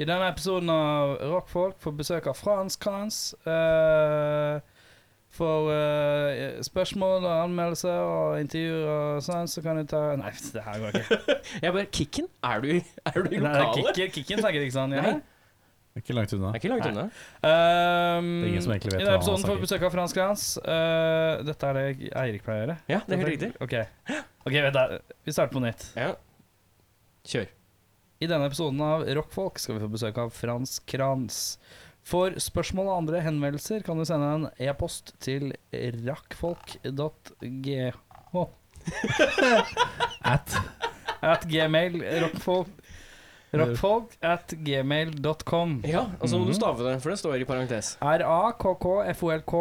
I denne episoden av Rockfolk får besøk av Frans Kranz. eh, for eh, spørsmål og anmeldelser og intervjuer og sånn, så kan du ta Nei, det her går ikke. Jeg bare Kikken? Er du, er du i Nei, det er lokalet? kicken, kicken snakker ikke sånn. Nei, Ja. Det er ikke langt unna. det er ikke langt unna. Um, Det er ingen som egentlig vet I hva denne han episoden får snakker. vi besøk av Frans Kranz. Eh, dette er det Eirik pleier å gjøre. Ja, det er helt riktig. Ok, Ok, vet du, vi starter på nytt. Ja. Kjør. I denne episoden av Rockfolk skal vi få besøk av Frans Kranz. For spørsmål og andre henvendelser kan du sende en e-post til rakkfolk.g... At At gmail rockfolk, rockfolk at gmail.com Ja, og så må du stave det, for det står i parentes. R-A-K-K-F-O-L-K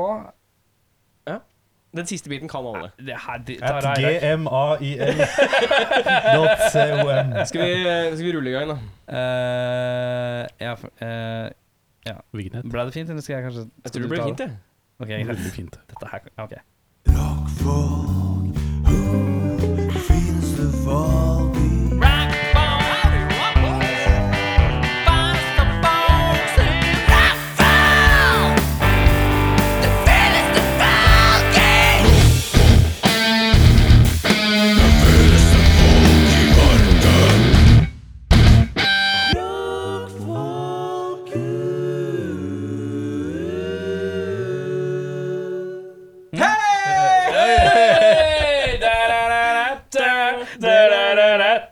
Den siste biten kan alle. Det her de- tar At jeg vekk. gmail.com. Skal vi, skal vi rulle i gang, da? Eh, ja, f- eh, Hvilken het? Ble det fint, eller skal jeg kanskje Jeg tror det blir fint, jeg. Ok, greit. Veldig fint. Dette her Ok.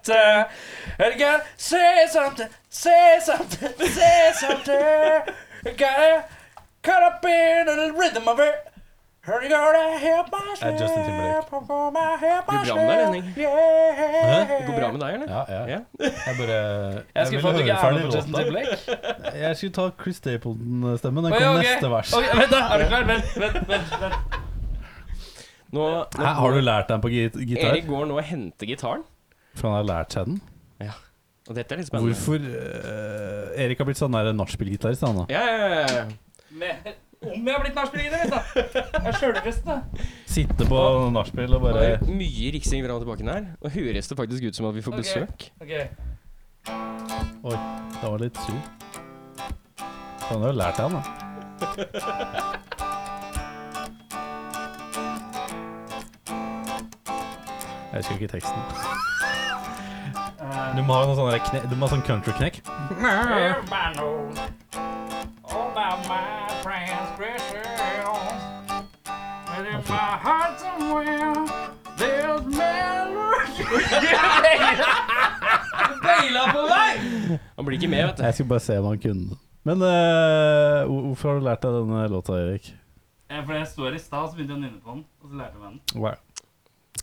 Gotta say something, say something, say something. You gotta cut up in the rhythm of it. Here you gotta help myself. Er Justin Timberlake. Går bra med deg, Henning? Hæ? Det går bra med deg, eller? Ja, ja. Ja. Jeg bare Jeg skulle ville få at du høre ikke er ferdig med på Justin låta. Timberlake. Jeg skulle ta Chris Stapleton-stemmen. Den Oi, kom ok. neste vers. Ok, vent, da. Er du klar? Vent, vent, vent. vent. Nå, Hæ, nå, har du lært den på git gitar? Erik går nå og henter gitaren. For han har lært seg den? Og dette er litt spennende. Hvorfor eh, Erik har blitt sånn der nachspiel-gitarist, han da. Ja, ja, ja, ja. Med, om jeg har blitt nachspieler, vet du. Jeg er sjølfest, da. Sitte på nachspiel og Det bare er mye riksing fram og tilbake den her. Og høres det faktisk ut som at vi får Ok. besøk. Ok. Oi, det var litt sur. Han har jo lært det, han da. Jeg husker ikke teksten. eh. Du må ha noe sånn der kne... Du må ha sånn country-knekk. Everybody knows all about my transgressions. And if my heart somewhere, there's melody. Beila på meg! Han blir ikke med, vet du. Jeg skulle bare se om han kunne den. Men eh, hvor- hvorfor har du lært deg denne låta, Erik? For jeg står i stad, så begynte jeg å nynne på den, og så lærte jeg meg den. Det var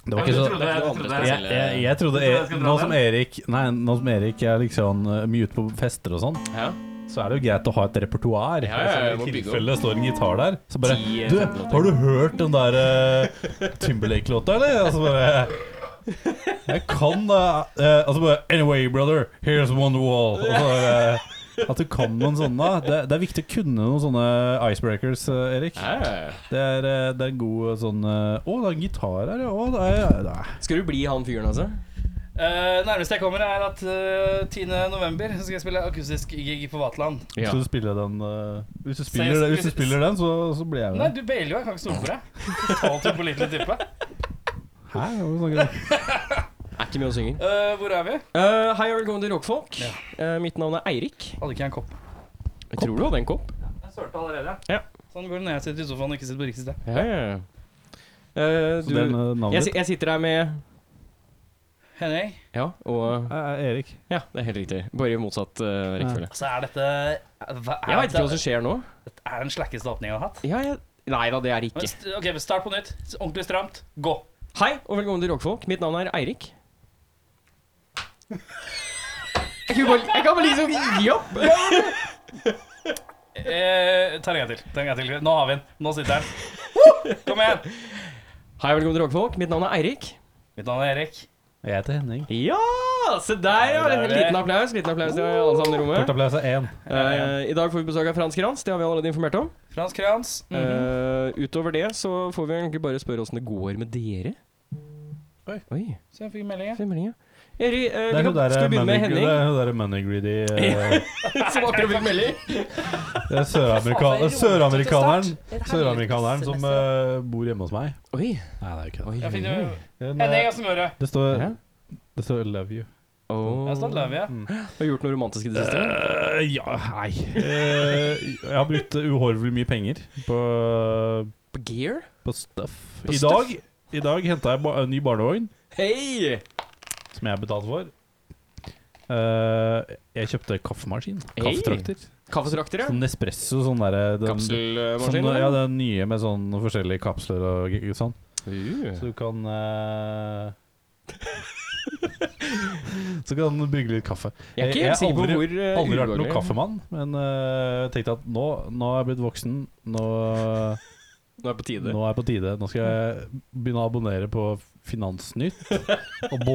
Ja, men ikke så du trodde- jeg trodde Andre jeg- jeg, spesielle- jeg, jeg trodde E- Jeg trodde jeg skulle dra Nå som Erik Nei, nå som Erik er liksom eh, mye ute på fester og sånn, Ja. så er det jo greit å ha et repertoar. Altså, Ja, ja, ja, jeg må I bygge tilfelle det står en gitar der, så bare Ti, eh, Du, femten har du hørt den der eh, Timberlake-låta, eller? Altså bare Jeg kan da eh, Altså bare Anyway, brother, here's Wonderwall. Og så bare, at du kan noen sånne. Det, det er viktig å kunne noen sånne icebreakers, eh, Erik. Ja, ja, ja. Det er, eh, det er en god sånn eh, Å, det er en gitar her, ja. Å, det er, det er. Skal du bli han fyren, altså? Eh, nærmeste jeg kommer, er at eh, 10. november så skal jeg spille akustisk gig på Vaterland. Ja. Hvis du spiller den, eh, hvis du Så spiller, jeg- hvis du spiller den så, så blir jeg Nei, med. du bailer jo. Jeg kan ikke stole på deg. Totalt upålitelig type. Hæ? Hva snakker du om? Er ikke med og synger. Eh, hvor er vi? Eh, hei og velkommen til Rockfolk. Ja. Eh, mitt navn er Eirik. Hadde ikke jeg en kopp? Jeg tror du hadde en kopp. Jeg sølte allerede. Ja. Sånn går det når jeg sitter i sofaen og ikke sitter på riktig sted. Ja, ja, ja. Eh, Så du, det er eh, jeg, navnet si- ditt? jeg sitter her med Henning, Ja, og Eh, Erik. Ja, det er helt riktig. Bare i motsatt eh, rekkefølge. altså er dette hva, er Jeg veit ikke hva dette- som skjer nå. Er det den slakkeste åpningen jeg har hatt? Ja, jeg... Nei da, det er det Men ikke. st- Ok, men Start på nytt. S- Ordentlig stramt. Gå. Hei og velkommen til Rockfolk. Mitt navn er Eirik. Jeg kan bare, jeg kan bare liksom gi opp. Eh, ta en gang til. Ta en gang til. Nå har vi den. Nå sitter den. Woo! Kom igjen. Hei og velkommen til Rockfolk. Mitt navn er Eirik. Mitt navn er Erik. Jeg heter Henning. Ja! Se der, ja. Der er det. Liten applaus liten applaus til alle sammen i Kort rommet. applaus er én. Eh, I dag får vi besøk av Frans Kranz. Det har vi allerede informert om. Frans Kranz. Mhm. Eh, utover det så får vi egentlig bare spørre åssen det går med dere. Oi. Oi Så jeg fikk melding, ja. fin melding, ja. Eri, eh, Det vi er kan, hun der skal vi begynne money, med det Henning? er hun der money greedy eh, Som akkurat fikk melding. Det er søramerikaneren Søramerikaneren Søramerikaneren som eh, bor hjemme hos meg. Oi. Nei, det er jo ikke det. Oi, Jeg fikk oi, jo oi. Den, Henning eh, og smøret. Det står, Ja. det står 'love you'. Åh. Jeg har stått løv, ja. Mm. Har du gjort noe romantisk i det siste? Eh, ja, hei. Eh, jeg har brukt uhorvelig mye penger på, På gear? på stuff. På I stuff? dag, i dag henta jeg ba en ny barnevogn, Hei! som jeg betalte for. Eh, jeg kjøpte kaffemaskin. Hey. Kaffetrakter. Kaffetrakter, ja. Sånn Nespresso, sånn derre den- Kapselmaskin. Sånn, ja, eller? den nye med sånn forskjellige kapsler og g- sånn. Uh. Så du kan eh, Så kan du brygge litt kaffe. Jeg er ikke Jeg- jeg helt sikker på aldri- hvor eh, Aldri vært noen ubehagelig. kaffemann, men eh, jeg tenkte at nå, nå er jeg blitt voksen. Nå, Nå er det på tide. nå er jeg på tide. Nå skal jeg begynne å abonnere på Finansnytt og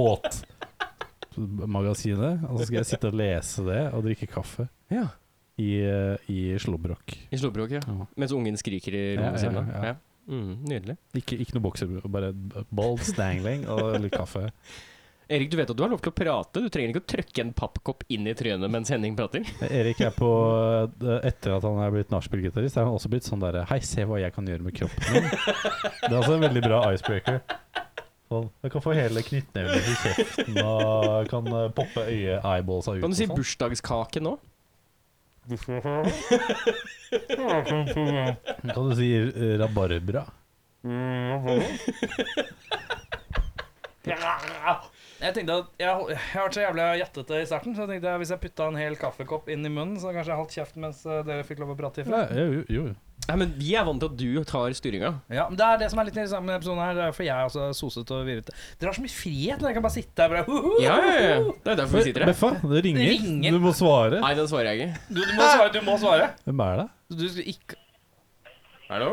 Båtmagasinet. Og så skal jeg sitte og lese det og drikke kaffe Ja, i, eh, i slåbrok. I slåbrok, ja. Ja. Mens ungen skriker i Ja, rommet ved siden av. ja, Ja. ja. Mm, nydelig. Ikke, ikke noe bokser, bare bald stangling og litt kaffe. Erik, du vet at du har lov til å prate. Du trenger ikke å trykke en pappkopp inn i trynet mens Henning prater. Erik er på eh, Etter at han er blitt nachspiel-gitarist, er han også blitt sånn derre Hei, se hva jeg kan gjøre med kroppen min. Det er altså en veldig bra icebreaker. Sånn, jeg kan få hele knyttneven i kjeften og kan eh, poppe øye-eyeballsa ut. Kan du si og sånn. bursdagskake nå? Kan du si eh, rabarbra? Jeg tenkte at jeg, jeg har vært så jævlig gjettete i starten, så jeg tenkte at hvis jeg putta en hel kaffekopp inn i munnen, så kanskje jeg holdt kjeften mens eh, dere fikk lov å prate ifra. Ja, jo, jo. Nei, men vi er vant til at du tar styringa. Ja, men Det er det som er litt interessant med denne episoden her, det er for jeg er også soset og virrete. Dere har så mye frihet når jeg kan bare sitte her og bare «Huhu!» Ja, ja, ja. Det er derfor vi sitter her. Beffa, det ringer. Det ringer. Du må svare. Nei, den svarer jeg ikke. Du, du må svare. Du må svare. Hvem er det? Du skulle ikke Hallo?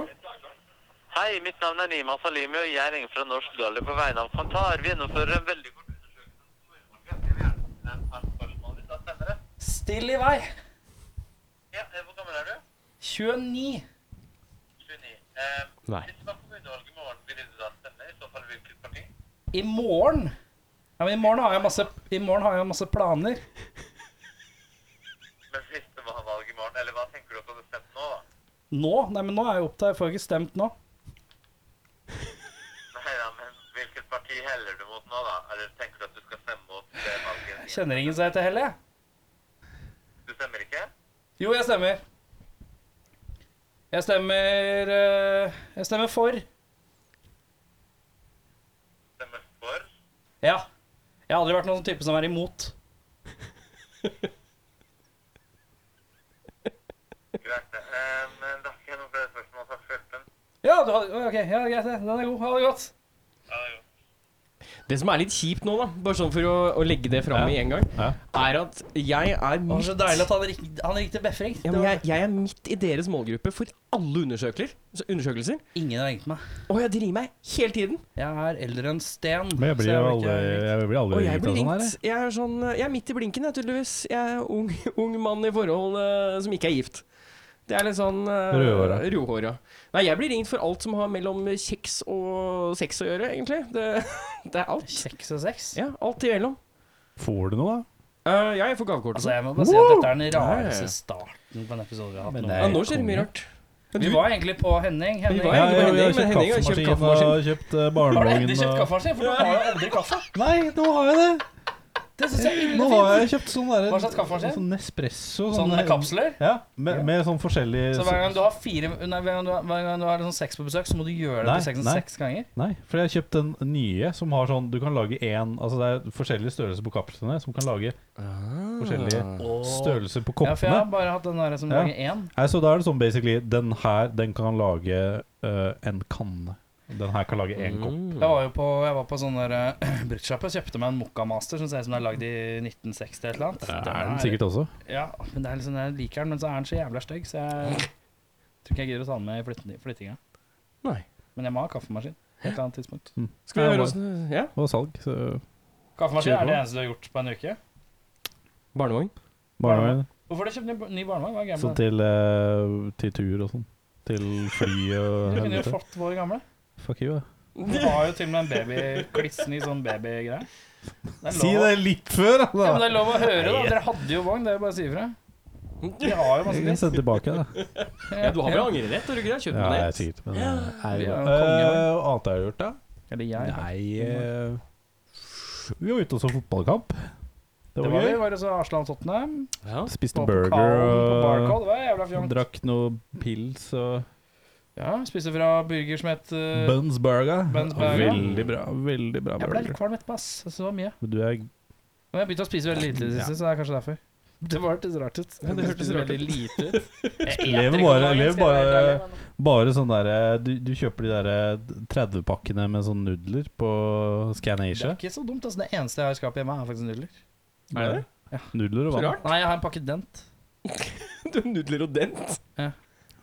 Hei, mitt navn er Nima Salimi, og jeg ringer fra Norsk Galli på vegne av Kantar. Vi gjennomfører en veldig kort undersøkelse. om spørsmål hvis det stemmer. Still i vei. Ja, eh, Hvor gammel er du? 29. 29. Eh, Nei. hvis det var kommunevalg i morgen, ville du da stemme? I så fall hvilket parti? I morgen Ja, men i morgen har jeg masse, i morgen har jeg masse planer. Men hvis det var valg i morgen, eller hva tenker du at du hadde stemt nå, da? Nå? Nei, men nå er jeg opptatt. Jeg får ikke stemt nå. Nei da, men hvilket parti heller du mot nå, da? Eller tenker du at du skal stemme mot det Jeg valget? kjenner ingen som heter Helle. jeg. Du stemmer ikke? Jo, jeg stemmer. Jeg stemmer eh, Jeg stemmer for. Stemmer for? Ja. Jeg har aldri vært noen sånn type som er imot. Greit, det. Eh, men da skal jeg noe flere spørsmål. Takk for hjelpen. Ja, du har, ok, ja, greit det. Den er god. Ha det godt. Ja, det er godt. Det som er litt kjipt nå, da, bare sånn for å, å legge det fram Ja. med en gang, Ja. er at jeg er Det var midt så deilig at han, rik, han riktig befring. ja, men jeg, jeg er midt i deres målgruppe for alle undersøkelser. så- undersøkelser. Ingen har ringt meg. Å ja, de ringer meg hele tiden! Jeg er eldre enn sten. Men jeg så blir jeg jo har ikke aldri, ringt. jeg blir aldri Og jeg ringt blir av sånn her. ringt. Jeg er, sånn, jeg er midt i blinken, jeg, tydeligvis. Jeg er ung, ung mann i forhold eh, som ikke er gift. Det er litt sånn eh, Rødhåra. rødhåra. Nei, jeg blir ringt for alt som har mellom kjeks og sex å gjøre, egentlig. Det, det er alt. Seks og seks? Ja, alt imellom. jeg. Får du noe, da? Uh, ja, jeg får gavekort. Altså, jeg må bare si at dette er den Wow! rareste starten på en episode vi har hatt Men noen det ja, gang. nå skjer det mye rart. Men Vi du- var egentlig på Henning. Henning. var Har du egentlig- det Henning, jeg, jeg, men Henning har har kjøpt kjøpt kaffemaskin og kjøpt eh, barnevogn. egentlig kjøpt og- kaffen sin? For du har jo aldri kaffe. Nei, nå har jeg det! Det synes jeg er Nå ille har fint. jeg kjøpt sånn derre Hva slags kaffe er det? Sånn Nespresso. Sånne kapsler. Ja, med, med sånn forskjellig Så hver gang du har fire Nei, hver gang du har, hver gang du har liksom seks på besøk, så må du gjøre det Nei, på seks, nei. seks ganger? Nei, for jeg har kjøpt den nye som har sånn Du kan lage én Altså det er forskjellige størrelser på kapslene som kan lage Ah. forskjellige størrelser på Ja, for jeg har koppene. bare hatt den der som Ja. lager én. Nei, så da er det sånn basically Den her, den kan lage eh, en kanne. Den her kan lage én kopp. Mm. Jeg var jo på, jeg var på sånn der eh, bruktsjappe og kjøpte meg en Mokka Master som ser ut som den er lagd i 1960 eller et eller annet. Det er den sikkert også. Ja, men det er liksom, jeg liker den, men så er den så jævla stygg, så jeg tror ikke jeg gidder å ta den med i flytten- flyttinga. Nei. Men jeg må ha kaffemaskin. Et eller annet tidspunkt. Skal vi høre åssen Ja, Det var salg, så Kaffemaskin Kjør på. er det eneste du har gjort på en uke. barnevogn. barnevogn. Hvorfor har du kjøpt ny, ny barnevogn? Hva er greia Sånn med det? til, eh, til tur og sånn. Til fly og Du kunne jo helvete. fått vår gamle. Fuck you, da. Du har jo til og med en baby klissende i sånn babygreier. Det er Si lov å- det litt før, Ja, men det altså. er lov å høre, da. Dere hadde jo vogn, det er bare å si ifra. Vi har jo masse Jeg dritt. sender tilbake, da. Ja, Eh, du har vel angrerett? Har du ikke det? Kjøpt Ja, på jeg er nett? sikkert men, eh, er det Ja, bra. kongen. Eh, hva annet jeg har gjort, da? Eller jeg. da. Nei eh, Vi var ute og så fotballkamp. Det Det var, var vi, gøy. var det så Arsland Tottenham. Ja. Spiste På burger pokalen på og Barcode, det var jævla fjongt. drakk noe pils og Ja, spiste fra burger som het eh, Buns burger. Buns burger. Veldig bra. Veldig bra Jeg ble litt burger. kvalm etterpå, ass. Jeg synes det var mye. Men du er Men jeg begynte å spise veldig lite i det siste, så det er kanskje derfor. Det var hørtes rart ut. Ja, det hørtes Spiste rart ut. veldig lite ut. Jeg eter Lever ikke bare- om dagen, lever skal jeg være bare- helt ærlig, men- bare sånn derre du, du kjøper de derre 30-pakkene med sånn nudler på Det er Scanasia. ikke så dumt, altså. Det eneste jeg har i skapet hjemme, er faktisk nudler. Er det det? Ja. Nudler og Så vann. rart. Nei, jeg har en pakke dent. Du har nudler og dent.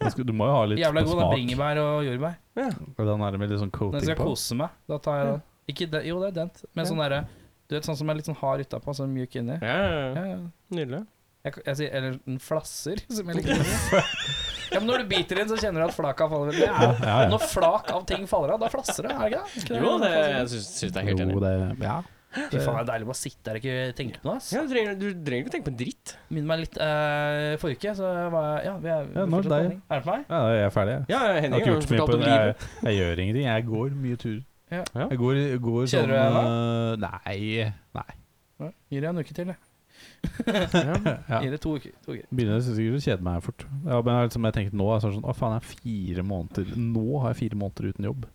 Du skal- Du må jo ha litt Jævla god. på Det er smak. bringebær og jordbær. Ja. Og Den er med litt sånn Når coating jeg skal på. kose meg, da tar jeg den. Ikke den, jo, det er dent, men Ja. sånn derre Du vet sånn som er litt sånn hard utapå, sånn mjuk inni. Ja, ja, Ja, ja. Nydelig. Jeg, jeg sier Eller den flasser, som jeg liker å si. Ja, men når du biter inn, så kjenner du at flaka faller. Det Ja, er, ja, ja. når flak av ting faller av, da flasser det, er det ikke det? Jo, det, jeg syns, syns det er helt Jo, enig. det ja. Fy faen, det er deilig å bare sitte her og ikke tenke på noe. ass. Ja, du trenger, du trenger ikke å tenke på en dritt. Minner meg litt eh, forrige uke, så var jeg Ja, vi er, vi Ja, nå er det fortsatt på deg. handling. Er det for meg? ja, jeg er ferdig, jeg. Ja, Jeg har Henning ikke har gjort så mye fortalt på om det. Jeg, livet. jeg gjør ingenting. Jeg går mye turer. Ja. Ja. Jeg går, jeg går Kjeder sånn du deg øh, Nei. nei. Ja, Gir deg en uke til, jeg. Ja. Gir det to uker. To uker. Begynner jeg synes sikkert å kjede meg fort. Ja, men jeg, liksom, jeg tenkte nå er det sånn, Å faen, jeg er fire måneder Nå har jeg fire måneder uten jobb.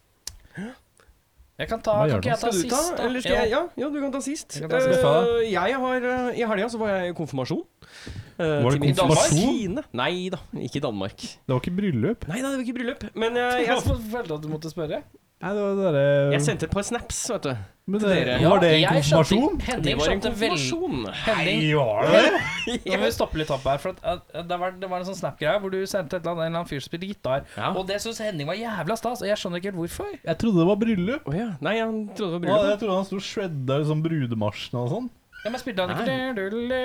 Jeg kan ta Hva Kan gjør du? ikke jeg ta Skal du sist, ta, da? eller skal jeg Ja, ja du kan ta sist. Jeg kan ta sist. Eh, Skal jeg har eh, I helga så var jeg i konfirmasjon. Eh, Var det til min konfirmasjon? kusine. Nei da, ikke i Danmark. Det var ikke bryllup. Nei da, det var ikke bryllup. Men eh, jeg, Jeg jeg, følte at du måtte spørre. Nei, det var dere jeg sendte et par snaps, vet du. Men det, dere. Var det en jeg skjønte- konfirmasjon? Det Henning var en skjønte veldig konfirmasjon. Henning var det det? Nå må vi stoppe litt opp her, for at, at, at det, var, det var en sånn Snap-greie hvor du sendte et eller annet, en eller annen fyr som spilte gitar. Ja. Og det syns Henning var jævla stas, og jeg skjønner ikke helt hvorfor. Jeg trodde det var bryllup. Å ja. Nei, han trodde det var Ja, bryllup. jeg trodde han sto og shredda liksom brudemarsjen og sånn. Ja, men spilte han ikke Nei. det?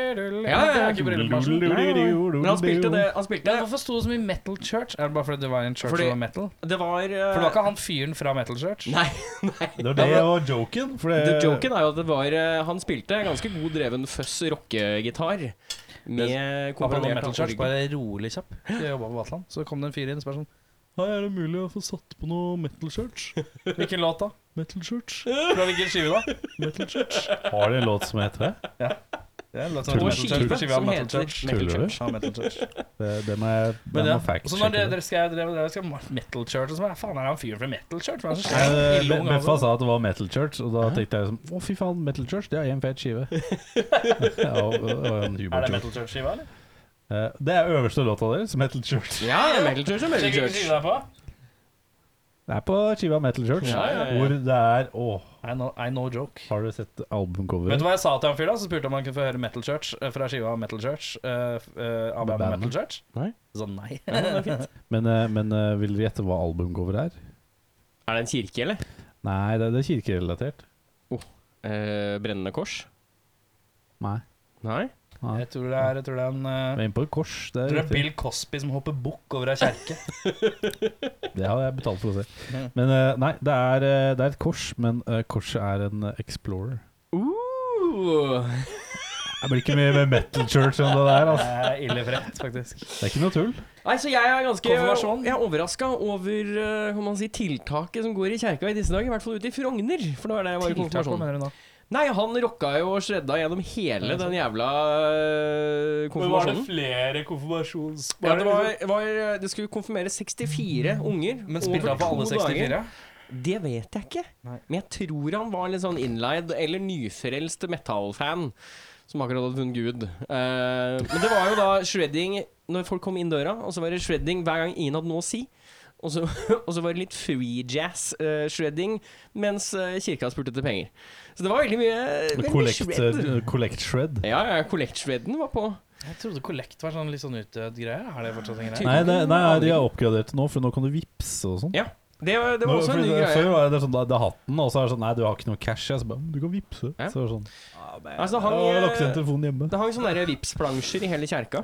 Ja, ja, ja. ikke brillemarsjen. Nei, nei, nei. Men han spilte det. Han spilte Men hvorfor sto det så mye Metal Church? Er det bare fordi det var en church Fordi- som var metal? Det var eh, For det var ikke han fyren fra Metal Church? Nei, nei. Det var eh, det Ja, var joken. For det, The joken er jo at det var eh, Han spilte ganske god dreven føss rockegitar. Med Apropos komponert Metal Church, orgel. bare rolig kjapp. Jeg jobba på Vatland, så kom det en fyr inn og spurte sånn Hei, er det mulig å få satt på noe metal church? Hvilken låt da? Metal church? Fra hvilken skive da? Metal church? Har de en låt som heter det? Det er en låt På som heter Metal skive Church, på skiva som Metal heter Church. Metal Tuller du? Church. Ja, Metal Church. Det, det må jeg Men ja, så når dere, fact-sjekke. dere skrev dere, dere skrev Metal Church og så bare, faen er han fyren fra Metal Church? Hva er det som Nei, skjer? det- I Be- lung, Beffa altså. sa at det var Metal Church, og da tenkte jeg liksom Å, fy faen, Metal Church, det er en fet skive. ja, og, og og en Er det humortur. Metal Church-skiva, eller? Eh, Det er øverste låta deres, Metal Church. Ja, Metal Church er Metal Sjekk hvilken Church. skive det er på. Det er på skiva Metal Church, Ja, ja, ja. hvor det er Å, I know, I know joke. har du sett Vet albumcoveret? du hva jeg sa til han fyren? da? Så spurte jeg om han kunne få høre Metal Church eh, fra skiva Metal Church. eh, f- eh, av Med bandet bandet? Metal Church? Nei. Så nei. Men, eh, men eh, vil dere gjette hva albumcoveret er? Er det en kirke, eller? Nei, det, det er kirkerelatert. Eh, brennende kors? Nei. Nei. Nei. Jeg tror det er, jeg tror det er en eh, Vi er inne på et kors. Det, jeg er tror det er riktig. Bill Cosby som hopper bukk over ei kjerke. det hadde jeg betalt for å se. Ja. Men eh, nei, det er, eh, det er et kors, men eh, korset er en eh, explorer. Uh, Det blir ikke mye med Metal Church enn det der. Det Altså. er ille frekt, faktisk. Det er ikke noe tull. nei, så jeg er ganske Konfirmasjon? Jeg er overraska over eh, kan man si, tiltaket som går i kjerka i disse dager. I hvert fall ute i Frogner, for da er det jeg var i Tiltak, hva konfirmasjon. mener du nå? Nei, han rocka jo og shredda gjennom hele den jævla eh, konfirmasjonen. flere konfirmasjons... Ja, det, liksom- var, var, det skulle konfirmere 64 unger. men spilte over han på alle to 64? dager. Det vet jeg ikke. Nei. Men jeg tror han var litt sånn innleid eller nyfrelst metal-fan som akkurat hadde funnet Gud. Eh, men det var jo da shredding når folk kom inn døra, og så var det shredding hver gang ingen hadde noe å si. Og så, og så var det litt free jazz-shredding mens eh, kirka spurte etter penger. Så det var veldig mye veldig Collect, shred. eh, collect shred. Ja, ja, collect-shredden var på. Jeg trodde Collect var sånn litt sånn utdødd greie. Er det fortsatt en greie? Nei, det, nei, de har oppgradert det nå, for nå kan du vippse og sånn. Ja, det, var- det var også Nå- en ny fordi det- greie. Før var det sånn, da, da hatten, og så er det sånn Nei, du har ikke noe cash. Jeg så bare, «Men du kan vippse. Ja. Så var det sånn, Altså, jeg han, har lagt igjen eh, telefonen hjemme. det hang sånne der Vipps-plansjer i hele kjerka.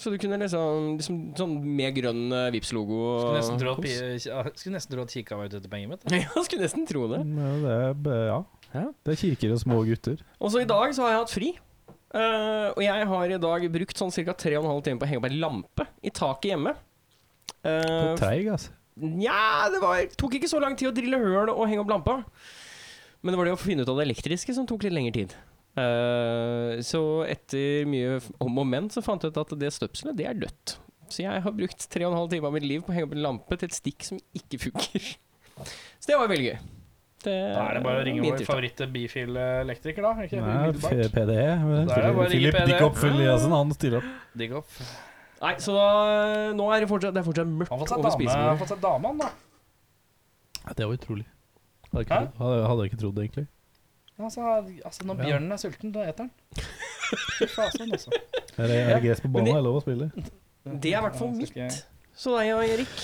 Så du kunne liksom, liksom sånn med grønn uh, Vipps-logo. Skulle og- nesten tro at, ja, skulle nesten tro at kikka var ute etter penger, vet du. Ja, skulle nesten tro det. Mm, Ja, det er, b- ja. Ja. Det er kirker og små gutter. Og så i dag så har jeg hatt fri. Eh, og jeg har i dag brukt sånn ca. 3 15 timer på å henge opp ei lampe i taket hjemme. Eh, Treig, altså. Nja, det var, tok ikke så lang tid å drille høl og henge opp lampa. Men det var det å finne ut av det elektriske som tok litt lengre tid. Eh, så etter mye f- om og men så fant jeg ut at det støpselet, det er dødt. Så jeg har brukt tre og en halv time av mitt liv på å henge opp en lampe til et stikk som ikke funker. Så det var veldig gøy. Det, Da er det bare å ringe min vår eh, tirsdag. favoritt-bifil-elektriker, da. Ikke? Nei, Umiddelbart. F- PDE. Da er det bare å ringe Philip E. PDE. Dick Eliassen, han stiller opp. Digg opp. Nei, så da, nå er det fortsatt, det er fortsatt Han har mørkt fått seg dame, over han har spisebordet. fått seg dame, han, da. Det var utrolig. Hadde ikke, Hæ? trodd- hadde, hadde ikke trodd det, egentlig. Altså, altså når Ja. bjørnen er sulten, da eter han. Fy fasen, altså. Er det, er det gress på Men banen? det- Er det lov å spille? Det er i hvert fall Ja, så mitt. skal jeg- Så det er jo Erik.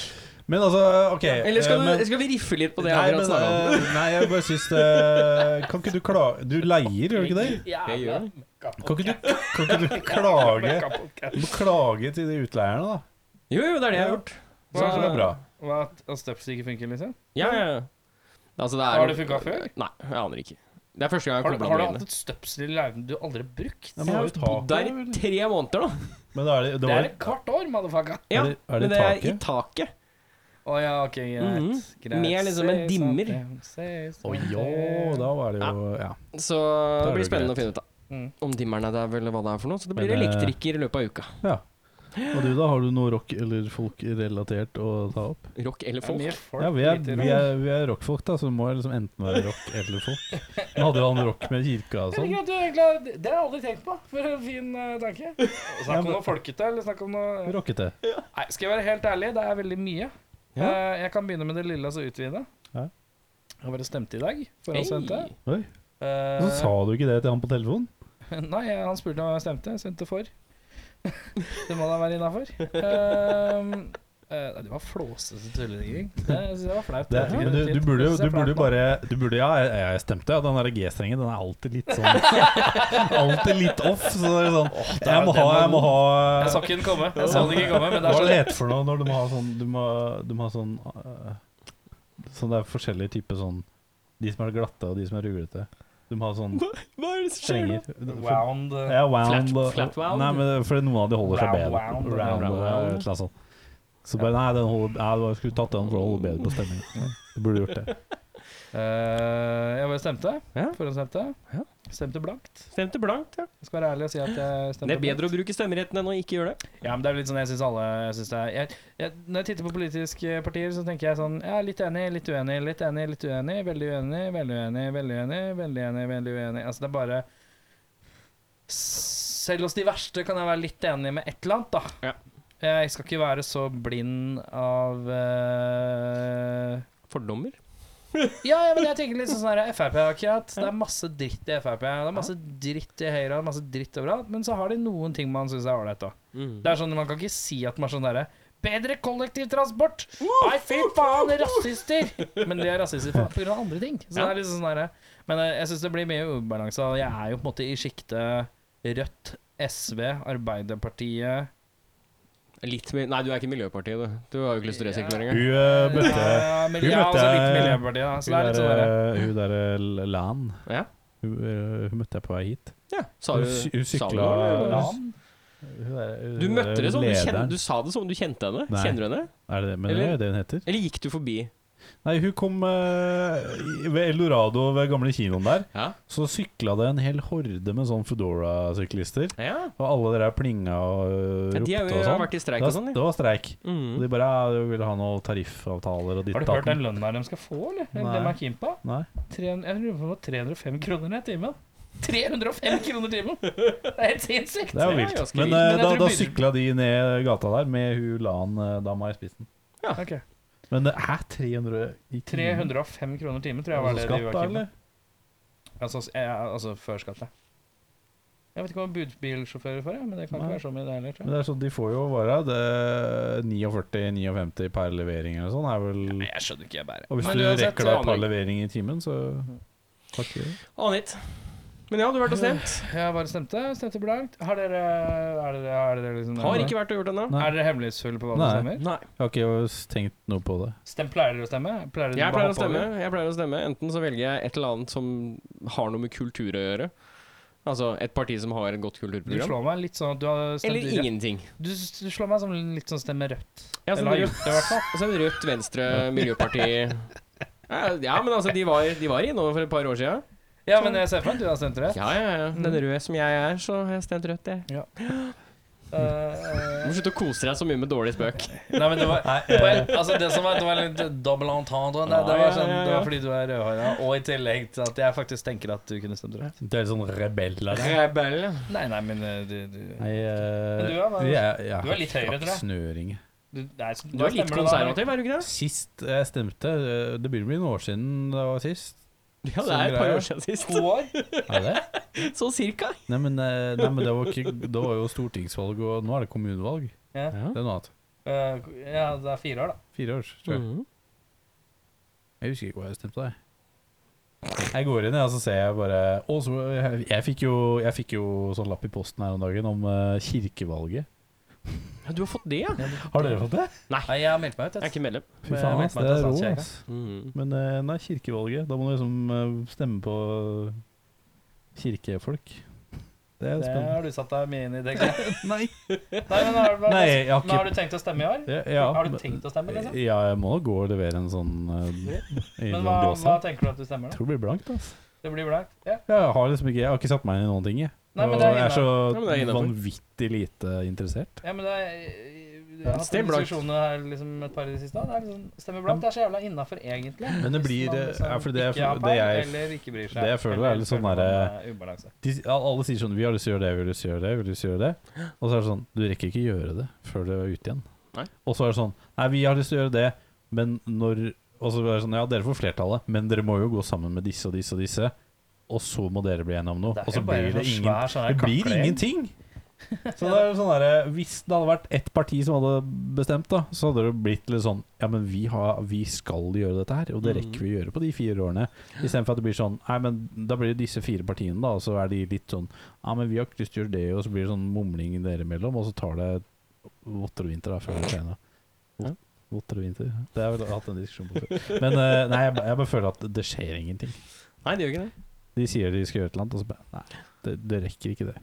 Men altså, OK. Eller skal, eh, du, men- skal vi riffe litt på det? jeg Nei, akkurat men, snakket om? eh, nei, jeg bare syns det Kan ikke du klage Du leier, gjør du ikke det? Jeg gjør det. Kan ikke du, kan ikke du klage Du må klage til de utleierne, da. Jo, jo, det er det jeg har gjort. Sånn, Så er det bra. Hva, at støpselet ikke funker, liksom? Ja, ja, ja. Altså, det er, Har det funka før? Nei, jeg aner ikke. Det er første gang Har jeg kommer du, på har du det. hatt et støpsel i leiligheten du aldri har brukt? Ja, men Jeg har har jo taket, bodd der i vel? tre måneder, da. Men da er det, det Det var, er et kvart år, motherfucker. Ja, det- er det men det er i taket? taket. Å ja, ok, greit. Mhm. greit. Mer liksom en dimmer. Å jo, da var det jo Ja. Så Da er det blir det spennende å greit. finne ut av Mm. om dimmeren er der, eller hva det er for noe. Så det blir Men, eh, elektriker i løpet av uka. ja. Og du, da? Har du noe rock- eller folk-relatert å ta opp? Rock eller Det er mye folk. folk. Ja, vi er, lite vi rom. er, vi er rockfolk, da, så det må liksom enten være rock eller folk. Nå hadde jo han rock med kirka Jeg og sånn. liker at du egentlig har- Det har jeg aldri tenkt på. For en fin eh, tanke. Snakk om men- noe folkete, eller snakk om noe Rockete. Nei, skal jeg være helt ærlig, det er veldig mye. Ja. Eh, jeg kan begynne med det lille og så utvide. Ja. Jeg har bare stemt i dag for å Hey. sende. Oi. Eh, Så sa du ikke det til han på telefonen? Nei, jeg- han spurte om jeg stemte. Jeg stemte for. det må da være innafor. Um, eh, nei, det var flåsete tulleningring. Det synes jeg var flaut. Det, Jeg vet men ikke, du, det- du burde det jo synes du jeg er burde jo flaut, bare du burde, Ja, jeg, jeg stemte, ja. Den der G-strengen den er alltid litt sånn Alltid litt off. Så det er sånn Jeg må ha Jeg må ha da. Jeg så ikke den komme. Jeg så den ikke komme, men det er Hva er det så heter for noe når du må ha sånn Du må, du må ha sånn øh, Sånn det er forskjellige typer sånn De som er glatte, og de som er ruglete. Du må ha sånn Hva er det som skjer nå? strenger. For- Wound. eh, Ja, wound. Flat- og- flat wound? Nei, men fordi noen av de holder seg Round bedre. wound, Round, round og wound. et eller annet sånt. Så bare Nei, den holder Nei, du skulle tatt den for å holde bedre på stemningen. Ja, Du burde gjort det. eh, jeg bare stemte. Ja. Forhåndsstemte. Ja. Stemte blankt. Stemte blankt, ja. Jeg skal være ærlig og si at jeg stemte Det er blankt. bedre å bruke stemmeretten enn å ikke gjøre det. Ja, men det er litt sånn jeg syns alle jeg synes det er jeg, jeg, Når jeg titter på politiske partier, så tenker jeg sånn Ja, litt enig, litt uenig, litt enig, litt uenig, veldig uenig, veldig uenig, veldig uenig, veldig enig, veldig uenig. Altså, det er bare Selv hos de verste kan jeg være litt enig med et eller annet, da. Ja. Jeg skal ikke være så blind av eh, Fordommer. ja, ja, men jeg tenker litt sånn sånn her, Frp har ikke hatt. Det er masse dritt i Frp. Det er masse dritt i Høyre, masse dritt overalt. Men så har de noen ting man syns er ålreit, da. Mm. Det er sånn, Man kan ikke si at man er sånn derre Bedre kollektivtransport! Nei, fy faen, rasister! Men de er rasister for- på grunn av andre ting. Så det Ja. er litt sånn derre Men eh, jeg syns det blir mye ubalanse. og Jeg er jo på en måte i sjiktet Rødt, SV, Arbeiderpartiet Litt mer Nei, du er ikke Miljøpartiet, du. Du har jo ikke lyst til å resirkulere engang. Hun øh, møtte eh, Ja, altså men vi ja, og så møtte- litt Miljøpartiet, da. Så det er litt sånn derre Hun der eh, Lan, Ja. hun, eh, hun møtte jeg på vei hit. ja. Sa Hun du sy- hun sa du sykla- noe? Ja. Lan? Hun der, hun Du møtte der det som du, kjen, lederen. du sa det som om du kjente henne. Nei. Kjenner du henne? Er det det, men det Eller- er jo det hun heter? Eller gikk du forbi? Nei, hun kom eh, i- ved Eldorado, ved gamle kinoen der. Ja. Så sykla det en hel horde med sånn Foodora-syklister. ja. Og alle der plinga og øh, Ja, de har ropte jo og sånn. vært i streik og Det var- sånn, ja. Det var streik. Og Mm. de bare ja, vi vil ha noen tariffavtaler og ditt Har du datt. hørt den lønna de skal få, eller? Nei. Den er keen på? Nei. 300, jeg lurer på hva 305 kroner er timen. 305 kroner timen! Det er helt sinnssykt! Det er Det jo er vilt. ganske Men vilt. eh, Men jeg da, tror da det begynner- sykla de ned gata der med hun Lan-dama i spissen. Ok. Men det er 300 i timen. 305 kroner timen tror jeg var det Altså de skatt, var da, keen på. eller? Altså, s- ja, altså før skatt, ja. Jeg vet ikke hva budbilsjåfører får, jeg, men det kan ikke Nei. være så mye det heller. tror Men jeg. det er sånn, De får jo vare det 49-59 per levering eller sånn. er vel... Nei, jeg skjønner ikke, jeg bare. Og hvis Men du uansett, rekker så- deg et par leveringer i timen, så Mm. Takk for det. Aner ikke. Men ja, du har vært og stemt. Jeg bare stemte. Stemte blankt. Har dere, er dere, er dere liksom men Har ikke vært og gjort det ennå. Nei. Er dere hemmelighetsfulle på hva dere Nei. stemmer? Nei. Jeg har ikke tenkt noe på det. Stem, pleier dere å stemme? Pleier dere Jeg bare pleier å hoppe stemme. over? Jeg pleier å stemme Enten så velger jeg et eller annet som har noe med kultur å gjøre. Altså et parti som har et godt Du kulturprogram. slår meg litt sånn at du har stemt Eller rødt. ingenting. Du, s- du slår meg som litt sånn stemmer rødt. Ja, så Eller har det- gjort det, i hvert fall. Og så er det Altså, Rødt, Venstre, Miljøpartiet Ja, men altså, de var, de var innom for et par år siden. Ja, men Sånn. jeg ser for meg at du har stemt rødt. Ja, ja, ja. Den røde som jeg er, så har jeg stemt Rødt, jeg. Du Eh, må slutte å kose deg så mye med dårlig spøk. Nei, men det var poeng. Altså, det som var, det var litt dobbel entendre. Det, det, eh. Ja, ja, var sånn, ja, det ja. var fordi du er rødhåra, og i tillegg til at jeg faktisk tenker at du kunne stemt rødt. Det er litt sånn rebell av deg. Rebell. ja. Nei, nei, men eh, du, du, Nei, eh, Men du er bare- jeg- jeg du er litt har høyre, tror jeg. Snøring. du, nei, så- Du da er sånn- litt stemmer du da. konservativ, er du ikke det? Sist jeg stemte, eh, det begynner å bli noen år siden det var sist. Ja, det er et par år siden sist. To år? Er det? Så cirka. Nei, men, eh, nei, men det, var ikke, det var jo stortingsvalg, og nå er det kommunevalg. Ja. Ja. Det er noe annet. Eh, ja, det er fire år, da. Fire år, tror jeg. Mhm. Jeg husker ikke hva jeg stemte, jeg. Jeg går inn, og så ser jeg bare og så, jeg, jeg, fikk jo, jeg fikk jo sånn lapp i posten her om dagen om eh, kirkevalget. Ja, du har fått det, ja. Har dere fått det? Nei, jeg har meldt meg ut. Jeg er Jeg. ikke medlem. Fy faen, ass, det er rå, ass. Mm. Mhm. Men eh, nei, kirkevalget. Da må du liksom eh, stemme på kirkefolk. Det er Det spennende. Eh, har du satt deg mye inn i, tenker jeg. Nei, Nei, men har, nei, jeg har men har ikke du tenkt å stemme i år? ja, ja, har du men- tenkt å stemme, liksom? Ja, jeg må gå og levere en sånn eh, i Men den hva, hva blåsa. tenker du at du stemmer, da? Tror det blir blankt, ass. Det blir blankt? Ja. Jeg har liksom ikke Jeg har ikke satt meg inn i noen ting, jeg. Nei, men og det er jeg er så Ja, men det er innenfor. vanvittig lite interessert. ja, men det er Jeg har hatt Stem noen blankt. diskusjoner her liksom et par i det siste. Det er liksom, stemmer blankt. Det er så jævla innafor, egentlig. Men det Hvis blir, eh, man liksom ja, for det er- ikke har det jeg- peil, eller ikke bryr seg. det jeg føler er eller litt sånn føler derre- man er ubalanse. De, alle sier sånn 'Vi har lyst til å gjøre det, vi har lyst til å gjøre det', vi har lyst til å gjøre det. Og så er det sånn Du rekker ikke gjøre det før du er ute igjen. Nei. Og så er det sånn Nei, vi har lyst til å gjøre det, men når Og så er det sånn Ja, dere får flertallet, men dere må jo gå sammen med disse og disse og disse. Og så må dere bli enige om noe. Det er Og så jo bare blir det sånn ingen svær sånn her Det blir kaklegjeng. ingenting! Så det er jo sånn der, Hvis det hadde vært ett parti som hadde bestemt, da så hadde det blitt litt sånn Ja, men vi, har, vi skal gjøre dette her, og det rekker vi å gjøre på de fire årene. Istedenfor at det blir sånn Nei, men da blir det disse fire partiene, da, og så er de litt sånn Ja, men vi har ikke lyst til å gjøre det, og så blir det sånn mumling dere imellom, og så tar det votter og vinter da, før det skjer noe. Ja. Votter og vinter. Det har jeg vel hatt en diskusjon på før. Men eh, nei, jeg, ba- jeg bare føler at det skjer ingenting. Nei, det gjør ikke det. De sier de skal gjøre et eller annet, og så bare Nei, det, det rekker ikke det.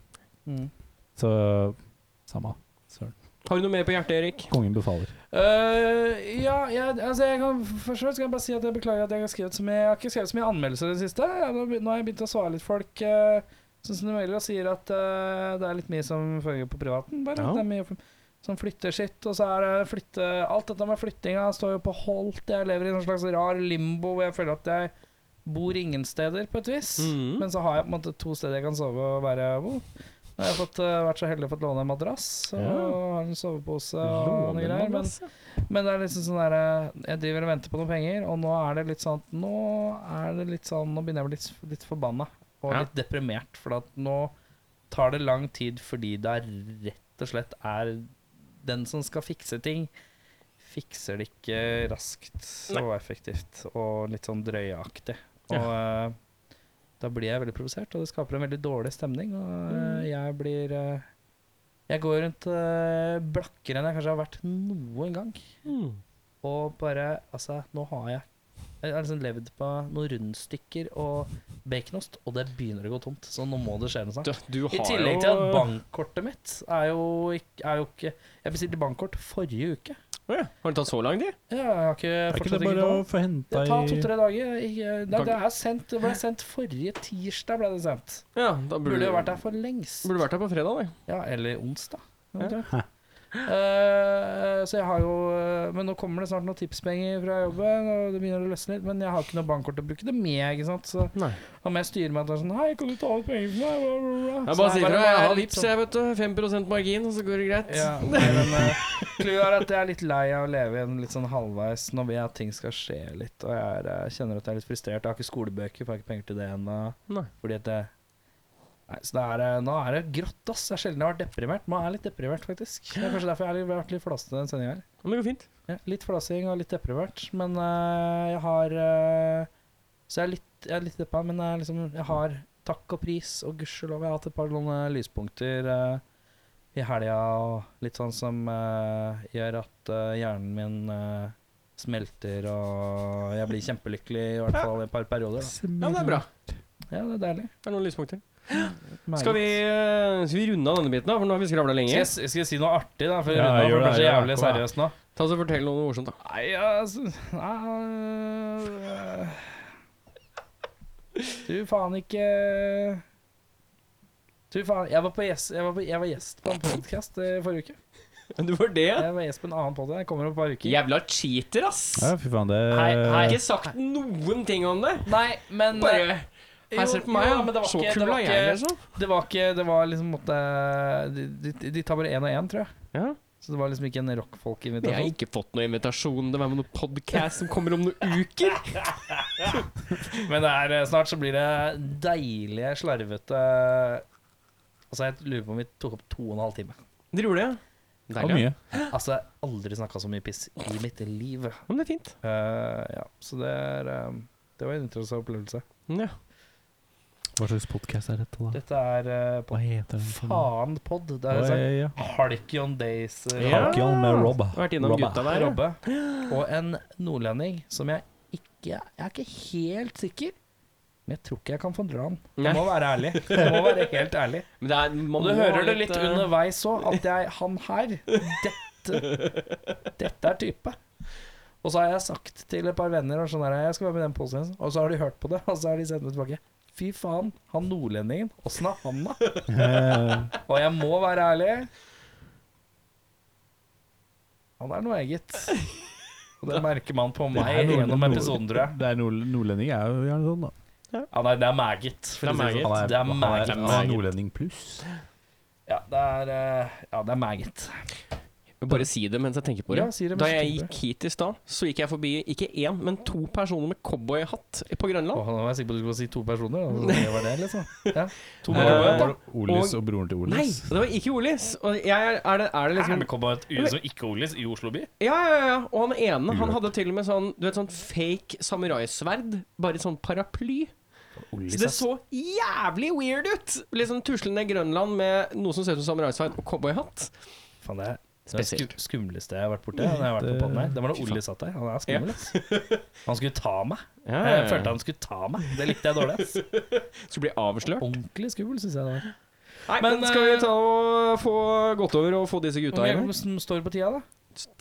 Mm. Så samme. Søren. Har du noe mer på hjertet, Erik? Kongen befaler. Eh, Øh, ja, jeg, altså jeg kan, først og fremst kan jeg bare si at jeg beklager at jeg har skrevet så mye Jeg har ikke skrevet så mye anmeldelser i det siste. Jeg har be- Nå har jeg begynt å svare litt folk øh, sånn som de mailer og sier at øh, det er litt mye som foregår på privaten. Bare Ja. Det er mye f- som flytter sitt, og så er det flytte Alt dette med flyttinga står jo på holdt. Jeg lever i en slags rar limbo hvor jeg føler at jeg bor ingen steder, på et vis. Mhm. Men så har jeg på en måte to steder jeg kan sove og være hvor. Nå har jeg fått, øh, vært så heldig å fått låne en madrass og Ja. har en sovepose og noen greier. Men, Lånemann, men det er liksom sånn der eh, Jeg driver og venter på noen penger, og nå er det litt sånn at- Nå er det litt sånn Nå begynner jeg å bli litt, litt forbanna og Ja. litt deprimert, for at nå tar det lang tid fordi det er rett og slett er Den som skal fikse ting, fikser det ikke raskt og effektivt og litt sånn drøyaktig. Og eh, da blir jeg veldig provosert, og det skaper en veldig dårlig stemning. Og eh, jeg blir eh, Jeg går rundt eh, blakkere enn jeg kanskje har vært noen gang. Mhm. Og bare Altså, nå har jeg jeg har liksom levd på noen rundstykker og baconost, og det begynner å gå tomt. Så nå må det skje noe snart. Du, du har I tillegg jo til at bankkortet mitt er jo, ikk- er jo ikke Jeg bestilte bankkort forrige uke. Å ja. Har det tatt så lang tid? Ja, Jeg har ikke Er ikke det fortsatt ikke bare å fått. få henta Det i tar to-tre dager. Jeg- Nei, Kan- det, er sendt, det ble sendt forrige tirsdag. ble det sendt Ja, da burde, Burde jo vært der for lengst. Burde vært der på fredag, det. Ja, eller onsdag. eventuelt. Hæ. Eh, så jeg har jo eh, Men nå kommer det snart noen tipspenger fra jobben, og det begynner å løsne litt, men jeg har ikke noe bankkort å bruke det med, ikke sant. Så Nei. om jeg styrer meg at det er sånn Hei, kan du ta ut penger for meg? Bla, bla, bla. Jeg Så bare sier er fra, jeg jeg har er litt vips, sånn- jeg, vet du. 5 margin, og så går det greit. Ja, nei, men eh, clouet er at jeg er litt lei av å leve i en litt sånn halvveis Nå vil jeg at ting skal skje litt, og jeg er, eh, kjenner at jeg er litt frustrert. Jeg har ikke skolebøker, for jeg har ikke penger til det ennå. Nei. Fordi at jeg Nei, så det er, eh, Nå er det grått, ass. Det er sjelden jeg har vært deprimert. Man er litt deprimert, faktisk. Det er kanskje derfor jeg har litt- vært litt flåsete den sendinga her. Men det går fint. Ja, litt flasing og litt deprimert, men eh, jeg har eh, Så jeg er litt, jeg er litt deppa, men jeg, er liksom, jeg har takk og pris, og gudskjelov jeg har hatt et par sånne lyspunkter eh, i helga, og litt sånn som eh, gjør at eh, hjernen min eh, smelter, og jeg blir kjempelykkelig i hvert fall i et par perioder. Da. Ja, men det er bra. Ja, det er deilig. Det er noen lyspunkter. Meget. Skal vi, eh, skal vi runde av denne biten, da? For nå har vi skravla skal lenge. jeg, s- skal jeg si noe artig, da? For Ja, ja, gjør det blir det, så gjør jævlig det. Kom igjen. seriøst nå. Ta så Fortell noe morsomt, da. Nei, altså nei, øh, Du faen ikke Du faen Jeg var, på gjest, jeg var, på, jeg var gjest på en podkast forrige uke. Du var det? Jeg var gjest på en annen podkast. Jeg kommer om et par uker. Eh, Jævla cheater, ass! Ja, fy faen, det Har ikke sagt noen ting om det. Nei, men eh, Bare Hei, se på meg, jo, da. men det var Så ikke- det kul var er jeg, ikke- liksom. Det var ikke Det var liksom måtte De, de, de tar bare én og én, tror jeg. Ja. Så det var liksom ikke en Men jeg har rockfolk-invitasjon. ikke fått noen invitasjon til å være med noen podcast som kommer om noen uker. Men det er, eh, snart så blir det deilige, slarvete Altså, jeg lurer på om vi tok opp to og en halv time. Dere gjorde det, ja? var mye. Altså, jeg har aldri snakka så mye piss i mitt liv. Ja, men det er fint. Eh, ja, så det er eh, Det var en interessant opplevelse. Ja. Hva slags podkast er dette, da? Dette er eh, på Hva heter den? for noe? faen pod. Det er Oi, sånn ja. Halcyon Days. eh, Ja. Halkion med Robba. Vært innom Robba. gutta der. ja. Robbe. Og en nordlending som jeg ikke Jeg er ikke helt sikker, men jeg tror ikke jeg kan fordra han. Nei. Jeg må være ærlig. Jeg må være helt ærlig. Men det er, man Og du må ha hører det litt eh, underveis òg, at jeg, han her dette, dette er type. Og så har jeg sagt til et par venner og sånn her, jeg skal være med i den posen, og så har de hørt på det, og så har de sendt meg tilbake. Fy faen, han nordlendingen, åssen er han, da? Eh, Og jeg må være ærlig. Han er noe eget. Og det merker man på meg er noe- gjennom noe- episoden, tror jeg. Det er nord nordlending er jo gjerne sånn, da. Ja, nei, det er meget. for Det er å si det meget. sånn. Det er han meget. han er nordlending pluss. Ja, det er, eh, ja, det er meget. Jeg Bare si det mens jeg tenker på det. Ja, si det mens da du jeg tenker på gikk hit i stad, så gikk jeg forbi ikke én, men to personer med cowboyhatt på Grønland. Åh, nå var jeg sikker på at du skulle si to personer. Altså, det var det, liksom. Ja. To Eh, cowboyer, da. Olis og broren til Nei, Olis. det var ikke Olis. Og jeg, er, er, det, er det liksom Liksom ikke Olis i Oslo by? Ja, ja, ja. Og han ene han hadde til og med sånn Du vet sånn fake samuraisverd, bare sånn paraply. Så det så jævlig weird ut! Liksom tuslende Grønland med noe som ser ut som samuraisverd og cowboyhatt. Faen, det er det er Spesielt. skum- skumleste jeg har vært borti. når jeg har vært på podden her. Det var da Fy faen. Olli satt der. Han er skummel, ass. Han skulle ta meg. Ja, ja, Jeg ja. følte han skulle ta meg. Det likte jeg dårlig, ass. Skulle bli avslørt. Ordentlig skummel, syns jeg det var. Nei, men, men, skal vi eh, ta og få gått over og få disse Hvor gutta mye her? hvordan står det på tida, da?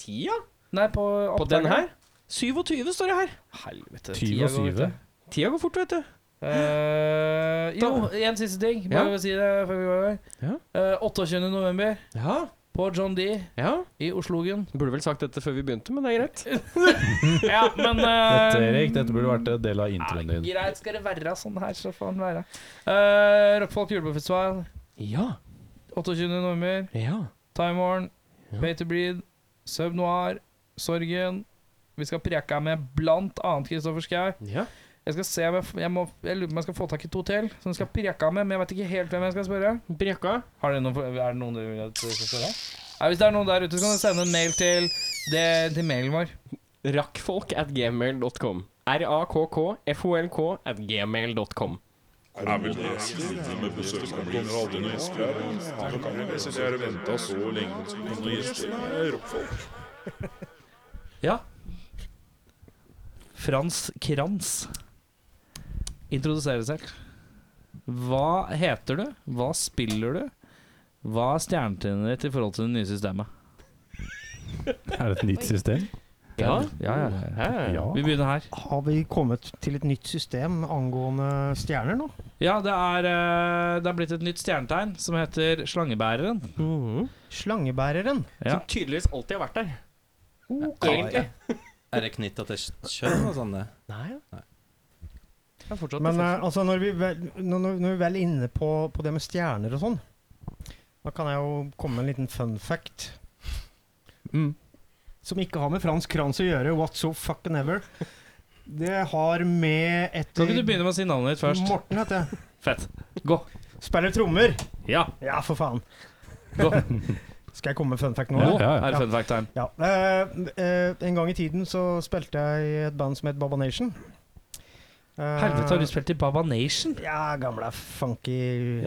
Tida? Nei, på På den her? 27 står det her. Helvete. 27. Tida går fort, vet du. Uh, jo, en siste ting. Bare Ja. å si det før vi går over. Ja. Eh, 28. november Ja. på John D ja. i Oslogen. Burde vel sagt dette før vi begynte, men det er greit. Ja, men eh, Dette, Erik, dette burde vært en del av introen din. Greit, skal det være sånn her, så får det være. Uh, Rockfolk julebordfestival, Ja. 28. november. Ja. Time Warn, Ja. Pay to Breed, Sub Noir, Sorgen. Vi skal preke med blant annet Kristoffer Schau. ja. Jeg skal se om jeg, f- jeg, må, jeg lurer på om jeg skal få tak i et hotell som jeg skal preke med, men jeg vet ikke helt hvem jeg skal spørre. Brekka. Har dere noen, for- er det noen dere vil at jeg skal spørre? Nei, hvis det er noen der ute, så kan dere sende en mail til, det, til mailen vår. Rakkfolk at gmail.com. R-a-k-k-f-o-l-k at gmail.com. Er vel det stille med besøk som blir aldri noen gjester her. Jeg kan jo si at jeg har ventet så lenge på noen gjester. Det er rockfolk. Ja. Frans Kranz. Introdusere deg selv. Hva heter du? Hva spiller du? Hva er stjernetrinnet ditt i forhold til det nye systemet? Er det et nytt system? Ja. Ja, ja, ja. Ja. Vi begynner her. Har vi kommet til et nytt system angående stjerner nå? Ja, det er, eh, det er blitt et nytt stjernetegn som heter slangebæreren. Mhm. Slangebæreren. Ja. Som tydeligvis alltid har vært der. Egentlig. Er det knytta til kjønn og sånn? det? Nei, ja. Ja, fortsatt, Men eh, fortsatt. altså, når vi vel, når, når når vi vel er inne på, på det med stjerner og sånn, da kan jeg jo komme med en liten fun fact. Mm. Som ikke har med Frans Kranz å gjøre, what so fucking ever. Det har med et Kan ikke du begynne med å si navnet ditt først? Morten heter jeg. Fett. Gå. Spiller trommer. Ja. Ja, for faen. Gå. Skal jeg komme med fun fact nå? Ja, Nå ja, ja. er det fun fact time. Ja. eh, eh, en gang i tiden så spilte jeg i et band som het Baba Nation. Eh, Helvete, har du spilt i Baba Nation? Ja, gamle funky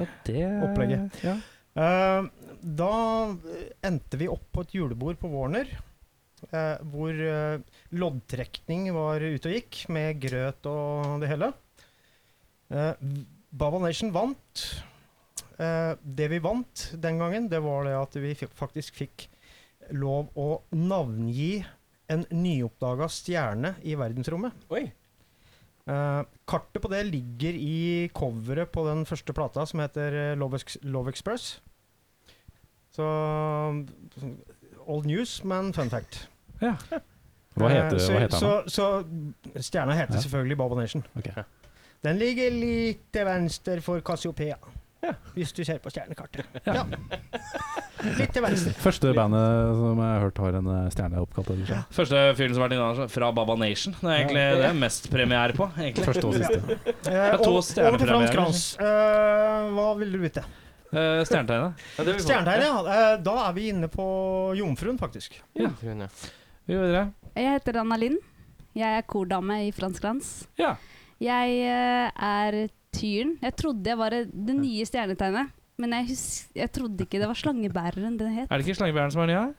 Ja, det Opplegget. Ja. Eh, da eh, endte vi opp på et julebord på Warner, eh, hvor eh, loddtrekning var ute og gikk, med grøt og det hele. Eh, Baba Nation vant. Eh, det vi vant den gangen, det var det at vi fikk, faktisk fikk lov å navngi en nyoppdaga stjerne i verdensrommet. Oi. Eh, kartet på det ligger i coveret på den første plata som heter eh, Love, Ex Love Express. Så mm, Old news, men fun fact. Hva heter, Eh, så, hva heter så, han? da? så stjerna heter Ja. selvfølgelig Baba Nation. Ok. Den ligger litt til venstre for Cassiopeia. Hvis du ser på stjernekartet. Ja. Litt til venstre. Første bandet som jeg har hørt har en eh, stjerne oppkalt etter seg. Første fyren som har vært innom fra Baba Nation. Det er egentlig det er mest premiere på. egentlig. Første og siste. to Eh, over, over til Frans stjernepremierer. Kranz. Eh, hva vil du vite? Uh, Stjernetegnet. Stjernetegn, ja. Eh, da er vi inne på Jomfruen, faktisk. Ja. Jomfruen, ja. Vi går videre. Jeg heter Anna Lind. Jeg er kordame i Fransk Glans. Ja. Jeg eh, er tyren. Jeg trodde jeg var det nye stjernetegnet, men jeg, hus jeg trodde ikke det var slangebæreren den het. Er det ikke Slangebjørnen som er ny her?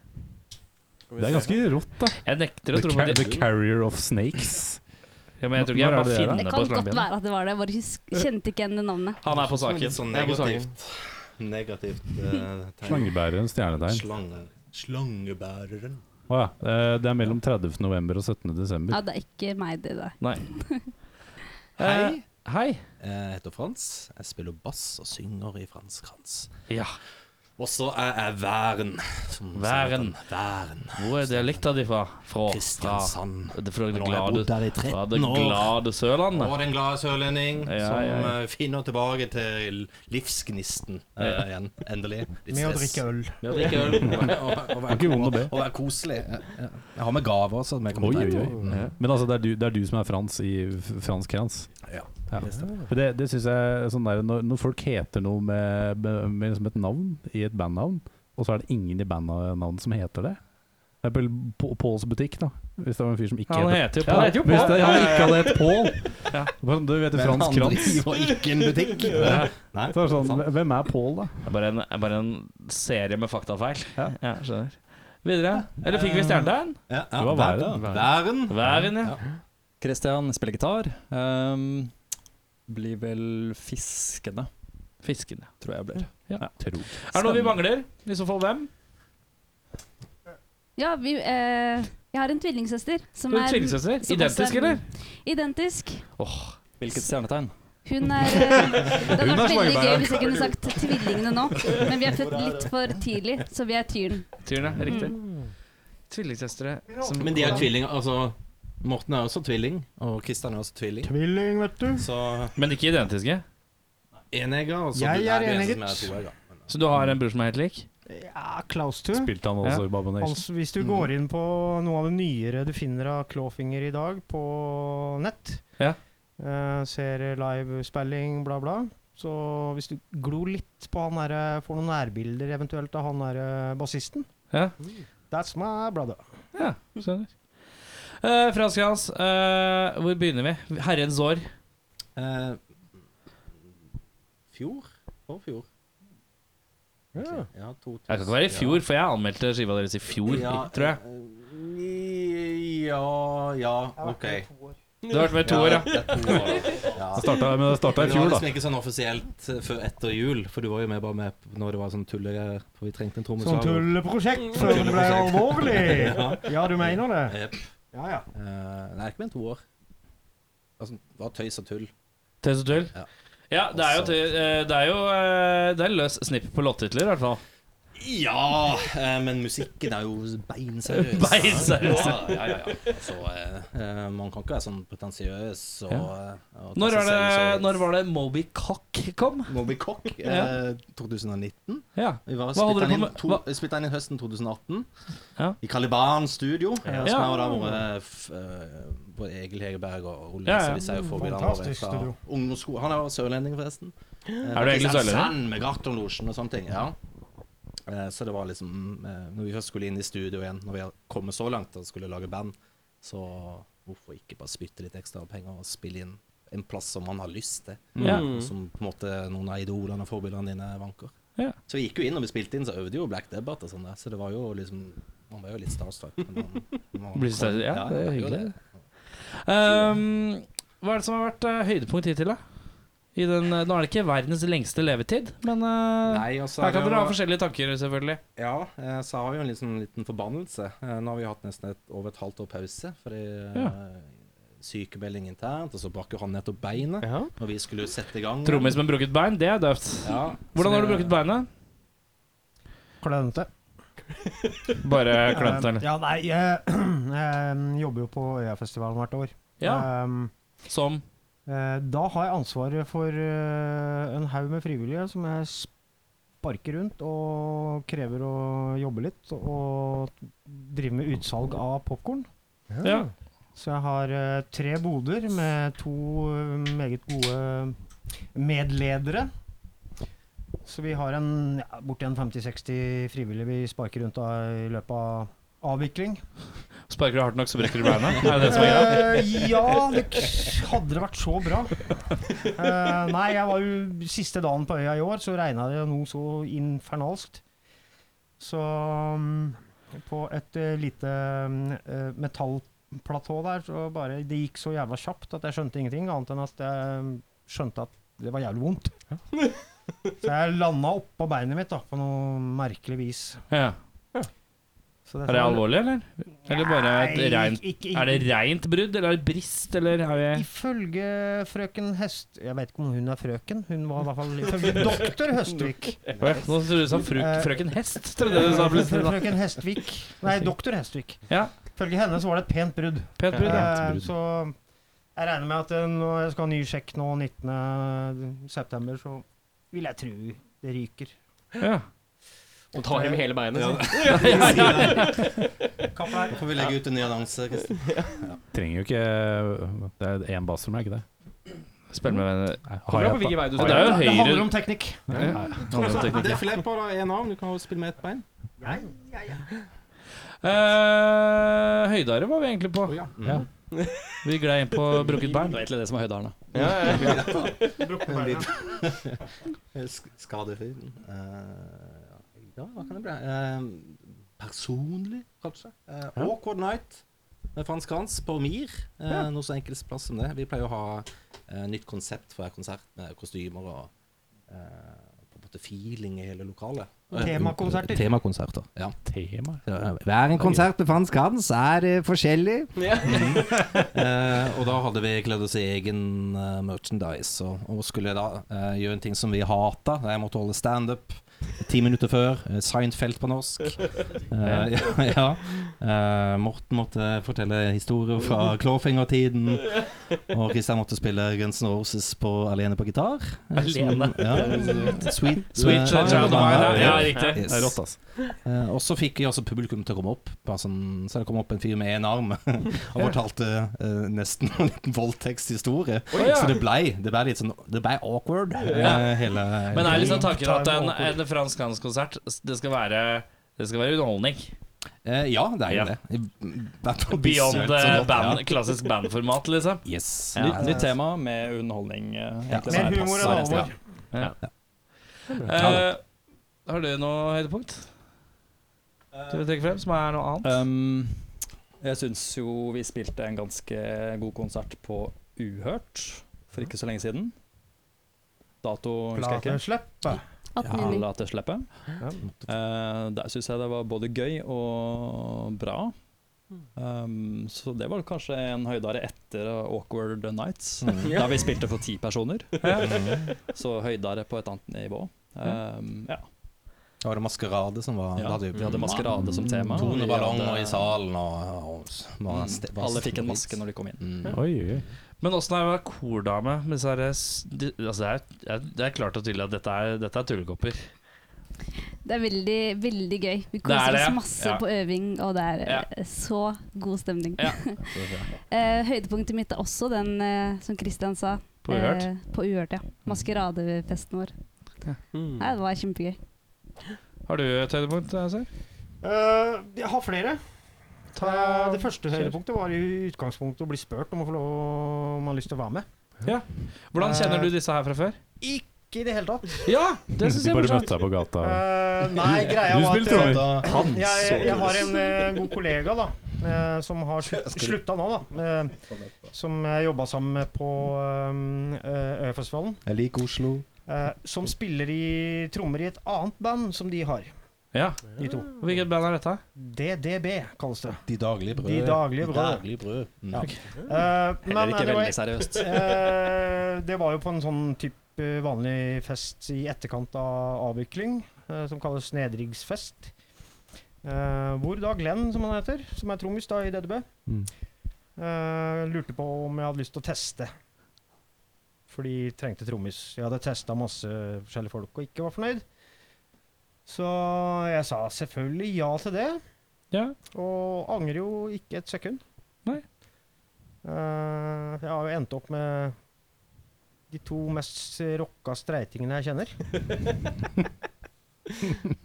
Det er ganske rått, da. Jeg nekter å The, tro på ca the det. carrier of snakes. Ja, men jeg tror ikke Når jeg er bare det, da? Det finner på kan godt Slangebjørnen. være at det var det, jeg bare hus- kjente ikke igjen det navnet. Han er på Som er saken. litt sånn Jeg er på saken. negativt Negativt eh, tegn. Slangebæreren, stjernetegn. Slange, slangebæreren. Å ja. eh, Det er mellom 30. november og 17. desember. Ja, det er ikke meg, det der. Nei. Hei. Eh, hei. Jeg heter Frans. Jeg spiller bass og synger i Fransk Hans. Ja. Og så er jeg væren. som Væren. sådan. Væren. Hvor er dialekta di fra? Fra, fra, Kristiansand. det er fra det Nå har jeg bodd glade, der i fra det 13 år. glade Sørlandet. Og den glade sørlending Ja, som ja, ja. eh, finner tilbake til livsgnisten eh, igjen. Endelig. Litt Med å drikke øl. Med å drikke øl. Og, og, og, være- Ikke vondt å be. og være koselig. Ja, ja. Jeg har med gaver også. Som jeg Oi, kommer oi, til å oi. Men altså, det er du, det er du som er Frans i f- Fransk krans. Ja. Ja. For Det, det syns jeg er sånn der, når, når folk heter noe med, med, med liksom et navn i et bandnavn, og så er det ingen i bandnavnet som heter det. For eksempel P- Påls butikk, da. Hvis det var en fyr som ikke Han heter heter jo Ja, Pål. det- Hvis det, han ikke hadde hett Pål Ja. Bare sånn, Du vet jo Men Frans han Krantz. driver ikke en butikk. Nei. Så er det sånn, hvem er Pål, da? Det er bare en, det er bare en serie med faktafeil. Ja. skjønner. Videre. Eller fikk vi stjernetegn? Ja, ja, Det var væren. Væren. Væren, ja. Kristian spiller gitar. Ehm, blir vel fiskende, Fisken. ja. tror jeg blir. Tro. Er det noe vi mangler? I så fall hvem? Ja, vi, eh, jeg har en tvillingsøster som Du er er Tvillingsøster? som også Identisk, er- eller? Identisk. Hvilket stjernetegn? Hun er eh, Det hadde vært veldig gøy hvis jeg kunne sagt tvillingene nå, men vi er født litt for tidlig, så vi er tyren. Tyren, ja. Riktig. Tvillingsøstre Mm. som Men de er tvillinger. Altså, Morten er også tvilling, og Kristian er også tvilling. Tvilling, vet du. Så Men ikke identiske? enegger. og så- Jeg Nei, er du eneste eneget. som er toegger. Så du har en bror som er helt lik? Ja, Klaus Two. Spilte han også i Baba Nation? Altså, hvis du går inn på noe av det nyere du finner av Clawfinger i dag på nett, Ja. eh, ser livespilling, bla, bla, så hvis du glor litt på han derre Får noen nærbilder eventuelt av han derre bassisten Ja. That's my brother. Ja, skjønner. Eh, Frans Krantz, eh, hvor begynner vi? Herrens år. Eh, Fjor? Forfjor? Ja. Ok, Ja, to, Jeg kan ikke være i fjor, for jeg anmeldte skiva deres i fjor, tror jeg. eh, Ja, ja, OK. Du har vært med i to år, ja. det er to år. Ja. Det starta, men det starta Men i det var fjor, da. liksom ikke sånn offisielt eh, før etter jul, for du var jo med bare med p- når det var sånn tullegreier, for vi trengte en Sånn trommeslager. tulleprosjekt før det ble Tulleprosjekt. alvorlig! Ja, du mener det? Jep. Ja, ja. Eh, nei, ikke med en toer. Altså, det var tøys og tull. Tøys og tull? Ja. Ja, det er jo, Altså. tøy- eh, det er jo eh, Det er løs snipp på låttitler, i hvert fall. Altså, Ja, eh, men musikken er jo beinseriøs. Beinseriøs. Ja, ja, ja. ja. Altså, eh, eh, man kan ikke være sånn pretensiøs og, eh, og ta Når, seg er det, selv så- når var det Moby Cock kom? Moby Cock, eh, 2019. Ja. Vi Hva var holder splitta du på inn, med? to- Hva- splittet inn i høsten 2018. Ja. I Caliban Studio. eh, Som Ja. har da vært f- eh, både Egil Hegerberg og Ole Ja, Lise. ja. Disse er jo forbildene våre Fantastisk fra studio. ungdomsskolen. Han er jo sørlending, forresten. Eh, Er du egentlig sørlending? Med Gartnerlosjen og sånne ting. Ja. Eh, Så det var liksom eh, Når vi først skulle inn i studio igjen, når vi har kommet så langt og skulle lage band, så hvorfor ikke bare spytte litt ekstra penger og spille inn en plass som man har lyst til? Ja. Som på en måte noen av idolene og forbildene dine vanker. Ja. Så vi gikk jo inn, og vi spilte inn, så øvde jo Black Debate og sånn der. Så det var jo liksom Man var jo litt starstruck. men Man, man Blir starstruck, ja, det er man jo hyggelig. det. Ehm, hva er det som har vært eh, høydepunkt hittil, da? I den, eh, nå er det ikke verdens lengste levetid, men eh, Nei, og så er her kan det dere ha jo- forskjellige tanker, selvfølgelig. Ja, eh, så har vi jo en liten, liten forbannelse. Eh, Nå har vi hatt nesten et, over et halvt år pause fordi eh, sykemelding internt, og så brakk jo han nettopp beinet Ja. når vi skulle sette i gang. Trommis med brukket bein, det er døvt. Ja, Hvordan så har du det- brukt beinet? Klønete. Bare klønete, eller? Eh, Ja, nei, jeg, jeg jobber jo på Øyafestivalen hvert år. Ja, Um, som eh, da har jeg ansvaret for eh, en haug med frivillige som jeg sparker rundt og krever å jobbe litt og drive med utsalg av popkorn. Ja. Så jeg har eh, tre boder med to eh, meget gode medledere. Så vi har en, ja, borti en 50-60 frivillige vi sparker rundt av i løpet av avvikling. Sparker du hardt nok, så brekker du beinet. Er det det som er greia? Eh, ja, det k- hadde det vært så bra. Eh, nei, jeg var jo siste dagen på øya i år, så regna det noe så infernalskt. Så mm, på et eh, lite mm, eh, metallplatå der, så bare Det gikk så jævla kjapt at jeg skjønte ingenting, annet enn at jeg mm, skjønte at det var jævlig vondt. Så jeg landa oppå beinet mitt da, på noe merkelig vis. Ja. Så dette Er det var- alvorlig, eller? Eller bare et Nei, reint ikke- Er det reint brudd, eller er det brist, eller er vi Ifølge frøken Høst... Jeg vet ikke om hun er frøken. Hun var i hvert fall ifølge doktor Høstvik. Oi, Nå trodde du sa fruk, Eh. frøken Hest. Trodde jeg du sa plutselig nå. Frøken Hestvik. Nei, doktor Hestvik. Ja. Ifølge henne så var det et pent brudd. Pent brudd, ja. Eh, Så jeg regner med at eh, når jeg skal ha ny sjekk nå 19.9., så vil jeg tro det ryker. ja. Og tar hjem hele beinet. så. Da får vi legge ut en ny annonse. Kristin. Trenger jo ikke Det er én bass for meg, ikke det? Spill med venner. Nei, Kommer an på hvilken vei du Og det er jo tar. Det handler høyre om teknikk. Det er Filippa, da. Én arm. Du kan jo spille med ett bein. Eh, Høydare var vi egentlig på. ja. Ja. Vi glei inn på brukket bein. Det er egentlig det som er høydehælen. Sk- Skadefri. Eh, ja, hva kan det bli? Eh, personlig, kanskje. Uh, Awkward Night med Frans Kranz på Mir. Eh, Noe så enkelt plass som det. Vi pleier å ha eh, nytt konsept for hver konsert med kostymer og eh, på en måte feeling i hele lokalet. Temakonserter. Temakonserter, ja. Tema. Ja, Hver en konsert med Frans Kranz er eh, forskjellig. Mhm. Eh, og da hadde vi kledd oss i egen eh, merchandise, og, og skulle da eh, gjøre en ting som vi hata. Jeg måtte holde standup ti minutter før. eh, Seinfeld på norsk. Eh, ja, ja. Eh, Morten måtte fortelle historier fra klåfingertiden. Og Kristian måtte spille Guns N' Roses på, alene på gitar. eh, som- ja, sweet, Sweet eh, Child of Mine. Ja, riktig. Yes. Det er rått, altså. Eh, og så fikk jeg også publikum til å komme opp. Bare sånn, så det kom opp en fyr med én arm og fortalte eh, nesten en liten voldtektshistorie. Så det blei det ble litt sånn Det blei awkward. eh, hele, Men er liksom tanken at en, en fransk-hans-konsert, det skal være det skal være underholdning. Eh, Ja, det er jo Ja. det. I- hvert fall Beyond visuelt eh, sånn så godt, band, ja. klassisk bandformat, liksom. Yes. Nytt, nytt tema med underholdning. eh, Ja, så egentlig, som Mer er humor passe. enn alvor. Eh, har du noe høydepunkt du vil trekke frem, som er noe annet? Um, jeg syns jo vi spilte en ganske god konsert på Uhørt for ikke så lenge siden. Dato husker jeg ikke. Plateslipp. 18 Alle til slippet. Eh, der syns jeg det var både gøy og bra. Mm. Um, så det var kanskje en høydare etter Awkward Nights, Mm. der vi spilte for ti personer. så høydare på et annet nivå. Um, ja. Da var det maskerade som var ja. da hadde Vi hadde maskerade som tema. Tone Vi ballonger i hadde- salen og, og, var ste- var Alle fikk en steroid. maske når de kom inn. Mm. Oi, oi. Men åssen er det å være kordame? Med disse her, s- de, altså det, er, det er- det er klart og tydelig at dette er, dette er tullekopper. Det er veldig, veldig gøy. Vi Det er koser det, ja. oss masse Ja. på øving, og det er eh, så god stemning. Ja. Eh, høydepunktet mitt er også den eh, som Christian sa. På Uhørt? eh, på Uhørt, ja. Maskeradefesten vår. Nei, det var kjempegøy. Har du et høydepunkt? Ser? Eh, jeg har flere. Eh, det første kjør. høydepunktet var i utgangspunktet å bli spurt om å få lov om man har lyst til å være med. Hvordan kjenner du disse her fra før? ikke i det hele tatt. Ja, det syns De jeg er bare morsomt. møtte deg på gata. Eh, nei, greia Du var spiller trommer. at Han jeg, så jeg har en eh, god kollega da, eh, som har slutt, slutta nå, da. eh, som jeg jobba sammen med på eh, eh, Øyafestivalen. Jeg liker Oslo. eh, som spiller i trommer i et annet band som de har, Ja. de to. Hvilket band er dette? DDB kalles det. De daglige brød. De daglige brød. daglige brød. Mm. Ja. Eh, Heller men eh, ikke det var, veldig seriøst. eh, det var jo på en sånn type vanlig fest i etterkant av avvikling, eh, som kalles nedriggsfest. Eh, hvor da Glenn, som han heter, som er trommis da i DDB, Mm. eh, lurte på om jeg hadde lyst til å teste. For de trengte trommis. Jeg hadde testa masse forskjellige folk og ikke var fornøyd. Så jeg sa selvfølgelig ja til det, Ja. og angrer jo ikke et sekund. Nei. Eh, jeg har jo endt opp med de to mest rocka streitingene jeg kjenner.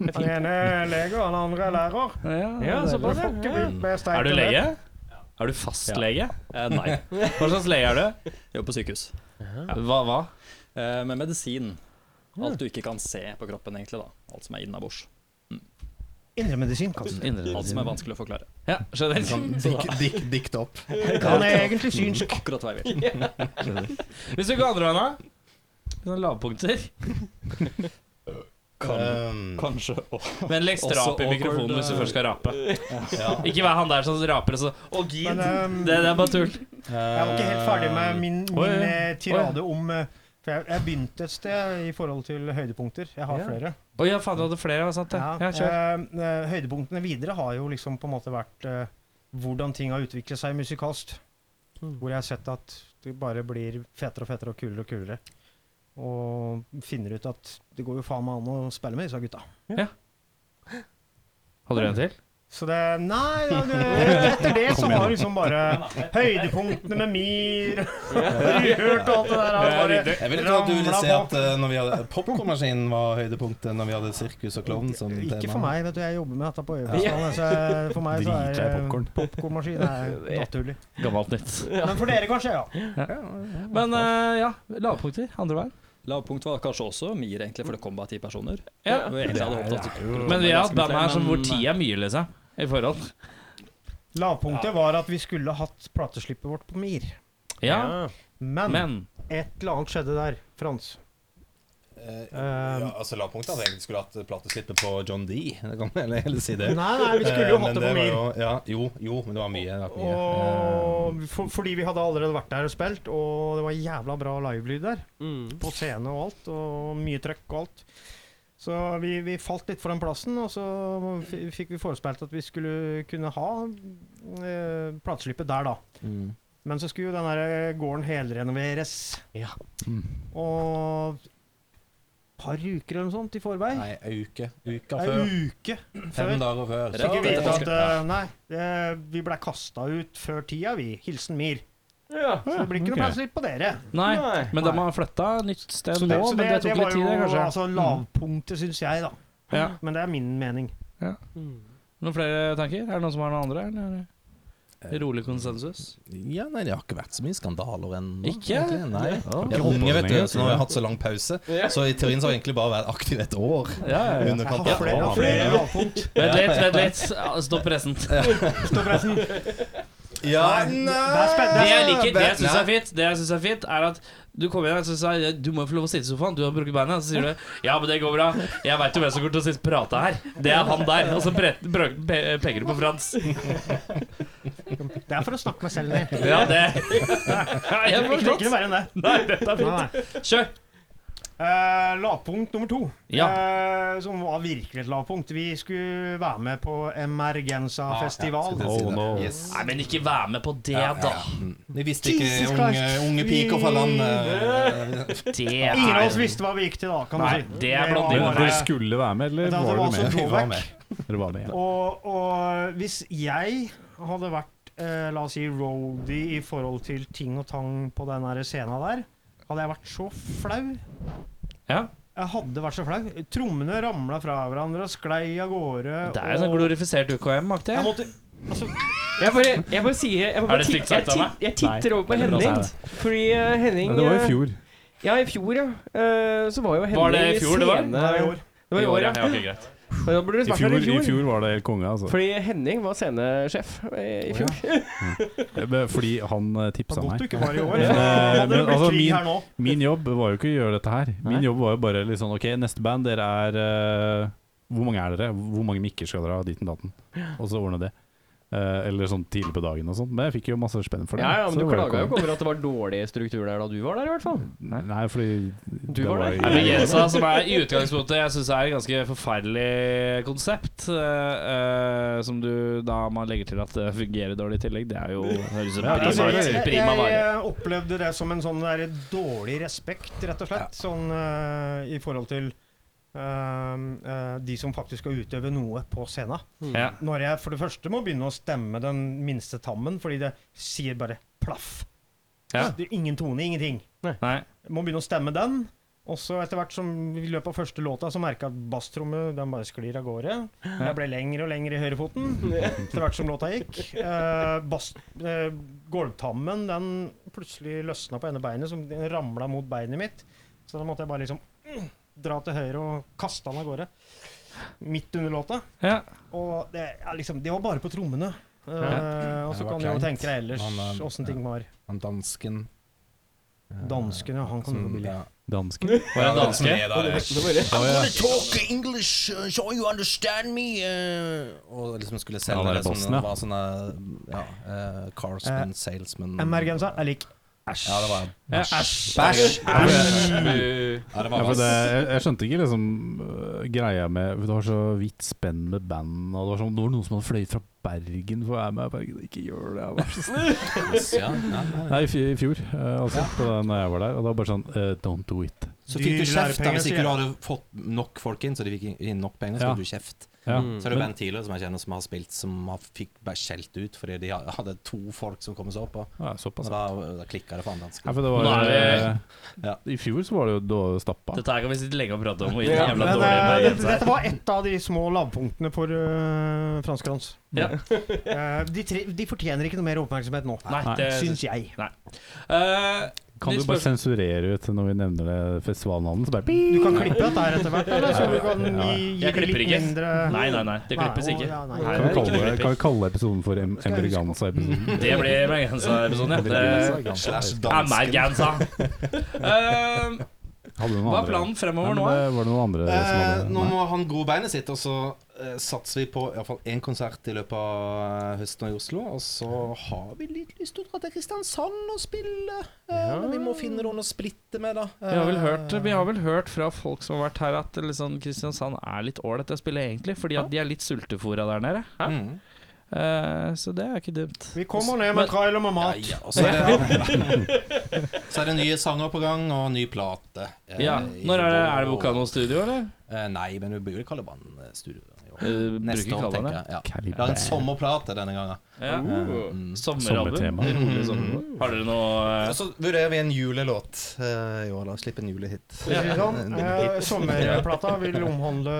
Den ene er lege, og den andre er lærer. Ja, Det er såpass, ja. fucking vilt med streit Er du og det. lege? Er du fastlege? Eh, nei, Hva slags lege er du? jobber på sykehus. Hva, hva? Eh, med medisin. Alt du ikke kan se på kroppen, egentlig. da Alt som er innabords. Mm. Indremedisin, kalles det. Alt som er vanskelig å forklare. Ja, generelt. Sånn Dik, dik, dikt opp. Han er egentlig synsk. Akkurat hva jeg vil. Hvis du går andre veien, da? Sånne lavpunkter. Um, Kanskje oh, Vennligst Også rap i awkward, mikrofonen hvis du eh, først skal rape. ja. Ikke vær han der som raper og så Å, gid! Men ehm, Det, det er bare tull. jeg var ikke helt ferdig med min, Oi, min oi. eh, tirade om eh, For jeg, jeg begynte et sted i forhold til høydepunkter. Jeg har Ja. flere. Å ja, faen, du hadde flere. var Sant, det. Ja, Ja, kjør. eh, eh, høydepunktene videre har jo liksom på en måte vært eh, hvordan ting har utviklet seg musikalsk. Hmm. Hvor jeg har sett at det bare blir fetere og fetere og kulere og kulere. Og finner ut at det går jo faen meg an å spille med disse gutta. Hadde du en til? Så det Nei, ja, det, etter det så har liksom bare høydepunktene med Mir Uhørt og alt det der. har bare- Jeg ville tro at du ville Ramla se på. at eh, når vi hadde popkornmaskinen var høydepunktet når vi hadde sirkus og klovn som tema. Ikke for meg, vet du. Jeg jobber med dette på Øyafestivalen. Så jeg- for meg så Driter jeg i er popcorn. popkornmaskin naturlig. Gammelt nytt. Men for dere kanskje, ja. Men eh, ja, lavpunkter. Andre veien. Lavpunkt var kanskje også Mir, egentlig, for det kom bare ti personer. Ja. Og egentlig hadde jeg håpet at det skulle komme Men vi har hatt ganske mye band her som hvor eh, men- tid er mye, liksom. I forhold. Lavpunktet var at vi skulle hatt plateslippet vårt på Mir. Ja, Men, men et eller annet skjedde der, Frans. Eh, Eh, ja, altså Lavpunktet hadde egentlig skulle hatt plateslippet på John D. Det kan man heller si det. Nei, nei, vi skulle jo Eh, men hatt det på var Mir. Jo, ja, jo, jo, men det var mye. Det var mye. Og for, fordi vi hadde allerede vært der og spilt, og det var jævla bra livelyd der. Mm. På scene og alt, og mye trøkk og alt. Så vi, vi falt litt for den plassen, og så f- fikk vi forespeilt at vi skulle kunne ha eh, plateslippet der, da. Eh, mm. Men så skulle jo den der eh, gården helrenoveres. Ja. Mm. Og et par uker eller noe sånt i forveien. Nei, ei uke. Uka Ei før. uke Fem dager før. Ja, Fikk vi det er vite at vanskelig. eh, Nei, det, vi blei kasta ut før tida, vi. Hilsen Mir. Ja. Så det blir ikke ok. noe plasslipp på dere. Nei. Nei. Men de har flytta nytt sted nå, så men det tok litt var tid, det, jo kanskje. Mm. altså, lavpunktet, syns jeg, da. Ja. Men det er min mening. Noen flere tanker? Er det noen som har noen andre? Eller? Eh. er det Rolig konsensus? Ja, nei, det har ikke vært så mye skandaler ennå. Ikke? egentlig, Nei. Jeg Ikke er holdt på unge, vet så du, lenge, så nå har jeg hatt så lang pause. Så i teorien så har jeg egentlig bare vært aktiv et år. Ja, ja, ja. Jeg har Underkant av flere, år. flere lavpunkt. Vent litt, vent litt. Ja, Stopp pressen. Eh. Står pressen. Ja, Nei, nei. det er spennende. Det jeg liker, det jeg Vent, syns er nei. fint, det jeg synes er fint, er at du kommer inn og så sier jeg, du må få lov å sitte i sofaen, du har brukt beina. Så sier du ja, men det går bra. Jeg veit jo hvem som kommer til å sitte og prate her. Det er han der. Og så pre- brø- pe- peker du på Frans. Det er for å snakke meg selv ned. Ja, det Jeg har Ikke ikke forstått. noe verre enn det. Nei, dette er Nei, fint. nei. Kjør. Eh, lavpunkt nummer to, Ja. Eh, som var virkelig et lavpunkt. Vi skulle være med på Emergenza-festival. Ja, Oh, no. Yes. Nei, men ikke vær med på det, Ja, ja, da. ja. Mm. Vi visste ikke Jesus unge, Christ. unge piker fra landet. Det Ingen av er oss visste hva vi gikk til da, kan Nei, man si. det er var blant bare- Dere Det skulle være med, var altså Vi var throwback. med. Dere var med, ja. Og, og hvis jeg hadde vært eh, la oss si roadie i forhold til ting og tang på den her scenen der, hadde jeg vært så flau. Ja. Jeg hadde vært så flau. Trommene ramla fra hverandre og sklei av gårde. Det er jo sånn og glorifisert UKM-aktig. jeg måtte, Jeg bare, jeg bare sier jeg bare Er det stygt tit- jeg sagt av tit- Jeg titter over på Veldig bra Henning. sagt. Fordi eh, Henning det var i eh, fjor. Ja, i fjor, ja. Eh, så var jo Henning Var det i fjor det var? scene- Nei, det var i år. Det var i år, ja. ja. ok, greit. Da burde du I vært her fjor, i fjor. I fjor var det helt konge, altså. Fordi Henning var scenesjef eh, i fjor. Men Fordi han eh, tipsa var godt meg. du ikke var i år. Men, eh, Hadde det men blitt altså, krig her min, nå? min jobb var jo ikke å gjøre dette her. Min jobb var jo bare litt sånn Ok, neste band, dere er eh, Hvor mange er dere? Hvor mange mikker skal dere ha? Ditten datten. Og så ordne det. Eh, eller sånn tidlig på dagen og sånn. Men jeg fikk jo masse spenn for det. Ja, ja, men så du det var klaga jo ikke konge. over at det var dårlig struktur der da du var der, i hvert fall. Nei, fordi Du var der. jo- Nei, men Jensa, som er i utgangspunktet Jeg synes er et ganske forferdelig konsept eh, eh, Som du da man legger til at det fungerer dårlig i tillegg Det er jo høres ut som det er prima, det. prima jeg, vare eh, opplevde det som en sånn der dårlig respekt, rett og slett. Sånn eh, i forhold til eh, eh, de som faktisk skal utøve noe på scenen. Mm. Ja. Når jeg for det første må begynne å stemme den minste tammen, fordi det sier bare plaff. Ja. Det er ingen tone, ingenting. Nei Jeg må begynne å stemme den. Og så etter hvert som i løpet av første låta så merka jeg at basstrommet den bare sklir av gårde. Jeg ble lengre og lengre i høyrefoten etter hvert som låta gikk. Eh, bass, eh, gulvtammen den plutselig løsna på ene beinet, som den ramla mot beinet mitt. Så da måtte jeg bare liksom mm, dra til høyre og kaste han av gårde. Midt under låta. Ja. Og det, er liksom, det var bare på trommene. Eh, Og Det så var kan du jo kleint. tenke deg ellers Han, eh, åssen ting var. Han dansken eh, Dansken, ja. Han kan jo som- bli billig. Mm, ja. Dansken. Var det en som danske? er der, eh, Talk English, uh, so you understand me. Og liksom skulle Han er selge det bossen, som det ja. var sånne ja, eh, Carsman, salesman MR-gensa er lik æsj. Ja, det var Æsj Bæsj! Bu. Mm. Ja, Ja, det var for det, jeg, jeg skjønte ikke liksom øh, greia med for Det var så vidt spenn med band, og det var, sånn, det var noen som hadde fløyet fra Bergen for å være med. Jeg bare, ikke gjør det, jeg var så snill. Bass, ja. ja, ja. Nei, i fj- i fjor, øh, altså, på den, når jeg var der. Og det var bare sånn eh, Don't do it. Så fikk du Dyr kjeft da lærepenger, hvis sier jeg. ikke du hadde fått nok folk inn, så de fikk inn nok penger, så Ja. fikk du kjeft. Ja. Mm. Så er det band tidligere som jeg kjenner som har spilt, som har fikk bare skjelt ut fordi de hadde to folk som kom seg opp, og Ja, og såpass. da, da klikka det for han Nei, dansken. for det var, Nå er eh, I fjor så var det jo da stappa. Dette her kan vi sitte lenge og prate om. Og Ja, jævla Men, dårlig eh, med dette, Jens her. dette var ett av de små lavpunktene for uh, Franskrans. Ja. Eh, de, tre, de fortjener ikke noe mer oppmerksomhet nå, Nei, det syns jeg. Eh, Kan de du bare spørs- sensurere ut når vi nevner det festivalnavnet? Så bare pip! Du kan klippe dette her etter hvert, eller så du kan gi, gi Jeg det klipper litt ikke. mindre Nei, nei, nei. Det klippes Nei, ikke. å, ja, nei. Nei, Kan vi det kalle, klippes. kan vi kalle episoden for em Emerganza-episoden? Det blir Bergensa-episoden, Mm. ja. Det- Slash Bergensa. Eh, Hadde du noen Hva er andre? planen Nei, fremover men nå? det var det noen andre som Eh, hadde nå må han gro beinet sitt, og så eh, satser vi på i hvert fall én konsert i løpet av eh, høsten i Oslo. Og så har vi litt lyst til å dra til Kristiansand og spille. eh, Men vi må finne noen å splitte med, da. Vi har, vel hørt, Eh, vi har vel hørt fra folk som har vært her at liksom Kristiansand er litt ålreit å spille, egentlig. Fordi at de er litt sultefòra der nede. Mm. Eh, så det er ikke dumt. Vi kommer ned med trailer med Ja, mat. ja, og så er, det, så er det nye sanger på gang, og ny plate. eh, Ja, i Når er det, er det vår. Vokano Studio, eller? Eh, nei, men vi blir jo i Kaliban-studio i år. Eh, Neste bruker år, Kaliban, tenker jeg. Ja. Vi har en Caliban. sommerplate denne gangen. Ja. Eh, mm. Uh, Sommeralbum? Sommertema. Rolig sommer. Har dere noe eh, Og så vurderer vi en julelåt eh, i år, da. Slippe en julehit. For å si det Sånn. Eh, sommerplata vil omhandle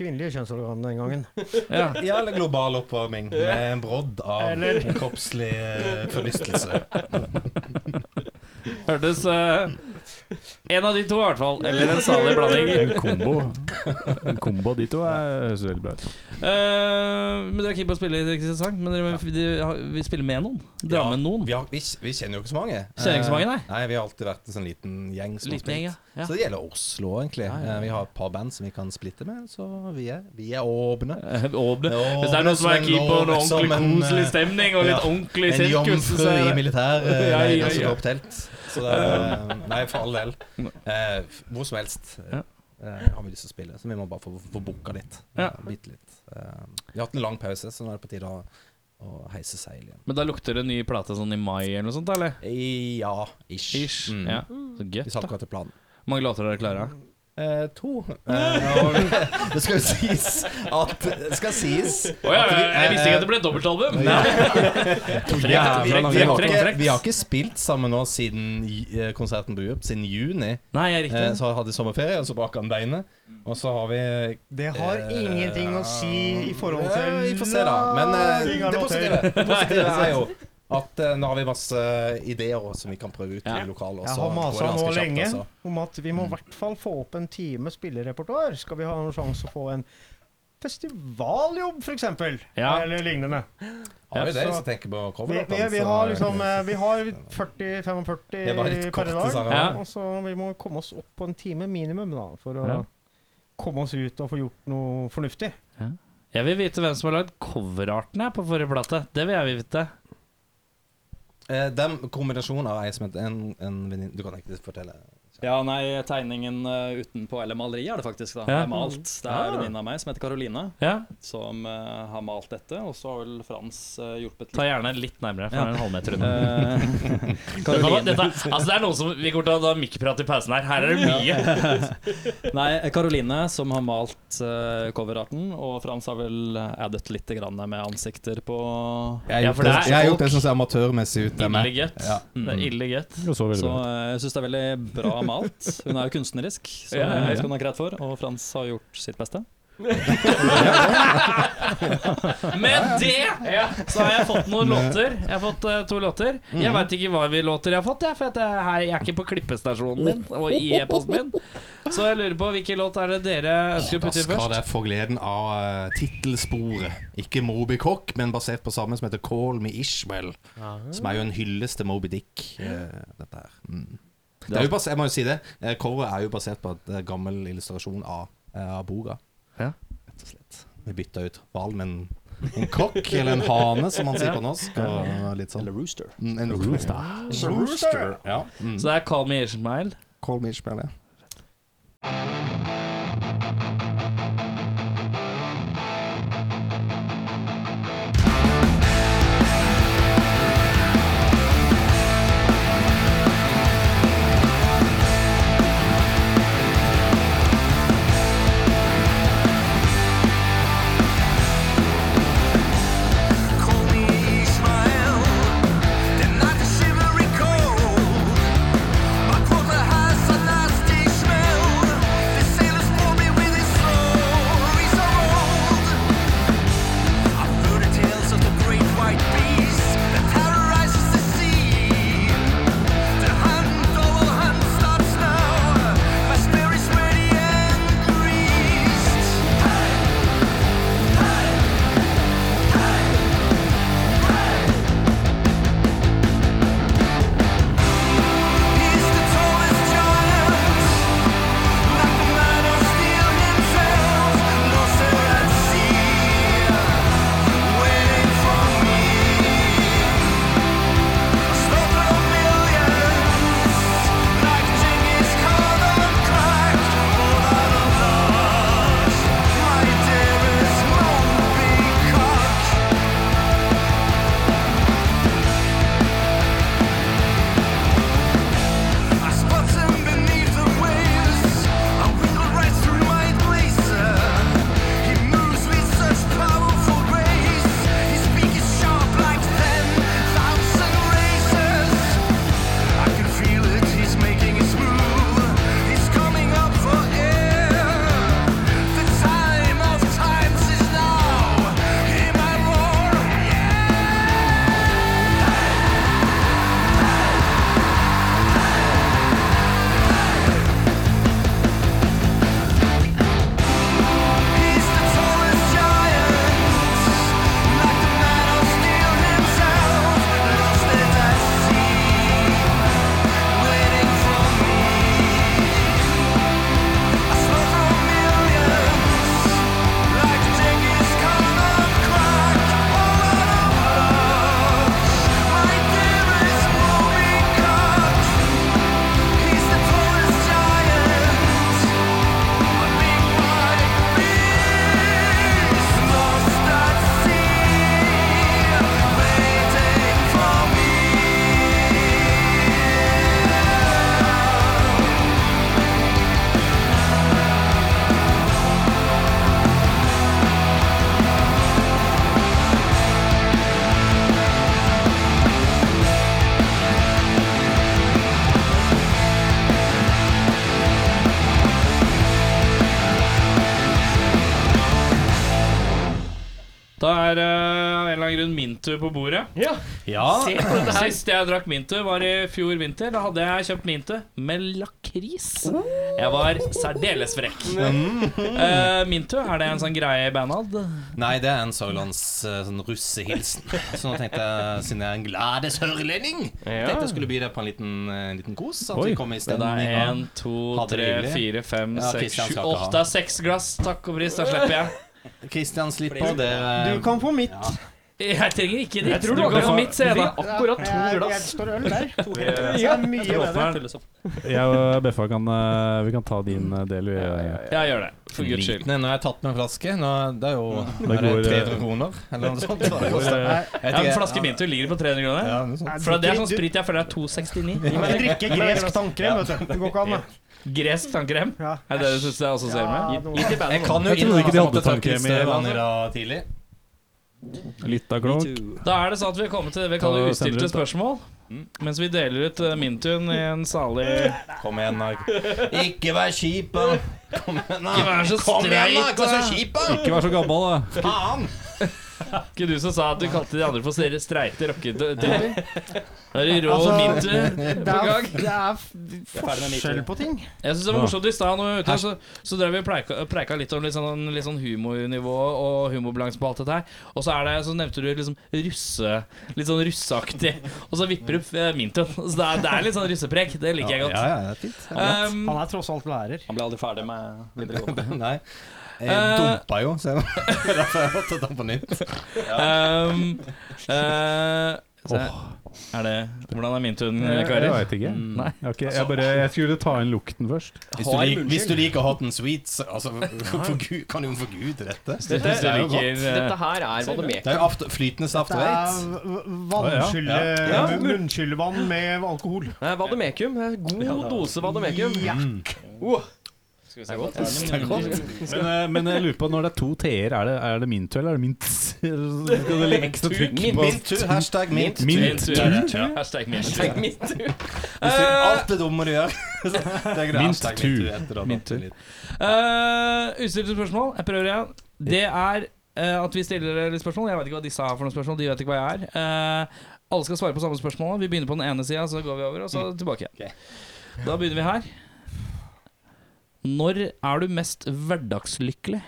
kvinnelige kjønnsorgan den gangen. ja. Ja, eller global oppvarming med en brodd av kroppslig eh, forlystelse. Hørtes eh, En av de to, i hvert fall. Eller en salig blanding. En kombo. En kombo av de to er høres veldig bra ut. Eh, men Dere er keen på å spille i Kristiansand, men dere de, vil spille med noen? Dra Ja, med noen? Vi, har, vi, vi kjenner jo ikke så mange. Kjenner ikke så mange, Eh, nei. Nei, Vi har alltid vært en sånn liten gjeng. Som har Liten gjeng, ja. spilt. Ja. Så det gjelder Oslo, egentlig. Ja, ja, ja. Eh, Vi har et par band som vi kan splitte med, så vi er, vi er åpne. Eh, og- Ja, Hvis det er noen som er men keen på nå, noe som ordentlig en, koselig eh, stemning og litt ja, ordentlig En sirkus jomfru så er i det- militær eh, Ja, ja, leiren ja. som Mm. går opp telt. Så det er, nei, for all del. Eh, hvor som helst eh, Ja. eh, har vi lyst til å spille, så vi må bare få, få booka litt. Ja. Eh, bitte litt. Eh, vi har hatt en lang pause, så nå er det på tide å, å heise seil igjen. Men da lukter det ny plate sånn i mai eller noe sånt, eller? Eh, Ja, ish. Ish. Mm. Ja. Så gøy. Hvis alt går etter planen. Hvor mange låter er dere klare? av? Eh, to. Eh, og det skal jo sies at Det skal sies Å ja, at vi- jeg, jeg visste ikke at det ble et dobbeltalbum! Vi har, vi, vi, har Trekk, ikke, trekk. vi har ikke spilt sammen nå siden eh, konserten på Uøp, siden juni. Nei, jeg er Eh, riktig. Så hadde jeg sommerferie, og så brakk han beinet. Og så har vi Det har Eh, ingenting å si i forhold Ja, til Vi får se, da. Men eh, Ting har det lov til. positive, det positive er jo at eh, nå har vi masse ideer også, som vi kan prøve ut i lokalet. og Jeg så har går det masa nå ganske kjapt, lenge altså. om at vi må i hvert fall få opp en time spillerepertoar. Skal vi ha en sjanse å få en festivaljobb, f.eks., Ja. eller lignende. Har vi det, hvis Så- jeg tenker på vi, coverlåtene? vi, vi så- har liksom eh, Vi har Det var litt 40-45 kort, per dag, sa jeg. Ja. og så vi må komme oss opp på en time minimum da, for å Ja. komme oss ut og få gjort noe fornuftig. Jeg vil vite hvem som har lagd coverarten her på forrige plate. Det vil jeg vite. Eh, Den kombinasjonen av ei som heter en, en venninne Du kan ikke fortelle. Ja, nei, tegningen eh, utenpå, eller maleri er det faktisk, da. Ja. Det er malt. Det er Ja. en venninne av meg som heter Karoline, Ah. Ja. som eh, har malt dette. Og så har vel Frans eh, hjulpet Ta gjerne litt nærmere, for det er en halvmeter unna. Eh, Dette, var- Karoline- dette, altså det er noe som Vi kommer til å ha mikkprat i pausen her. Her er det mye. Ja. Nei, Karoline som har malt eh, coverarten, og Frans har vel eh, addet litt grann med ansikter på Jeg har gjort det, jeg har gjort det sånn som ser amatørmessig ut. dem, jeg. Ja. Så, Jo, så veldig godt. eh, jeg syns det er veldig bra malt. Hun er jo kunstnerisk, så Ja, ja, ja. det skal hun ha kreditt for. Og Frans har gjort sitt beste. Med det så har jeg fått noen Med- låter. Jeg har fått eh, to låter. Jeg veit ikke hva vi låter jeg har fått, jeg, for at jeg, her, jeg er ikke på klippestasjonen min og i e-posten min. Så jeg lurer på hvilken låt er det dere ønsker å Da putte i skal først? dere få gleden av eh, tittelsporet. Ikke Moby Cock, men basert på samme som heter Call Me Ishmael. Som er jo en hyllest til Moby Dick, eh, dette her. Mm. Det er jo bas- jeg må jo si det. eh, Coveret er jo basert på en gammel illustrasjon av, eh, av boka. Rett og slett. Vi bytta ut hvalen med en, en kokk, eller en hane, som man sier på norsk. Og litt sånn. Eller rooster. En Rooster. rooster. Ja. Så det er Call Me Ishmael. Call Me Ishmael, ja. Cold, but for the high sun, I stay smell. er eh, av en eller annen grunn Mintu på bordet. Ja. Se på dette her. Sist jeg drakk Mintu, var i fjor vinter. Da hadde jeg kjøpt Mintu med lakris. Jeg var særdeles frekk. Eh, Mintu, er det en sånn greie i bandet? Nei, det er en Sørlands eh, sånn russehilsen. Så nå tenkte jeg, siden jeg er en glade sørlending, tenkte jeg skulle by deg på en liten, eh, liten kos. Sånn at vi kommer i Det stemning. er én, to, Ha det tre, hyggelig. fire, fem, Ja, seks, Christian sju, skal ikke ha. åtte. Det er seks glass. Takk og pris, da slipper jeg. Kristian, slipp på. Det eh, er Du kan få mitt. Jeg trenger ikke ditt. Jeg tror du dere kan få har- mitt, sier jeg da. Akkurat to Jeg- Eh, Jeg glass. står øl der. Vi- Det er mye bedre. Fylles opp. Jeg og Beffa kan, eh, vi kan ta din eh, del. vi- Jeg gjør det, for guds skyld. Nei, nå har jeg tatt med en flaske. Nå er det er jo Det er det går, eh, 300 kroner, eller noe sånt. Det eh, koster. Nei, Jeg vet Ja, en ikke- flaske Mintu ligger på 300 kroner. Ja, noe sånt. For det er sånn sprit jeg føler er 269. Du drikker gresk tannkrem, vet du. Det går ikke an, det. Gresk tannkrem. Ja. Er det det du syns jeg også ser med? Ja, Gitt noe- i bandet. Jeg kan jo Jeg trodde innrømme ikke at de jeg hadde måtte tørke tannkrem i støv landet. i dag tidlig. eh, Litt av klokk. Da er det sånn at vi har kommet til det vi kaller Da sender du utstilte ut, da. spørsmål. Mm. Mens vi deler ut eh, Mintun i en salig Kom igjen, da. Ikke vær kjip, da. Kom igjen, da. Ikke vær så Kom igjen, da. streit, altså. Ikke vær da. så kjip, da. Ikke vær så gammel, da. Faen. Ikke du som sa at du kalte de andre for stre- streite rocketyper? Da er det rå Altså, Mintu. Det er, det er forskjell på ting. Jeg syns det var morsomt i stad, når vi var ute, så, så drev vi og preika, preika litt om litt sånn, litt sånn humornivå og humorblanks på alt dette her. Og så, er det, så nevnte du liksom russe Litt sånn russeaktig. Og så vipper du eh, Mintun. Så det er, det er litt sånn russeprek. Det liker jeg godt. Ja, ja, det er fint. Um, Han er tross alt lærer. Han ble aldri ferdig med videregående. Nei. Jeg Eh, dumpa jo, så jeg derfor jeg måtte ta på nytt. um, eh, så er det, hvordan er Mintun, Jeg karer? veit ikke. Mm. Nei. Jeg, har ikke jeg, bare, jeg skulle ta inn lukten først. Hvis du, lik, hvis du liker hot and sweet, så altså, for Gud, kan du jo forgude dette. Det Hvis du er jo godt. liker eh, Dette her er hva det Det er jo after, flytende Det er saftveit. vannskylle, Ja. mun- munnskyllevann med alkohol. Nei, Vademekum. Det er God dose vademekum. Ja. Oh. Det er godt. Men, eh, men jeg lurer på, når det er to t-er, er det, er det min tur, eller er det min t? Skal det ligge ekstra trykk på Mint tur, hashtag mint. Mint. Min tur. tur. Hashtag min tur. Tenk mitt tur. Hvis du, Eh. alt det dumme du gjør. så Det er greit. Mint Hashtag tur. mint tur etter å ha Mint tatt det tur. litt. Eh, Utstilte spørsmål. Jeg prøver igjen. Det er eh, at vi stiller dere litt spørsmål. Jeg vet ikke hva disse har for noen spørsmål. De vet ikke hva jeg er. Eh, alle skal svare på samme spørsmål. Vi begynner på den ene sida, så går vi over, og så tilbake igjen. Ok. Da begynner vi her. Når er du mest hverdagslykkelig?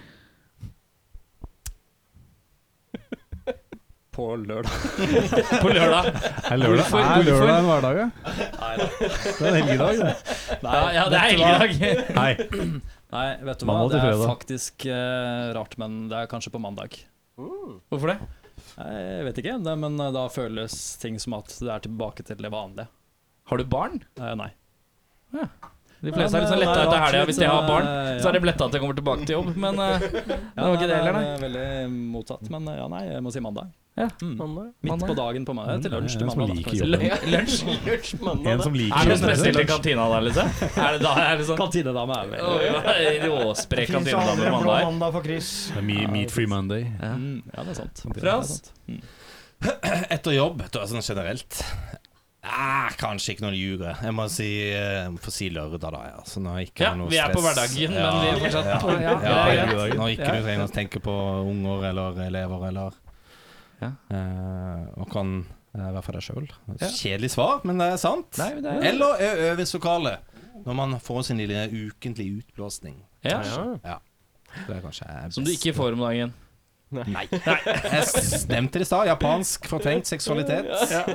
På lørdag. På lørdag. Er lørdag, Hvorfor- er hvorfor? lørdag en hverdag, ja? Det er en helgedag. det. Nei, Ja, ja, det er vet du hva? helgedag. Nei. Nei, vet du hva? Mandag Det til er fredag. faktisk eh, rart, men det er kanskje på mandag. Hvorfor det? Nei, Jeg vet ikke, det, men eh, da føles ting som at det er tilbake til det vanlige. Har du barn? Eh, nei. De fleste er litt sånn letta Ja, men det er etter rart, helga hvis de har barn. eh, Så ja. er de letta at de kommer tilbake til jobb, men eh, det var ikke det heller, nei. er veldig motsatt, men eh, ja, nei, jeg må si mandag. Ja, Mm. Mandag. Midt mandag. på dagen på mandag, til lunsj Det til er en som mandag. da, liker kan vi si. jobben. Ja, Lunsj. Lunsj mandag. En som Er liker det noe jobben. spesielt i kantina der, liksom? Er det da er det sånn Kantinedame er vel Råsprek Fins kantine andre på blå mandag. mandag for Chris. Det er me- Meat Free Monday. mm, Ja, det er sant. Det er Frans? sant. Etter jobb, da, sånn generelt Ah, kanskje ikke når du ljuger. Jeg må si, eh, få si lørdag, da. Ja. Så når jeg ikke Ja, har noe vi er på stress. hverdagen, Ja, men vi er fortsatt ja. på ja, Ja, det er greit. Når ikke Ja. du trenger å tenke på unger eller elever eller Ja. eh, Og kan eh, være for deg sjøl. Kjedelig svar, men det er sant. Nei, men det er- Eller er øvingslokalet. Når man får sin lille ukentlige utblåsning. Ja. Ja. Det er kanskje best. Som du ikke får om dagen. Nei. Jeg nevnte det i stad. Japansk fortrengt seksualitet.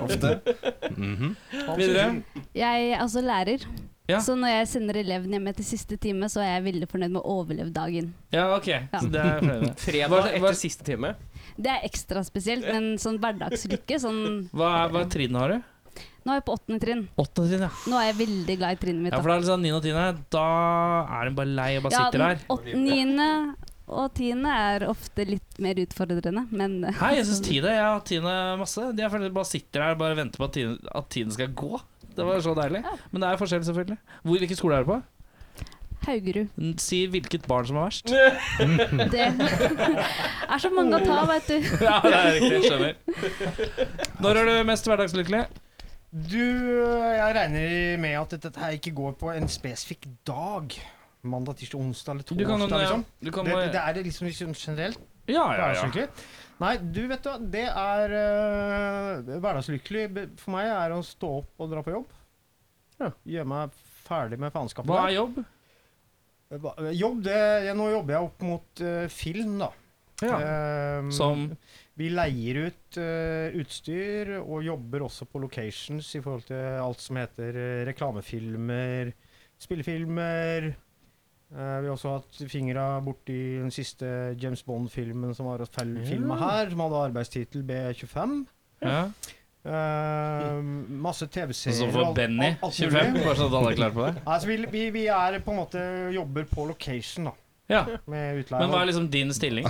Ofte. Mhm. Videre. Jeg er altså lærer, Ja. så når jeg sender eleven hjem etter siste time, så er jeg veldig fornøyd med å overleve dagen. Ja, OK. Så det er flere. Hva- Fredag hva- etter siste time. Det er ekstra spesielt, men sånn hverdagslykke sånn Hva er, hva er trinn har du? Nå er jeg på åttende trinn. Åttende trinn, ja. Nå er jeg veldig glad i trinnet mitt. ja. For det er liksom niende og tiende. Da er den bare lei og bare sitter der. Niende og tiende er ofte litt mer utfordrende, men eh, Hei, jeg syns tiende. Jeg har hatt tiende masse. De er faktisk bare sitter der og bare venter på at tiden, at tiden skal gå. Det var så deilig. Men det er forskjell, selvfølgelig. Hvor, hvilken skole er du på? Haugerud N- Si hvilket barn som er verst. Mm. Det er så mange å ta, veit du. Ja, det er riktig. Skjønner. Når er du mest hverdagslykkelig? Du, eh, jeg regner med at dette her ikke går på en spesifikk dag. Mandag, tirsdag, onsdag eller Du kan, torsdag, liksom. du kan Det, det er det liksom, liksom generelt. Ja, ja, ja. hverdagsskikkelig. Nei, du vet du, hva, det er eh, Hverdagslykkelig be- for meg er å stå opp og dra på jobb. Gjøre meg ferdig med faenskapet. Hva der. Eh, er jobb? Hva- Jobb, det ja, Nå jobber jeg opp mot eh, film, da. Ehm, Som? Vi leier ut eh, utstyr og jobber også på locations i forhold til alt som heter eh, reklamefilmer, spillefilmer. Eh, vi har også hatt fingra borti den siste James Bond-filmen som var filma her, som hadde arbeidstittel B25. Ja. Eh, masse TV-serier. Så får Altså alt- Benny alt- alt 25, mulig. bare sånn at alle er klar på det. Nei, så vi, vi, vi er på en måte jobber på location, da. Ja. Med utleie. Men hva er liksom din stilling?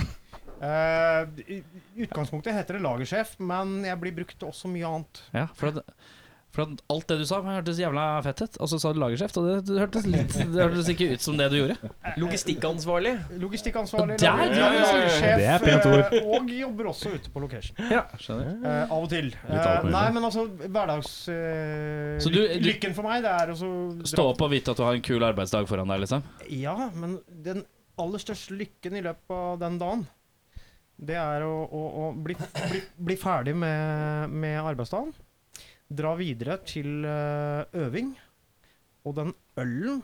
Eh, i- I utgangspunktet heter det lagersjef, men jeg blir brukt til også mye annet. Ja, for at, for at alt det du sa, hørtes jævla fett ut. Og så sa du lagersjef, og det, det, hørtes litt, det hørtes ikke ut som det du gjorde. Logistikkansvarlig. Logistikkansvarlig, Der, lager- ja, ja, ja, ja. lagersjef, Det er pent ord. eh, og jobber også ute på location. Ja, skjønner Eh, av og til. alt Eh, mulig. nei, men altså, hverdags... eh, Så du- lyk- du- lykken for meg, det er også Stå opp og vite at du har en kul arbeidsdag foran deg, liksom. Ja, men den aller største lykken i løpet av den dagen, det er å, å, å bli, bli, bli ferdig med, med arbeidsdagen. Dra videre til eh, øving. Og den ølen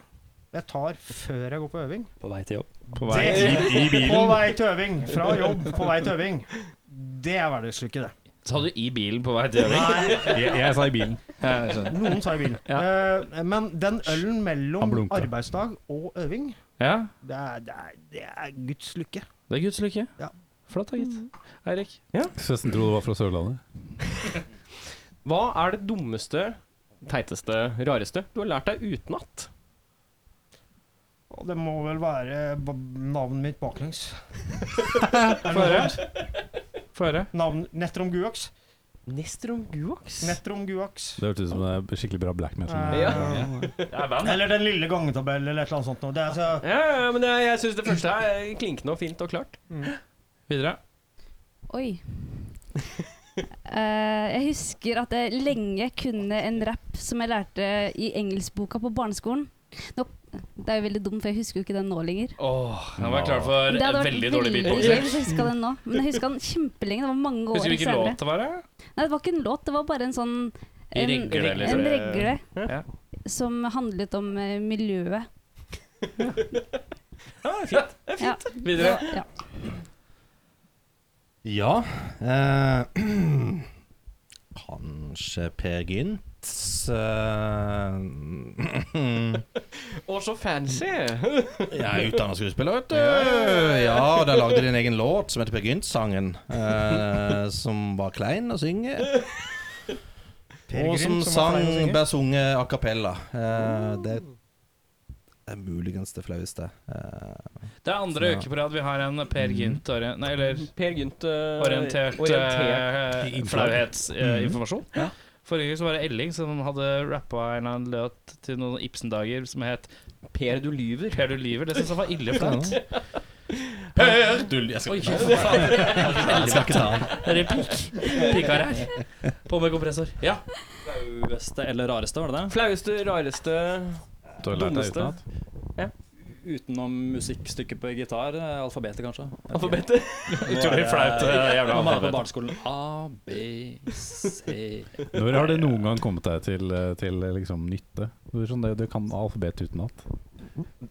jeg tar før jeg går på øving På vei til jobb. På vei- i- i bilen. På vei til øving. Fra jobb, på vei til øving. Det er hverdagslykke, det. Sa du i bilen på vei til Nei. øving? Jeg- jeg sa i bilen. Noen sa i bilen. Eh, men den ølen Han mellom blunka. arbeidsdag og øving, Ja, det er, det er, det er Guds lykke. det er Guds lykke. Ja. Flott da, gitt. Eirik? Søsten trodde du var fra Sørlandet. Hva er det dummeste, teiteste, rareste du har lært deg utenat? Og det må vel være ba- navnet mitt baklengs. Få høre. Få høre. Navn Netrom Guax. Nestrom Guax? Netrom Guax. Det hørtes ut som en skikkelig bra black metal. Eh, Eller Den lille gangetabellen eller et eller annet sånt. noe. Det er altså- så, Ja, ja, men jeg, jeg syns det første er klinkende og fint og klart. Mm. Videre. Oi. Eh, jeg husker at jeg lenge kunne en rap som jeg lærte i engelskboka på barneskolen. Nå, det er jo veldig dumt, for jeg husker jo ikke den nå lenger. Åh, nå var jeg klar for Men det hadde vært veldig dårlig gøy hvis beatboxing. jeg huska den nå. Men jeg huska den kjempelenge. Det var mange år Husker du hvilken senere. låt det var? da? Nei, det var ikke en låt, det var bare en sånn En en, regle, eller? en regle Ja. som handlet om eh, miljøet. Ja, det er fint. Det er Ja. fint. Videre. Ja. Ja eh, Kanskje Per Gynt eh, Og så fancy. Jeg er utdanna skuespiller, vet du. Ja, da lagde de en egen låt som heter Per Gynt-sangen. Eh, som var klein å synge. Per og som Gynt, som var sang klein å synge. ble sunget a cappella. Eh, det er muligens det flaueste. Eh, Det er andre uke på rad vi har en Per Mhm. Gynt orien- Nei, eller Per Gynt eh, orientert, orientert. eh, flauhetsinformasjon. Ja. Forrige gang så var det Elling som hadde rappa en eller annen låt til noen Ibsen-dager som het Per, du lyver. Per du lyver. Det syns jeg var ille flaut. Per Dull Jeg skal Oi, ikke fy faen. jeg skal ikke ta den. Replikk. Pikar her. På med kompressor. eh, Ja. Flaueste eller rareste, var det det? Flaueste, rareste Du har lært deg Dummeste. utenat. Utenom musikkstykket på gitar. eh, Alfabetet, kanskje. alfabetet. Utrolig flaut. eh, Jævla Man er på alfabet. barneskolen. A, B, C Når har det noen gang kommet deg til, eh, til eh, liksom, nytte? Du, er sånn, det- du kan alfabet utenat.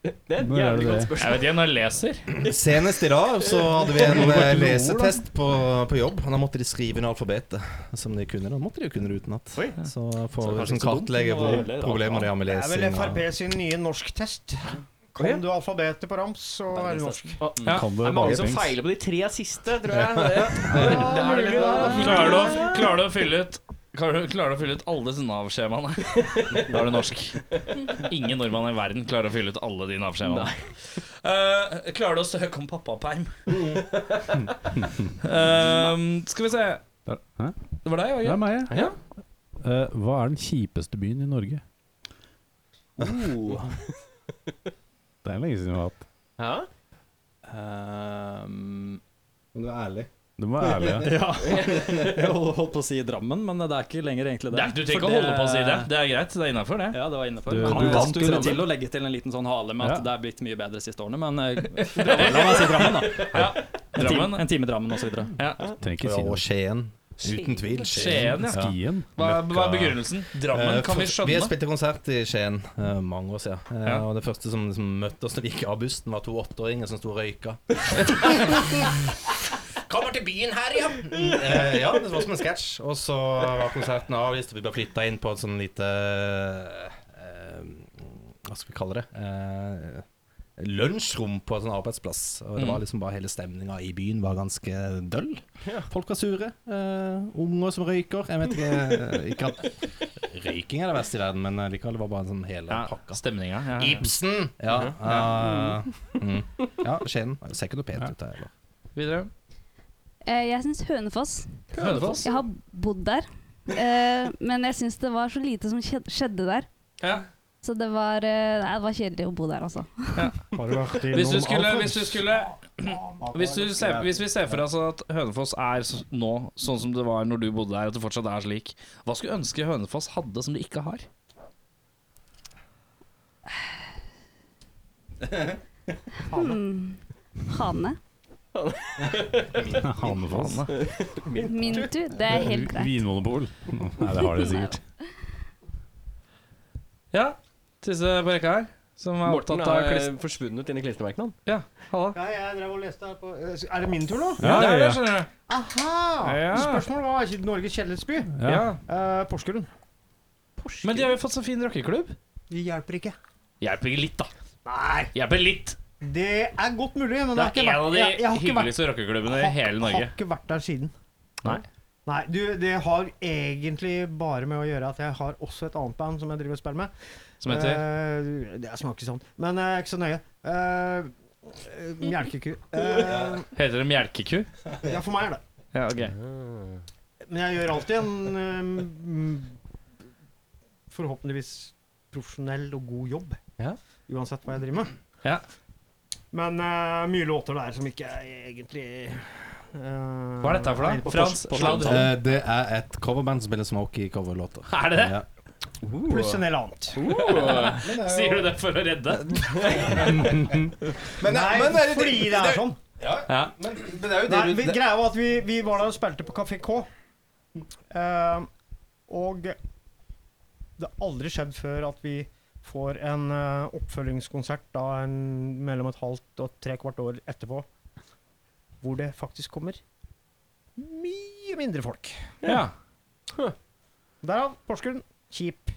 Det er et Når er det jævlig godt Jeg det? spørsmål. vet ikke når jeg leser. Senest i dag så hadde vi en eh, lesetest på, på jobb. Da måtte de skrive inn alfabetet som de kunne. Da måtte de jo kunne det utenat. Så for å kanskje så sånn dumt, kartlegge men det hvor var veldig rart, problemer de har med det er vel lesing Frp og- sin nye norsktest. Kan du alfabetet på rams, så er du norsk. Ja. Kan Det du er mange mange som ting? feiler på de tre siste, tror jeg. Det, det, det er litt, Ah. Klarer du, å- klarer du å fylle ut Klarer du, klarer du å fylle ut alle disse Nav-skjemaene? Da er du norsk. Ingen nordmann i verden klarer å fylle ut alle de Nav-skjemaene. Eh, klarer du å søke om pappaperm? Eh, skal vi se Der- Hæ? Det var deg, Det er Jørgen. meg, ja. Eh, hva er den kjipeste byen i Norge? Oh. Det er lenge siden vi har hatt. Ja? Ehm, Men du er ærlig. Du må være ærlig. Ja. Ja. Jeg hol- holdt på å si Drammen, men det er ikke lenger egentlig det. Det er- Du trenger For ikke å holde på å si det. Det er greit. Det er innafor, det. Ja, det var innenfor. Du- Men du jeg vant skulle jo Drammen. til å legge til en liten sånn hale med at det Ja. er blitt mye bedre de siste årene, men eh, Drammen, La meg si Drammen, da. En Drammen? time, en time i Drammen osv. Ja. Trenger ikke si Og noe. Skien. Uten tvil. Skien, ja. Skien. Hva er, hva er Løkka. begrunnelsen? Drammen Eh, kan vi for- Vi skjønne. spilte konsert i Skien eh, mange år siden. Eh, Ja. Og det første som, som møtte oss når vi gikk av bussen, var to åtteåringer som sto og røyka. Kommer til byen her, ja! Eh, ja, det var som en sketsj. Og så var konserten avlyst, og vi ble flytta inn på et sånn lite eh, Hva skal vi kalle det? Eh, lunsjrom på en sånn arbeidsplass. Og det var Mm. liksom bare hele stemninga i byen var ganske døll. Folk var sure. eh, unger som røyker. Jeg vet ikke, eh, ikke at røyking er det verste i verden, men likevel det var bare en sånn hele Ja, pakka. Stemninga. Ja, ja. Ibsen! Ja, eh, mm. ja Skien. Det Ser ikke noe pent ut der. heller. Videre. Eh, jeg syns Hønefoss. Hønefoss. Jeg har bodd der. Eh, men jeg syns det var så lite som skje- skjedde der. Ja. Så det var, eh, nei, det var kjedelig å bo der, altså. Har du vært Hvis du skulle, hvis du skulle hvis, du ser, hvis vi ser for oss at Hønefoss er s- nå sånn som det var når du bodde der, at det fortsatt er slik, hva skulle ønske Hønefoss hadde som de ikke har? Hmm. Hane. Hanefoss. Mintu. Det er helt greit. Vinmonopol. Nei, det har de sikkert. Ja, siste på rekka her, som er Morten opptatt av har klist... forsvunnet inn i klistremerkene. han. Ja, halla. Ja, jeg drev og leste her på eh, Er det min tur nå? Ja, det ja, er det, ja. skjønner du. Aha! Ja. Spørsmålet var Norges kjærlighetsby. Ja. Ja. Eh, Porsgrunn. Men de har jo fått så fin rockeklubb. Det hjelper ikke. Hjelper ikke litt, da. Nei, Hjelper litt. det er godt mulig, men Det det har ikke er en av vært de jeg, jeg har ikke vært, hyggeligste rockeklubbene i hele Norge. har ikke vært der siden. Nei. Nei, du, det har egentlig bare med å gjøre at jeg har også et annet band som jeg driver og spiller med. Som heter Eh, det smaker sånn, men eh, ikke så nøye. Eh, eh, Melkeku. Eh, Heter det Melkeku? ja, for meg er det. Ja, ok. Men jeg gjør alltid en eh, mm, forhåpentligvis profesjonell og god jobb. Ja. Uansett hva jeg driver med. Ja. Men eh, mye låter der som ikke er egentlig eh, Hva er dette for noe? Frans Sladd? Eh, det er et coverband som spiller smokie-coverlåter. Er det det? Ja. Pluss en del annet. Sier du det for å redde? eh, Nei, fordi det er sånn. Ja. Men, men det er jo det Nei, du vi, greia var at vi, vi var der og spilte på Kafé K. Eh, og det har aldri skjedd før at vi får en eh, oppfølgingskonsert da en, mellom et halvt og tre kvart år etterpå, hvor det faktisk kommer mye mindre folk. ja. Derav Porsgrunn. Kjip.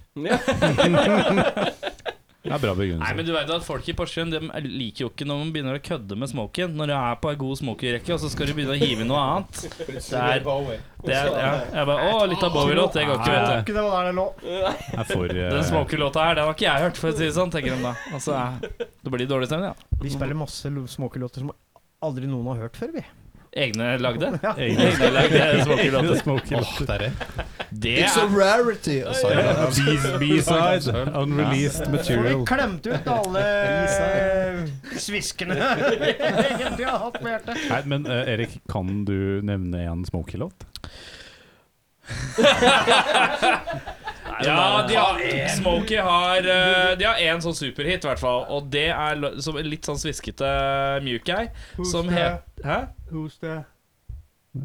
Det er bra Nei, men begrunnelse. du vet at Folk i Porsgrunn de liker jo ikke når man begynner å kødde med smoken. Når du er på en god smokie-rekke, og så skal du begynne å hive inn noe annet. Det er, det er, ja. Jeg bare, Å, litt av Bowie-låt. Det går ikke, Nei. vet du. Ikke det var der det lå. Jeg er for eh, Den smokie-låta her, den har ikke jeg hørt, for å si det sånn, tenker de da. Altså, eh, det blir dårlig stemning, ja. Vi spiller masse lo- smokie-låter som aldri noen har hørt før, vi. Egne lagde? egne- Egne eh, lagde smokie-låter. smoking. Det It's a er rarity! Og altså. så er det- B- B-side. Unreleased Så vi material. klemte ut alle sviskene egentlig har hatt på hjertet. Nei, men eh, Erik, kan du nevne en smokie-låt? Ja, de har, Smokey har eh, De har én sånn superhit, i hvert fall. Og det er lo- som en litt sånn sviskete mjuk ei, som het Hæ? Who's the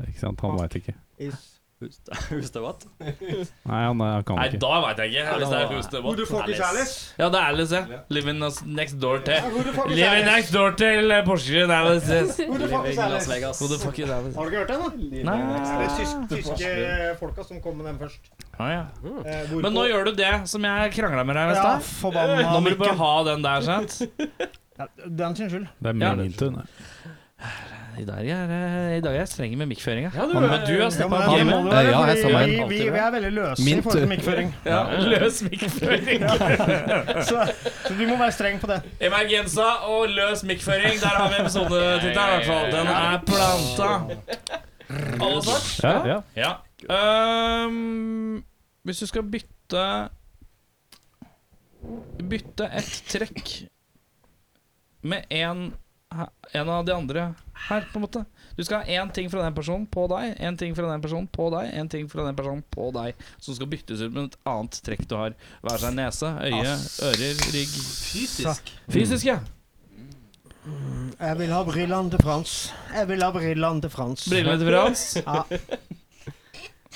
Ikke sant? Han veit ikke. is Husker du hva? Nei, han, eh, kan Nei, ikke. da veit jeg ikke. Hvis det er Who's the Who What. the fuck is Alice? Ja, det er Alice, ja. Living us- next door til Who the fuck is Living Alice? next door til eh, Porsgrunn, Alice. Yes. Who the fuck is Alice? Who the fuck is Alice? Har du ikke hørt den, da? Nei. Det er tysk- tyske folka som kom med den først. Ja, ja. Eh, Men nå gjør du det som jeg krangla med deg i Ja, stad. forbanna Nå må du bare Mikkel. ha den der, sant? Ja, Det er sin skyld. Det er Ja. min intun. I dag er, eh, i dag er jeg streng med mikkføringa. men du har Ja, steppa men opp det må gamet. det Ja, være, jeg er fordi sammen. vi, vi, vi er veldig løse i Min forhold til tur. mikkføring. Ja, løs mikkføring. Så, så du må være streng på det. Emergensa og løs mikkføring. Der har vi episodetittelen, i hvert fall. Den er planta. Alle svart? Ja, ja. Ja. Ehm, hvis du skal bytte Bytte et trekk med en, en av de andre her, på en måte. Du skal ha én ting fra den personen på deg, én ting fra den personen på deg, én ting fra den personen på deg, som skal byttes ut med et annet trekk du har. Hver seg nese, øye, ører, rygg. Fysisk. Fysisk, ja. Jeg vil ha brillene til Frans. Jeg vil ha brillene til Frans. Brillene til Frans? Ja.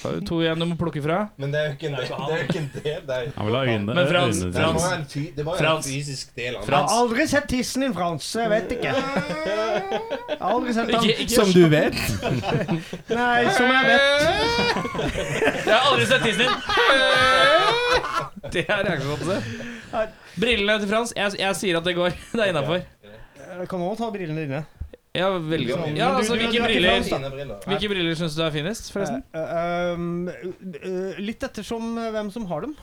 Da har du to igjen du må plukke fra. Men det er jo ikke en, det er jo ikke en del. Det er jo Han vil ha øynene- Men Frans, øynene det må sine. være en, fy, det må være en Frans. fysisk del av Jeg har aldri sett tissen din, Frans. Jeg vet ikke. Jeg har aldri sett den. Ikke- ikke- Som du vet? Nei, som jeg vet. Jeg har aldri sett tissen din! Det er reaksjonen. Brillene til Frans. Jeg, jeg sier at det går. Det er innafor. Jeg kan også Eh, ta brillene dine. Ja, veldig Men ja, du- altså, du- du hvilke har ikke Frans sine briller briller. Hvilke briller syns du er finest, forresten? Eh, eh, um, eh, litt ettersom eh, hvem som har dem.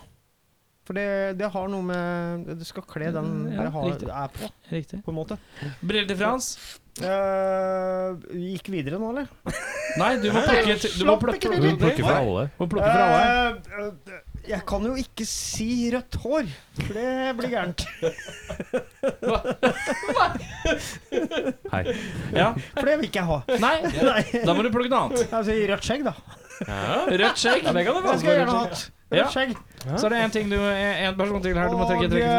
For det, det har noe med Du skal kle den Mm, Ja, det har, riktig. er på, Riktig. på en måte. Briller til Frans? Eh, vi gikk videre nå, eller? Nei, du må plukke et- du må Slapp plukke- ikke videre. du må plukke fra alle. Du må plukke fra alle. Eh, eh, jeg kan jo ikke si rødt hår, for det blir gærent. Hei. Ja. For det vil ikke jeg ha. Nei, da må du plukke noe annet. Altså, rødt skjegg, da. Rødt skjegg. Ja, det kan det være. Det skal jeg gjerne ha hatt. Rødt Ja. skjegg. Så er det en ting du En person til her du må trekke. Og, trekke.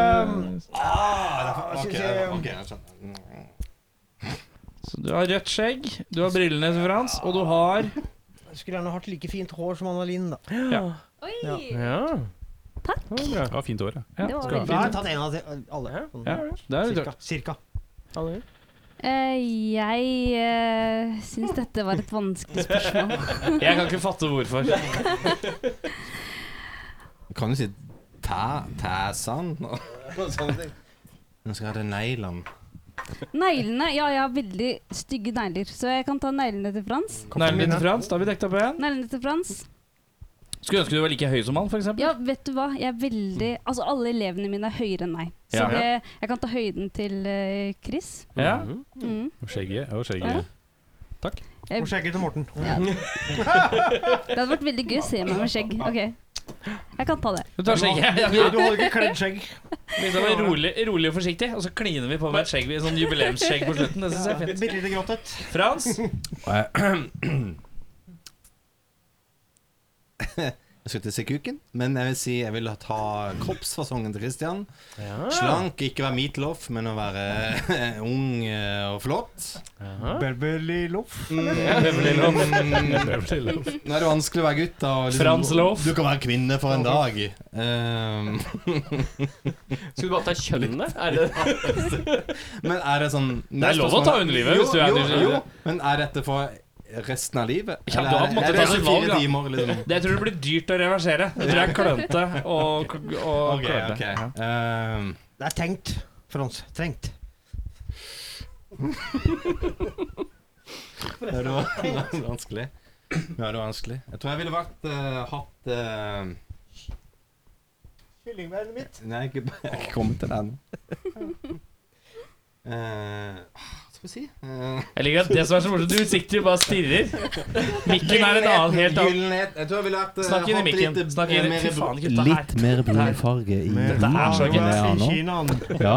Ah, Ok, ok, jeg skjønner. Så du har rødt skjegg, du har brillene til Frans, og du har Jeg skulle gjerne hatt like fint hår som Anna Linn, da. Ja. Oi! Ja. Takk. Det var fint år, Ja, Det var skal veldig ha Jeg fint. har tatt en av de, alle. Ja, det er litt cirka. cirka. Eh, jeg uh, syns dette var et vanskelig spørsmål. Jeg kan ikke fatte hvorfor. Kan du si tæ... tæsan? Nå skal jeg ha det neiland. Neglene Ja, jeg har veldig stygge negler, så jeg kan ta neglene til Frans. Neglene til Frans, da har vi dekket opp igjen. Neglene til Frans. Skulle ønske du var like høy som han, f.eks. Ja, vet du hva? Jeg er veldig Altså, alle elevene mine er høyere enn meg. Så Ja. det, jeg kan ta høyden til eh, Chris. Ja. Mm. Og skjegget. Og Ja. skjegget. Takk. Jeg- Og skjegget til Morten. Ja. Det hadde vært veldig gøy å se meg med skjegg. Ok, jeg kan ta det. Du tar skjegget. Du holder ikke kledd skjegg. Litt av en Liksom, rolig, rolig og forsiktig, og så kliner vi på med et skjegg, vi- sånn jubileumsskjegg på slutten. Det synes jeg er fint. Bitte lite grått et. Frans? Jeg skulle til å si kuken, men jeg vil si jeg vil ta kroppsfasongen til Christian. Slank, ikke være meatloaf, men å være ung eh, og flott. Beverly Loff. Beverly Loaf. Nå er det vanskelig å være gutt. Da, og liksom, Frans Loaf. Du kan være kvinne for en dag. Um, Skal du bare ta kjønnet? Er det men er det sånn Det er lov å ta underlivet hvis du er jo, nysgjerrig. jo, men er dette for resten av livet? Ja, du Eller har er- på en måte er det tatt et 24 valg, da. timer, liksom? Det tror jeg blir dyrt å reversere. Det tror jeg er klønete og, og Ok, klønete. ok. Ja. Um, Det er tenkt, Frans. Trengt. Ja, det var det var vanskelig. Ja, det var vanskelig. Jeg tror jeg ville vært eh, hatt eh, Kyllingbeinet mitt. Nei, jeg er ikke- jeg er ikke kommet til det ennå. Eh, hva skal vi si? Eh, Jeg liker at det som er så morsomt, du sitter jo bare og stirrer. Mikken er et annet, helt annet. Gyllenhet. Jeg tror jeg ville vært eh, Snakk inn i hatt mikken. litt, eh, Snakk inn i mer- Fy faen, gutta. her. mer brunfarge i Dette er så gøy. Ja.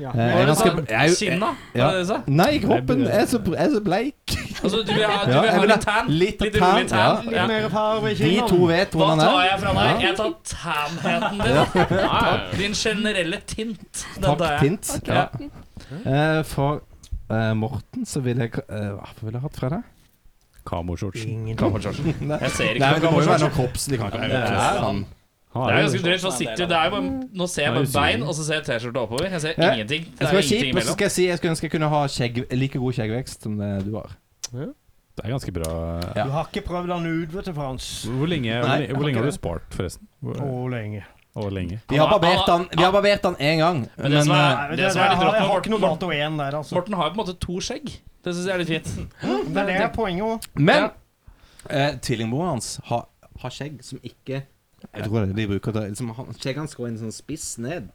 Ja. Eh, Hva er det ganske- du sa? jeg er jo- Kinna? Hva ja. er det du sa? Nei, ikke hoppen. Jeg er så, jeg er så bleik. Altså, du vil ha, du Ja, vil jeg ha vil ha litt tan? litt Litt rolig tan, tan? ja. Ja. Mer farve i De to vet Hva hvordan tar han er. jeg fra deg? Jeg tar tan-heten din. Nei, Din generelle tint. Den tar Takk, jeg. Tint. Ja. Eh, for eh, Morten så ville jeg eh, Hva ville jeg hatt fra deg? Kamoshortsen. Jeg ser ikke Nei, noe men det må jo være kammerskjorte. noe kroppslig, kanskje. det er Ja, han. Det er ganske drøyt. så sitter du- det er jo bare- Mm. Nå ser jeg Nei, bare usynlig. bein, og så ser jeg T-skjorta oppover. Jeg ser Ja. ingenting. Det Jeg er skal jo være kjip, ingenting og så imellom. skal jeg si jeg skulle ønske jeg kunne ha skjegg, like god skjeggvekst som det du har. Det er ganske bra. Ja. Du har ikke prøvd den ut, vet du, Frans. Hvor lenge, hvor Nei, lenge, hvor lenge ok. har du spart, forresten? Hvor, Å, lenge. og lenge? Vi har Han har- barbert han den Vi har barbert den én gang, Men men det som er- eh, Nei, Det det, det, som er litt rått jeg, har, med jeg har ikke noe Morten- dato igjen der, altså. Morten har jo på en måte to skjegg. Det syns jeg er litt fint. Det er det er poenget òg. Men eh, tvillingbroren hans har, har skjegg som ikke Jeg tror det er det de bruker til liksom, han- Mm. Skjegget hans går inn sånn spiss ned.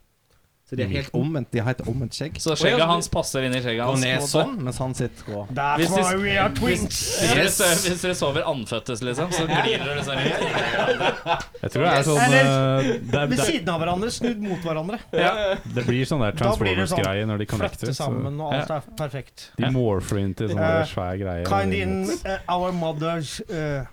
Så de er helt omvendt. De har et omvendt skjegg. Så skjegget hans passer inn i skjegget Går hans. på ned en måte. sånn, mens han sitter og That's Hvis de- why we are twins. Hvis dere Yes. sover- Hvis dere sover andføttes, liksom, så glir dere liksom rundt. Jeg tror det er sånn eh, Eller- det, er- Ved det, siden av hverandre, snudd mot hverandre. er- det blir sånn der Da blir det sånn. Transformers-greie når de connecter. Flette Så sammen, og alt er perfekt. de morfer inn til sånne Eh, svær greie. Kind in eh, our mothers eh,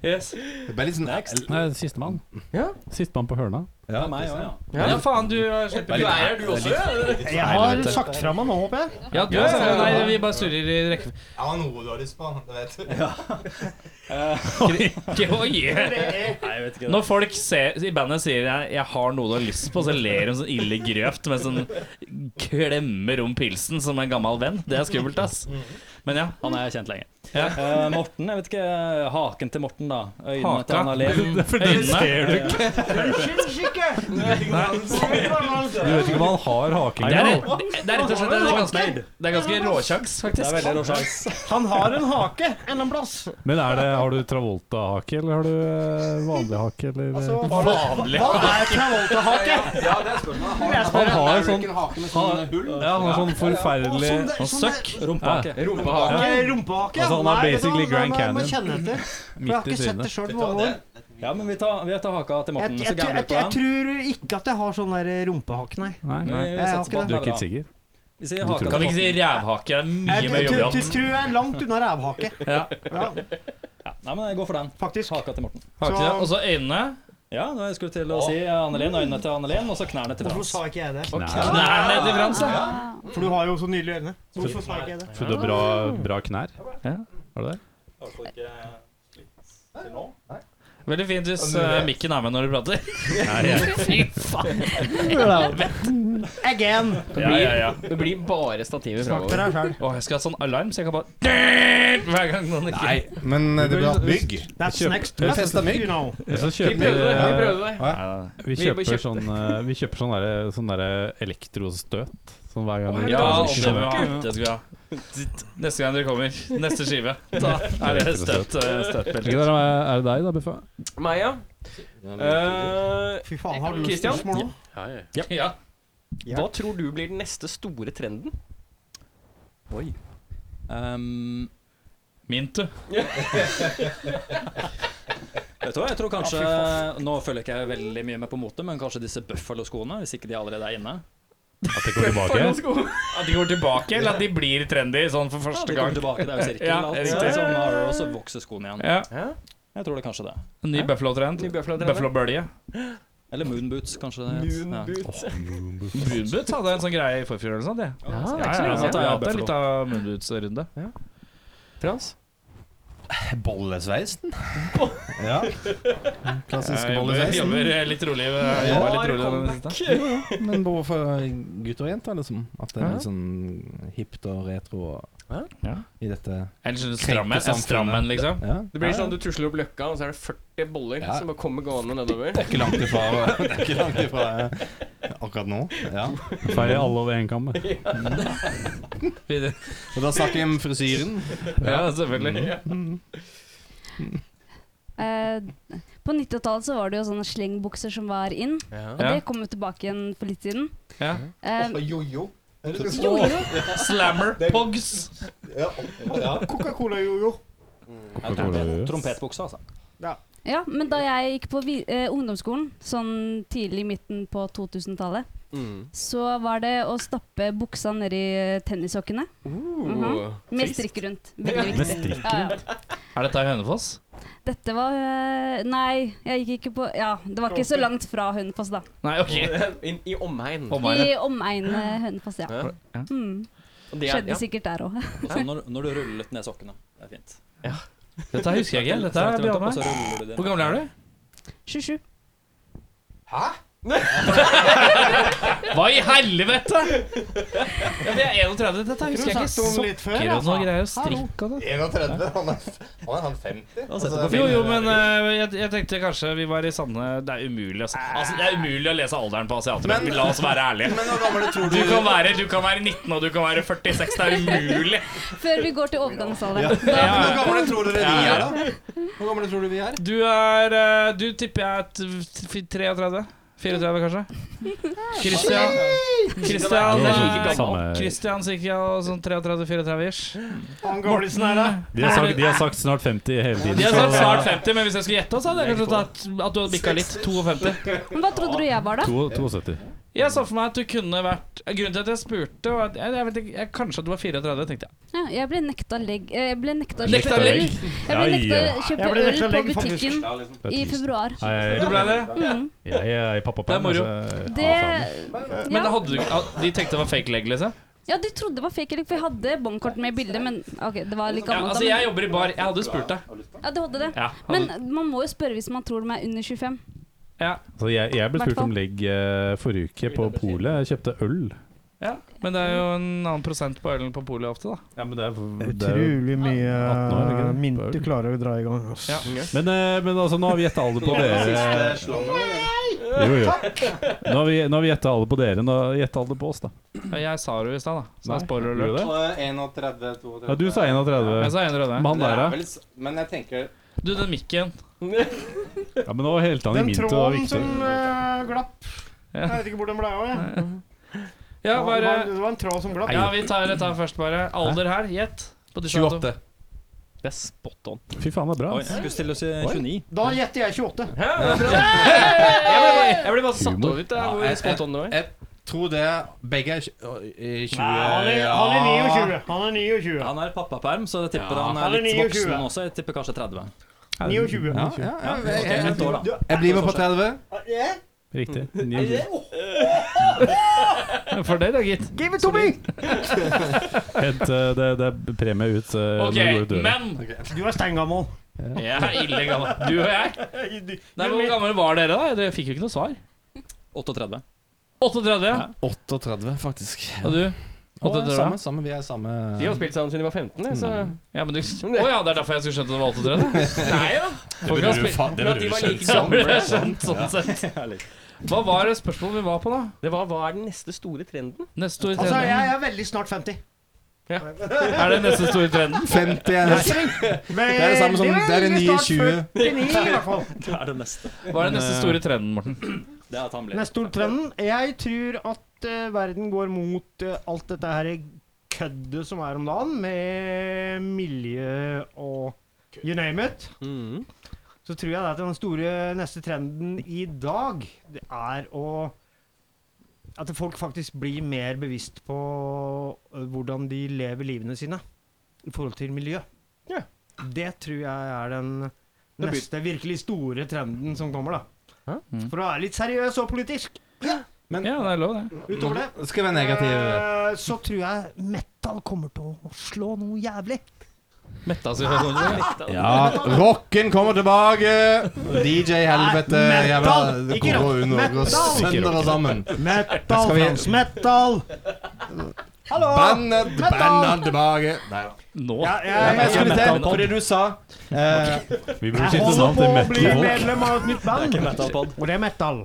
Yes. Det ble litt sånn Nei, Sistemann. Ja. Sistemann på hørna. Ja, meg òg, ja. Ja, faen, du har slett Du er her, du også, ja. Jeg har sagt fra meg nå, håper jeg. Ja, du Ja, er ja, ja. Nei, vi bare surrer i rekke... Jeg har noe du har lyst på, det vet du. Ikke å gi. Nei, jeg vet ikke Når folk ser, i bandet sier jeg, 'jeg har noe du har lyst på', så ler hun sånn ille grøvt mens hun klemmer om pilsen som en gammel venn. Det er skummelt, ass. Men ja. Han er kjent lenge. Ja. Eh, Morten, jeg vet ikke Haken til Morten, da. Øynene Haka. til han har levd. Øynene. Du vet ikke om han har haken Det er, engang. det er rett og slett det er ganske, det er ganske råkjangs, Det er faktisk. veldig rå sjans. Han har en hake en eller plass. Men er det, har du Travolta-hake, eller har du eh, vanlig hake, eller Altså, hva, Vanlig. hva er Travolta-hake? Ja, det er spørsmålet. Har Jeg Han har er en det sånn ikke en hake med sånn hull? Ja, han har sånn forferdelig Sånn der- Og sånn der- søkk. Rumpehake. Rumpehake. Nei, Rumpehake. Altså, han er Nei, vet du basically hva, Grand jeg må- Jeg må Canyon. kjenne etter. For jeg har midt i ikke sett det trynet. sjøl på Vet du mange hva, år. Ja, men vi tar, vi tar haka til Jeg, Morten, jeg, så jeg, gambler vi jeg, på den. tror ikke at jeg har sånn der rumpehake, nei. Nei, Nei, nei. vi Jeg har satser på at ikke Du den er ikke bra. sikker? Vi sier Kan haka til ikke si Morten. rævhake. Det er mye Jeg mer jobb i tror- hatten. tror tror jeg er langt unna rævhake. Ja, Ja, nei, men jeg går for den. faktisk. Haka til Morten. Hake, ja. Og så øynene. Ja, da jeg skulle til å si eh, Annelien, øynene til Annelien, og så knærne til Hvorfor Frans. sa ikke jeg det? Knærne til Frans. da. For du har jo så nydelige øyne. Så Hvorfor sa ikke jeg det? Så du har bra, bra knær? Har du det? Veldig fint hvis eh, mikken er med når du prater. Fy faen. Again! Det blir, det blir bare stativet Snakk for framover. deg sjøl. Å, jeg skal ha sånn alarm, så jeg kan bare Hver gang noen ikke Nei, men eh, det blir hatt bygg. That's Kjøp- next Kjøp best, festa mygg. you know. Så Vi kjøper prøvde det. Vi eh, prøvde det. Vi Vi bare kjøper kjøpte- sånn eh, Vi kjøper sånn derre sånn der elektrostøt. Sånn hver gang vi- Ja, og det Sånn- må vi ha. Det skal vi ha. Sitt. Neste gang dere kommer, neste skive, da er det støt, eh, Er støtbelter. det er det deg, da, Buffa? Meg, ja. Eh, Fy faen, har du lyst til Christian? spørsmål nå? Ja. hva tror du blir den neste store trenden? Um, Mint, du. vet du hva, jeg tror kanskje Nå følger ikke jeg veldig mye med på mote, men kanskje disse Buffalo-skoene, hvis ikke de allerede er inne. At det går tilbake? At de går tilbake, eller at de blir trendy sånn for Ja, første de kommer gang. tilbake, det er jo sirkel. Ja, alt. riktig. Det er som Mario, og så vokser skoene igjen. Ja. Jeg tror det er kanskje det. Ny Buffalo-trend. Ny Buffalo-trend, ja. Buffalo-bølje. Eller Moonboots, kanskje. det het. Ja. Moonboot. Moonboots hadde en sånn greie i forfjor eller noe sånt. Ja. Ja, det er Ja, ikke så ja, lenge så siden. vi har hatt en liten Moonboots-runde. Frans? Bollesveisen? Ja. Klassiske Jeg bollesveisen. jobber eh, litt rolig. eh, jobber litt rolig denne siste. Jo, jo, men både for gutter og jenter, liksom. At det er litt sånn hipt og retro og, Ja. i dette En sånn stram en, en stram en, liksom. ja. Det blir sånn du tusler opp løkka, og så er det 40 boller Ja. som bare kommer gående nedover. Det er ikke langt ifra, det er ikke langt ifra eh, akkurat nå. Ja. Feier alle over én kam. det. Videre. Og da snakker vi om frisyren. Ja, selvfølgelig. Mm. Eh, på 90-tallet så var det jo sånne slengbukser som var inn, og Ja. det kom jo tilbake igjen for litt siden. Ja. Eh, Og jojo. Slammer. Pogs. Ja, ja. Coca-Cola-jojo. Ja, trompet- Trompetbuksa, altså. ja, men da jeg gikk på vi eh, ungdomsskolen, sånn tidlig i midten på 2000-tallet, Mm. så var det å stappe buksa nedi tennissokkene Mhm. med strikk rundt. Veldig Med viktig. strikk Ja, ja. Er dette i Hønefoss? Dette var eh, Nei, jeg gikk ikke på Ja, det var ikke så langt fra Hønefoss, da. Nei, OK. Inn i omegn. Om I omegnet Hønefoss, ja. Ja. Mm. Og det er- Skjedde sikkert der òg. Sånn når, når du rullet ned sokkene. Det er fint. Dette husker jeg ikke. Dette Strakte er rundt opp, og så Bjarne. ruller du det Hvor gammel er du? 27. Hva i helvete?! Ja, men jeg er 31. Dette husker jeg ikke. Sokker litt før, og noe greier. og Strikk og sånn. 31, han er, han er han 50. Altså, Jo, jo, men eh, jeg, jeg tenkte kanskje vi var i samme Det er umulig, altså. altså det er umulig å lese alderen på asiater. Men la oss være ærlige. Men hvor gammel tror Du kan være, du kan være 19, og du kan være 46. Det er umulig. Før vi går til overgangsalderen. Hvor gamle tror dere vi er, da? Hvor gamle tror du vi er? Du er eh, Du tipper jeg er t- f- 33? 34, kanskje? Christian Christian, Det er eh, like gammel. Christian sikkert sånn 33-34-ish. Han Gorlisen her, da. De har sagt, de har sagt snart 50 hele tiden. De er så- snart snart 50, men hvis jeg skulle gjette, så hadde jeg kanskje tatt at du hadde bikka litt. 52. Men hva trodde du jeg var, da? To- 72. Jeg så for meg at du kunne vært Grunnen til at jeg spurte, var at jeg, jeg vet ikke, jeg, kanskje at du var 34, tenkte jeg. Ja, jeg ble nekta legg. eh, Jeg ble nekta å Nekta kjøpe øl. legg? Jeg ble nekta å Ja, ja. kjøpe Jeg ble øl nekta på legg, faktisk. butikken Ja, liksom. i februar. Du ble det? Mm. Jeg er i pappaperm. Det er moro. altså. Det Men da ja. hadde du, ja, de tenkte det var fake leg, liksom? ja, du trodde det var fake, eller? For jeg hadde bankkortet med i bildet, men OK, det var litt Ja, gammelt. da, altså, men- jeg jobber i bar. Jeg hadde spurt deg. Ja, du hadde det. Ja, Men hadde- man må jo spørre hvis man tror de er under 25. Så Altså, jeg, jeg ble spurt Hvertfall. om legg eh, forrige uke på polet. Jeg kjøpte øl. Ja, men det er jo en annen prosent på ølen på polet ofte, da. Ja, men det er, Utrolig mye 18 år, ikke sant? mynt du klarer å dra i gang. ass. Men, eh, men altså, nå har vi gjetta alle på dere. Jo, jo. Nå har vi, nå har vi gjetta alle på dere. Nå har vi gjetta alle på oss, da. Ja, Jeg sa det jo i stad, da. Så Nei, jeg spoiler gjorde alert. du det? 31, 32 Ja, du sa 31. Jeg sa 31. Men han der, da? Men jeg tenker Du, den mikken. Ja, men nå helte han i Den min til det var tråden viktig. som eh, glapp Jeg vet ikke hvor den ble av, jeg. Ja, det, bare var, det var en tråd som glapp. Ja, vi tar det først, bare. Alder her, gjett. På disse to. Det er spot on. Fy faen, det er bra. Oi, ass. jeg skulle stille oss i 29. Da gjetter jeg 28. Hæ? Jeg ble bare- jeg ble bare satt Humor. over ut, jeg. jeg- Hvor spot on det var. Jeg tror det er begge er tj- i 20 Nei, han er, han er 29. Han er 29. Han er pappaperm, så jeg tipper han Han er er litt 29. voksen også. Jeg tipper kanskje 30. 29. Ja, ja, ja, jeg, Ok, jeg, ett år, da. jeg blir med på 30. Riktig. 29. For det, da, gitt. Give it to me! Hent eh, det, det er premie ut eh, OK, når du går ut døra. men Du er steingammal. Jeg er ille gammel. Du og jeg. Nei, men Hvor gamle var dere, da? Dere fikk jo ikke noe svar. 38. 38? 38, faktisk. Og du? Å, 38? samme, samme, vi er samme De har spilt sammen siden de var 15, jeg, så Mm. Ja, men du Å ja, det er derfor jeg skulle skjønte det var 38? Nei da. Folk har spilt faen, det Men at de var like sånn, gamle. skjønt, sånn sett. Hva var det spørsmålet vi var på, da? Det var hva er den neste store trenden? Neste store Altså, jeg, trenden? jeg er veldig snart 50. Er det neste store trenden? 50 er nesten. Men Det er det samme som- det er det veldig nye snart 20. 49 i hvert fall. Det er det neste. Hva er den neste store trenden, Morten? Det er at han blir Neste ordtrenden. Jeg tror at eh, verden går mot eh, alt dette her køddet som er om dagen, med miljø og you name it. Mm. Mhm. Så tror jeg det at den store neste trenden i dag, det er å At folk faktisk blir mer bevisst på eh, hvordan de lever livene sine i forhold til miljø. Ja. Det tror jeg er den blir- neste virkelig store trenden som kommer, da. For å være litt seriøs og politisk. Ja, det er lov, det. Utover det Skal være negativ. eh, så tror jeg metal kommer til å slå noe jævlig. Metta si hva sånn det er. Ja, rocken kommer tilbake! DJ Helvete, Nei, metal! jævla Ikke Koro rock, Norge og metal! Søndere sammen. Metal, Skal vi- Frans. Metal! Hallo! Bandet, Metal! bandet tilbake. Nei da. Nå? Ja, jeg, Jeg jeg, skulle til fordi du sa eh, Vi burde jeg skifte holder navn på til å bli Metal Folk. medlem av et nytt band. metalpod. Og det er metal.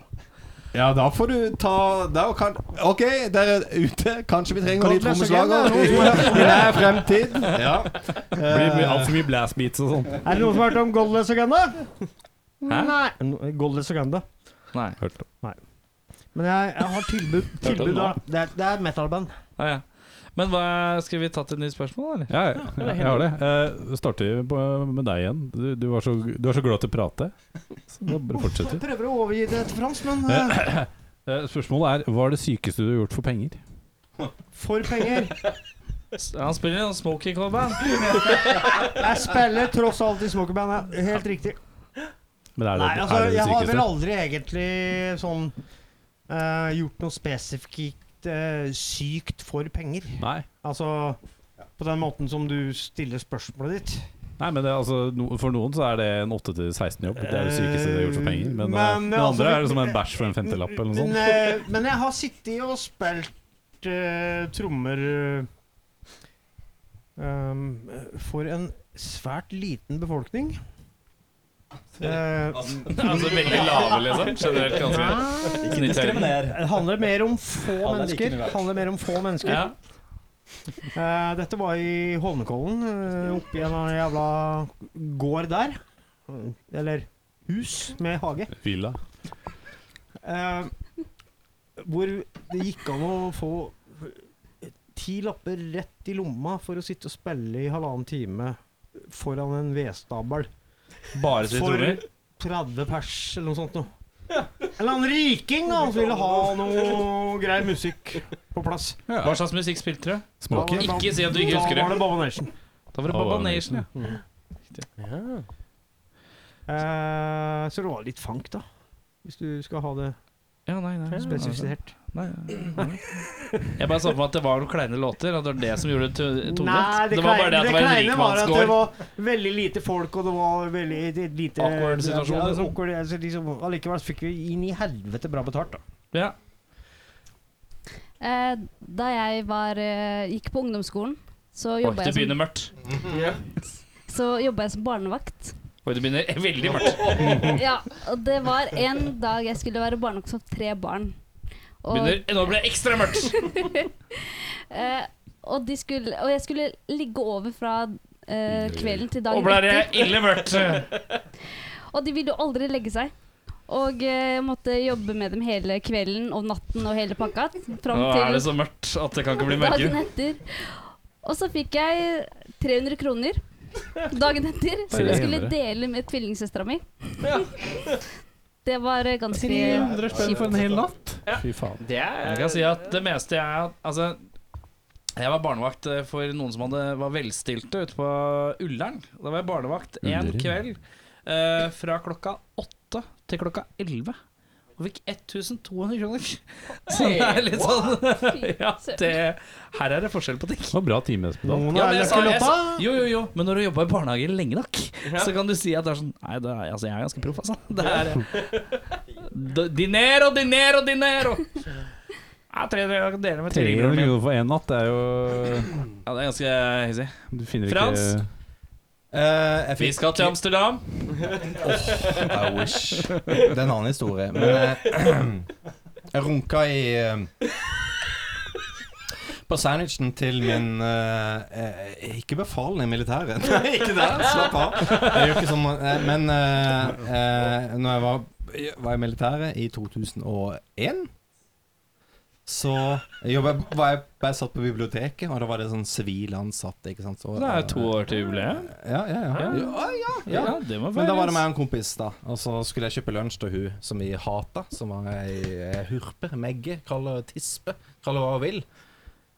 Ja, da får du ta da kan, OK, dere er ute. Kanskje vi trenger en ny Godt lese igjen, trommeslager det er i noe som er- i nær fremtid. Ja. Det blir mye- altfor mye blastbeats og sånn. Er det noen som har hørt om Godless Agenda? Nei. Godless Agenda. Nei. Men jeg, jeg har tilbud. tilbud da. Det, er, det er et metalband. Ja, ja. Men hva, skal vi tatt et nytt spørsmål, eller? Ja, ja, jeg har det. Eh, starter vi på- med deg igjen. Du, du, var så, du er så glad til å prate. Så da bare fortsetter vi. Jeg prøver å overgi det til Frans, men eh, Eh, Spørsmålet er hva er det sykeste du har gjort for penger? for penger. Han spiller i en smoky cowband. Jeg spiller tross alt i smokerband. ja. Helt riktig. Men er det, Nei, altså, er det, det jeg har vel sykeste? aldri egentlig sånn eh, gjort noe spesifikt eh, sykt for penger. Nei. Altså på den måten som du stiller spørsmålet ditt. Nei, men det, er altså, no, For noen så er det en 8-16-jobb. Det er det sykeste du har gjort for penger. Men, eh, Men, det altså, andre er det som en bæsj for en femtelapp eller noe Men, sånt. eh, men jeg har sittet og spilt eh, trommer eh, um, for en svært liten befolkning. Eh, Altså veldig lave, liksom. Generelt ganske snitthøy. Diskriminer. det handler mer om få Alle er like mennesker. mye verdt. handler mer om få mennesker. Ja. Eh, dette var i Holmenkollen, eh, oppi en eller annen jævla gård der. Eller hus med hage. Villa. Eh, hvor det gikk an å få ti lapper rett i lomma for å sitte og spille i halvannen time foran en vedstabel Bare til for trommer. 30 pers eller noe sånt noe. Eller annen riking da, som ville ha noe grei musikk på plass. Hva slags musikk spilte dere? Smoky. Ikke si at du ikke husker Da var det Baba Nation. Da var det Baba Nation, ja. Eh, så det var litt funk, da. Hvis du skal ha det ja, nei, nei, spesifisert. Nei, Jeg bare så for meg at det var noen kleine låter, og det var det som gjorde det to- tonedøvt. Nei, det, det var bare kleine, det at det var en kleine var at det rikmannsgård. var veldig lite folk, og det var veldig et lite Awkward situasjon, Ja, liksom. awkward, altså, liksom, allikevel fikk vi inn i helvete bra betalt, da. Ja. Eh, da jeg var, eh, gikk på ungdomsskolen, så Oi, jobba det jeg, sånn. begynner som- mørkt. så jobbet jeg som barnevakt. Oi, det begynner veldig mørkt. Ja, og det var en dag jeg skulle være barnevakt for tre barn. Og, Begynner, nå blir det ekstra mørkt! eh, og, de skulle, og jeg skulle ligge over fra eh, kvelden til dagen Og blir det ille mørkt. Og de ville jo aldri legge seg. Og eh, jeg måtte jobbe med dem hele kvelden og natten og hele pakka. Fram Nå er til det sånn så mørkt at det kan ikke bli dagen mørkere. etter. Og så fikk jeg 300 kroner dagen etter, som jeg skulle dele med tvillingsøstera mi. Det var eh, ganske kjipt. en hel natt? Fy faen. Det er, jeg kan si at det meste jeg har Altså, jeg var barnevakt eh, for noen som hadde, var velstilte ute på Ullern. Da var jeg barnevakt en Ullern. kveld eh, fra klokka åtte til klokka elleve. Og fikk 1200 kroner. Så det er litt sånn Ja, det Her er det forskjell på ting. Det var bra Mm. timesbetalt. Ja, men jeg sa- jeg sa- Jo, jo, jo, men når du jobber i barnehage lenge nok, så kan du si at det er sånn Nei, det er, altså, jeg er ganske proff, altså. Det er D- Dinero, dinero, dinero! Ja, 300 jeg kan dele med 300 trillingene mine. millioner for én natt det er jo Ja, det er ganske hissig. Du finner Frans? ikke Eh, jeg Vi fikk- skal til Amsterdam. I wish. Det er en annen historie. Men eh, jeg runka i eh, På sandwichen til min eh, eh, Ikke befal i militæret. Nei, ikke der. Slapp av. Jeg gjør ikke sånn, eh, men eh, eh, når jeg var, var i militæret i 2001 så jobba jeg, var jeg, var jeg satt på biblioteket, og da var det sånn sivil ansatte. Ikke sant? Så, eh, Det er to år til jubileet. ja, ja, ja. Ja. ja, ja, ja. Ja, det må Men da var feires. det meg og en kompis, da. Og så skulle jeg kjøpe lunsj til hun som vi hata. Som var ei ei hurpe, megge, kall henne tispe, kall henne hva hun vil.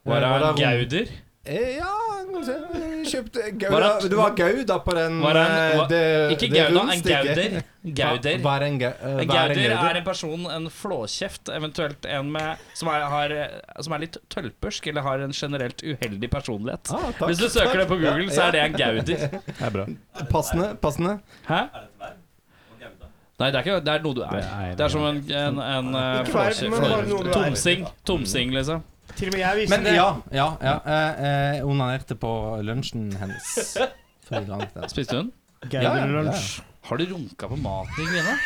Var det Eh, en rom- altså. Gauder? Eh, Ja, kan du se. Vi kjøpte Gouda. Var det- Du var Gouda på den Var det en- eh, var- det- ikke det Gouda, en rundstykket. Gauder. Gauder. Hva- Hva er en, ga, eh, En hva er en Gauder Gauder? er en person, en flåkjeft, eventuelt en med, som, er, har, som er litt tølpersk, eller har en generelt uheldig personlighet. Ah, takk, Hvis du søker det på takk. Google, Ja, så er det ja. en Gauder. Det er bra. Passende. passende. Hæ? Nei, det er ikke det er noe du er. er- Det er som en, en, en, eh, Ikke verv, flåkjeft. men bare noe du er. Tomsing. Tomsing, liksom. Til og med jeg visste Men det. ja, ja. ja. Eh, eh, onanerte på lunsjen hennes. altså. Forrige gang. det var. Spiste hun? Ja, ja, ja. Gauderlunsj. Har du runka på maten din, Gina?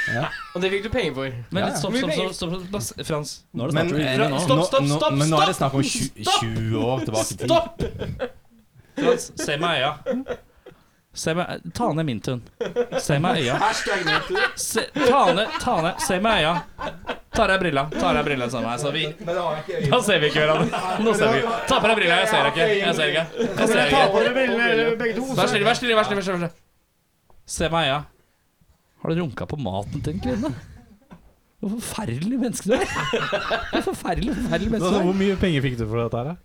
Og det fikk du penger for. Men Ja, ja. stopp, stopp, stopp, stopp, stopp, stopp Frans. Nå er det Men, snart eh, Stopp, stopp, stopp, nå- nå- Men nå er det snakk om tju- stopp! 20 år tilbake i tid. Stopp! Frans, se meg i øya. Se meg, ta ned min tun. Se meg i øya. Se, ta ned, ta ned, se meg i øya. Ta av deg brilla. Ta av deg brilla sammen her, så vi Da ser vi ikke hverandre. Nå ser vi. Ta på deg brilla, jeg ser ikke. Jeg ser ikke. Jeg ser Ta ikke. på dere brillene, begge to. Vær stille, vær stille, vær stille, vær stille. vær stille. Se meg i øya. Har du runka på maten til en kvinne? Hvor forferdelig menneske du er. Hvor forferdelig, forferdelig menneske du er. Altså, Hvor mye penger fikk du for dette her, da?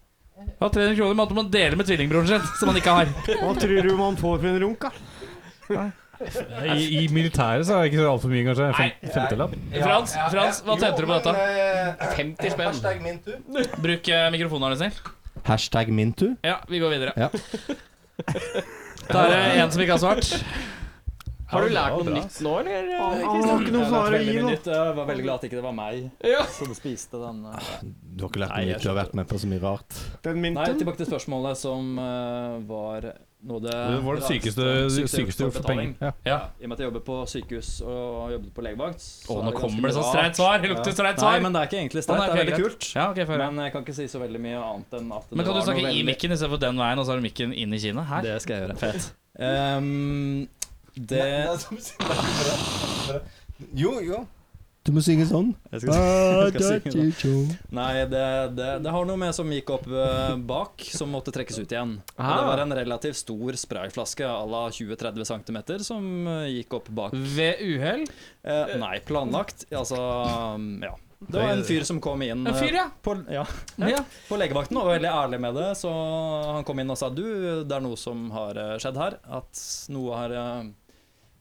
Ja, 300 kroner måtte man dele med tvillingbroren sin, som han ikke har. Hva tror du man får for en runk, da? I, I militæret så er det ikke så altfor mye, kanskje. Nei. Fem, femtelapp. Frans, Frans, hva tjente du på dette? eh, 50 spenn. Hashtag min tur. Bruk eh, mikrofonen, er du snill. Hashtag min tur. Ja, vi går videre. Ja. Da er det en som ikke har svart. Har du lært noe nytt nå, eller? Han har ikke noe svar å gi nå. Jeg var veldig glad at ikke det var meg Ja. som spiste den. eh. Du har ikke lært Nei, mye, jeg du har vært med på så mye rart. Den Nei, mynten. tilbake til spørsmålet som eh, var noe av det Det var det sykeste rareste sykeste du gjorde for betaling. penger. Ja. Ja. I og med at jeg jobber på sykehus og jobbet på legevakt så Å, er nå ganske kommer det sånn rart. streit svar. Det lukter streit Nei, svar. men det er ikke egentlig Å, streit. nei, det er ok, veldig greit. kult. Ja, ok, får høre. Men jeg kan ikke si så veldig mye annet enn at det Men kan du var noe snakke i veldig- mikken istedenfor den veien, og så er det mikken inn i kinnet? Her. Det skal jeg gjøre. Ehm, det Jo, jo. Du må synge sånn. Jeg skal, Ah, jeg skal synge da, da. Nei, det, det, det har noe med som gikk opp eh, bak, som måtte trekkes ut igjen. Og Ah. Det var en relativt stor sprayflaske à la 20-30 cm som eh, gikk opp bak. Ved uhell? Eh, nei, planlagt. Altså, um, ja. Det var en fyr som kom inn En fyr, eh, ja. På, ja, Ja. på legevakten og var veldig ærlig med det. Så han kom inn og sa du, det er noe som har eh, skjedd her. At noe har eh,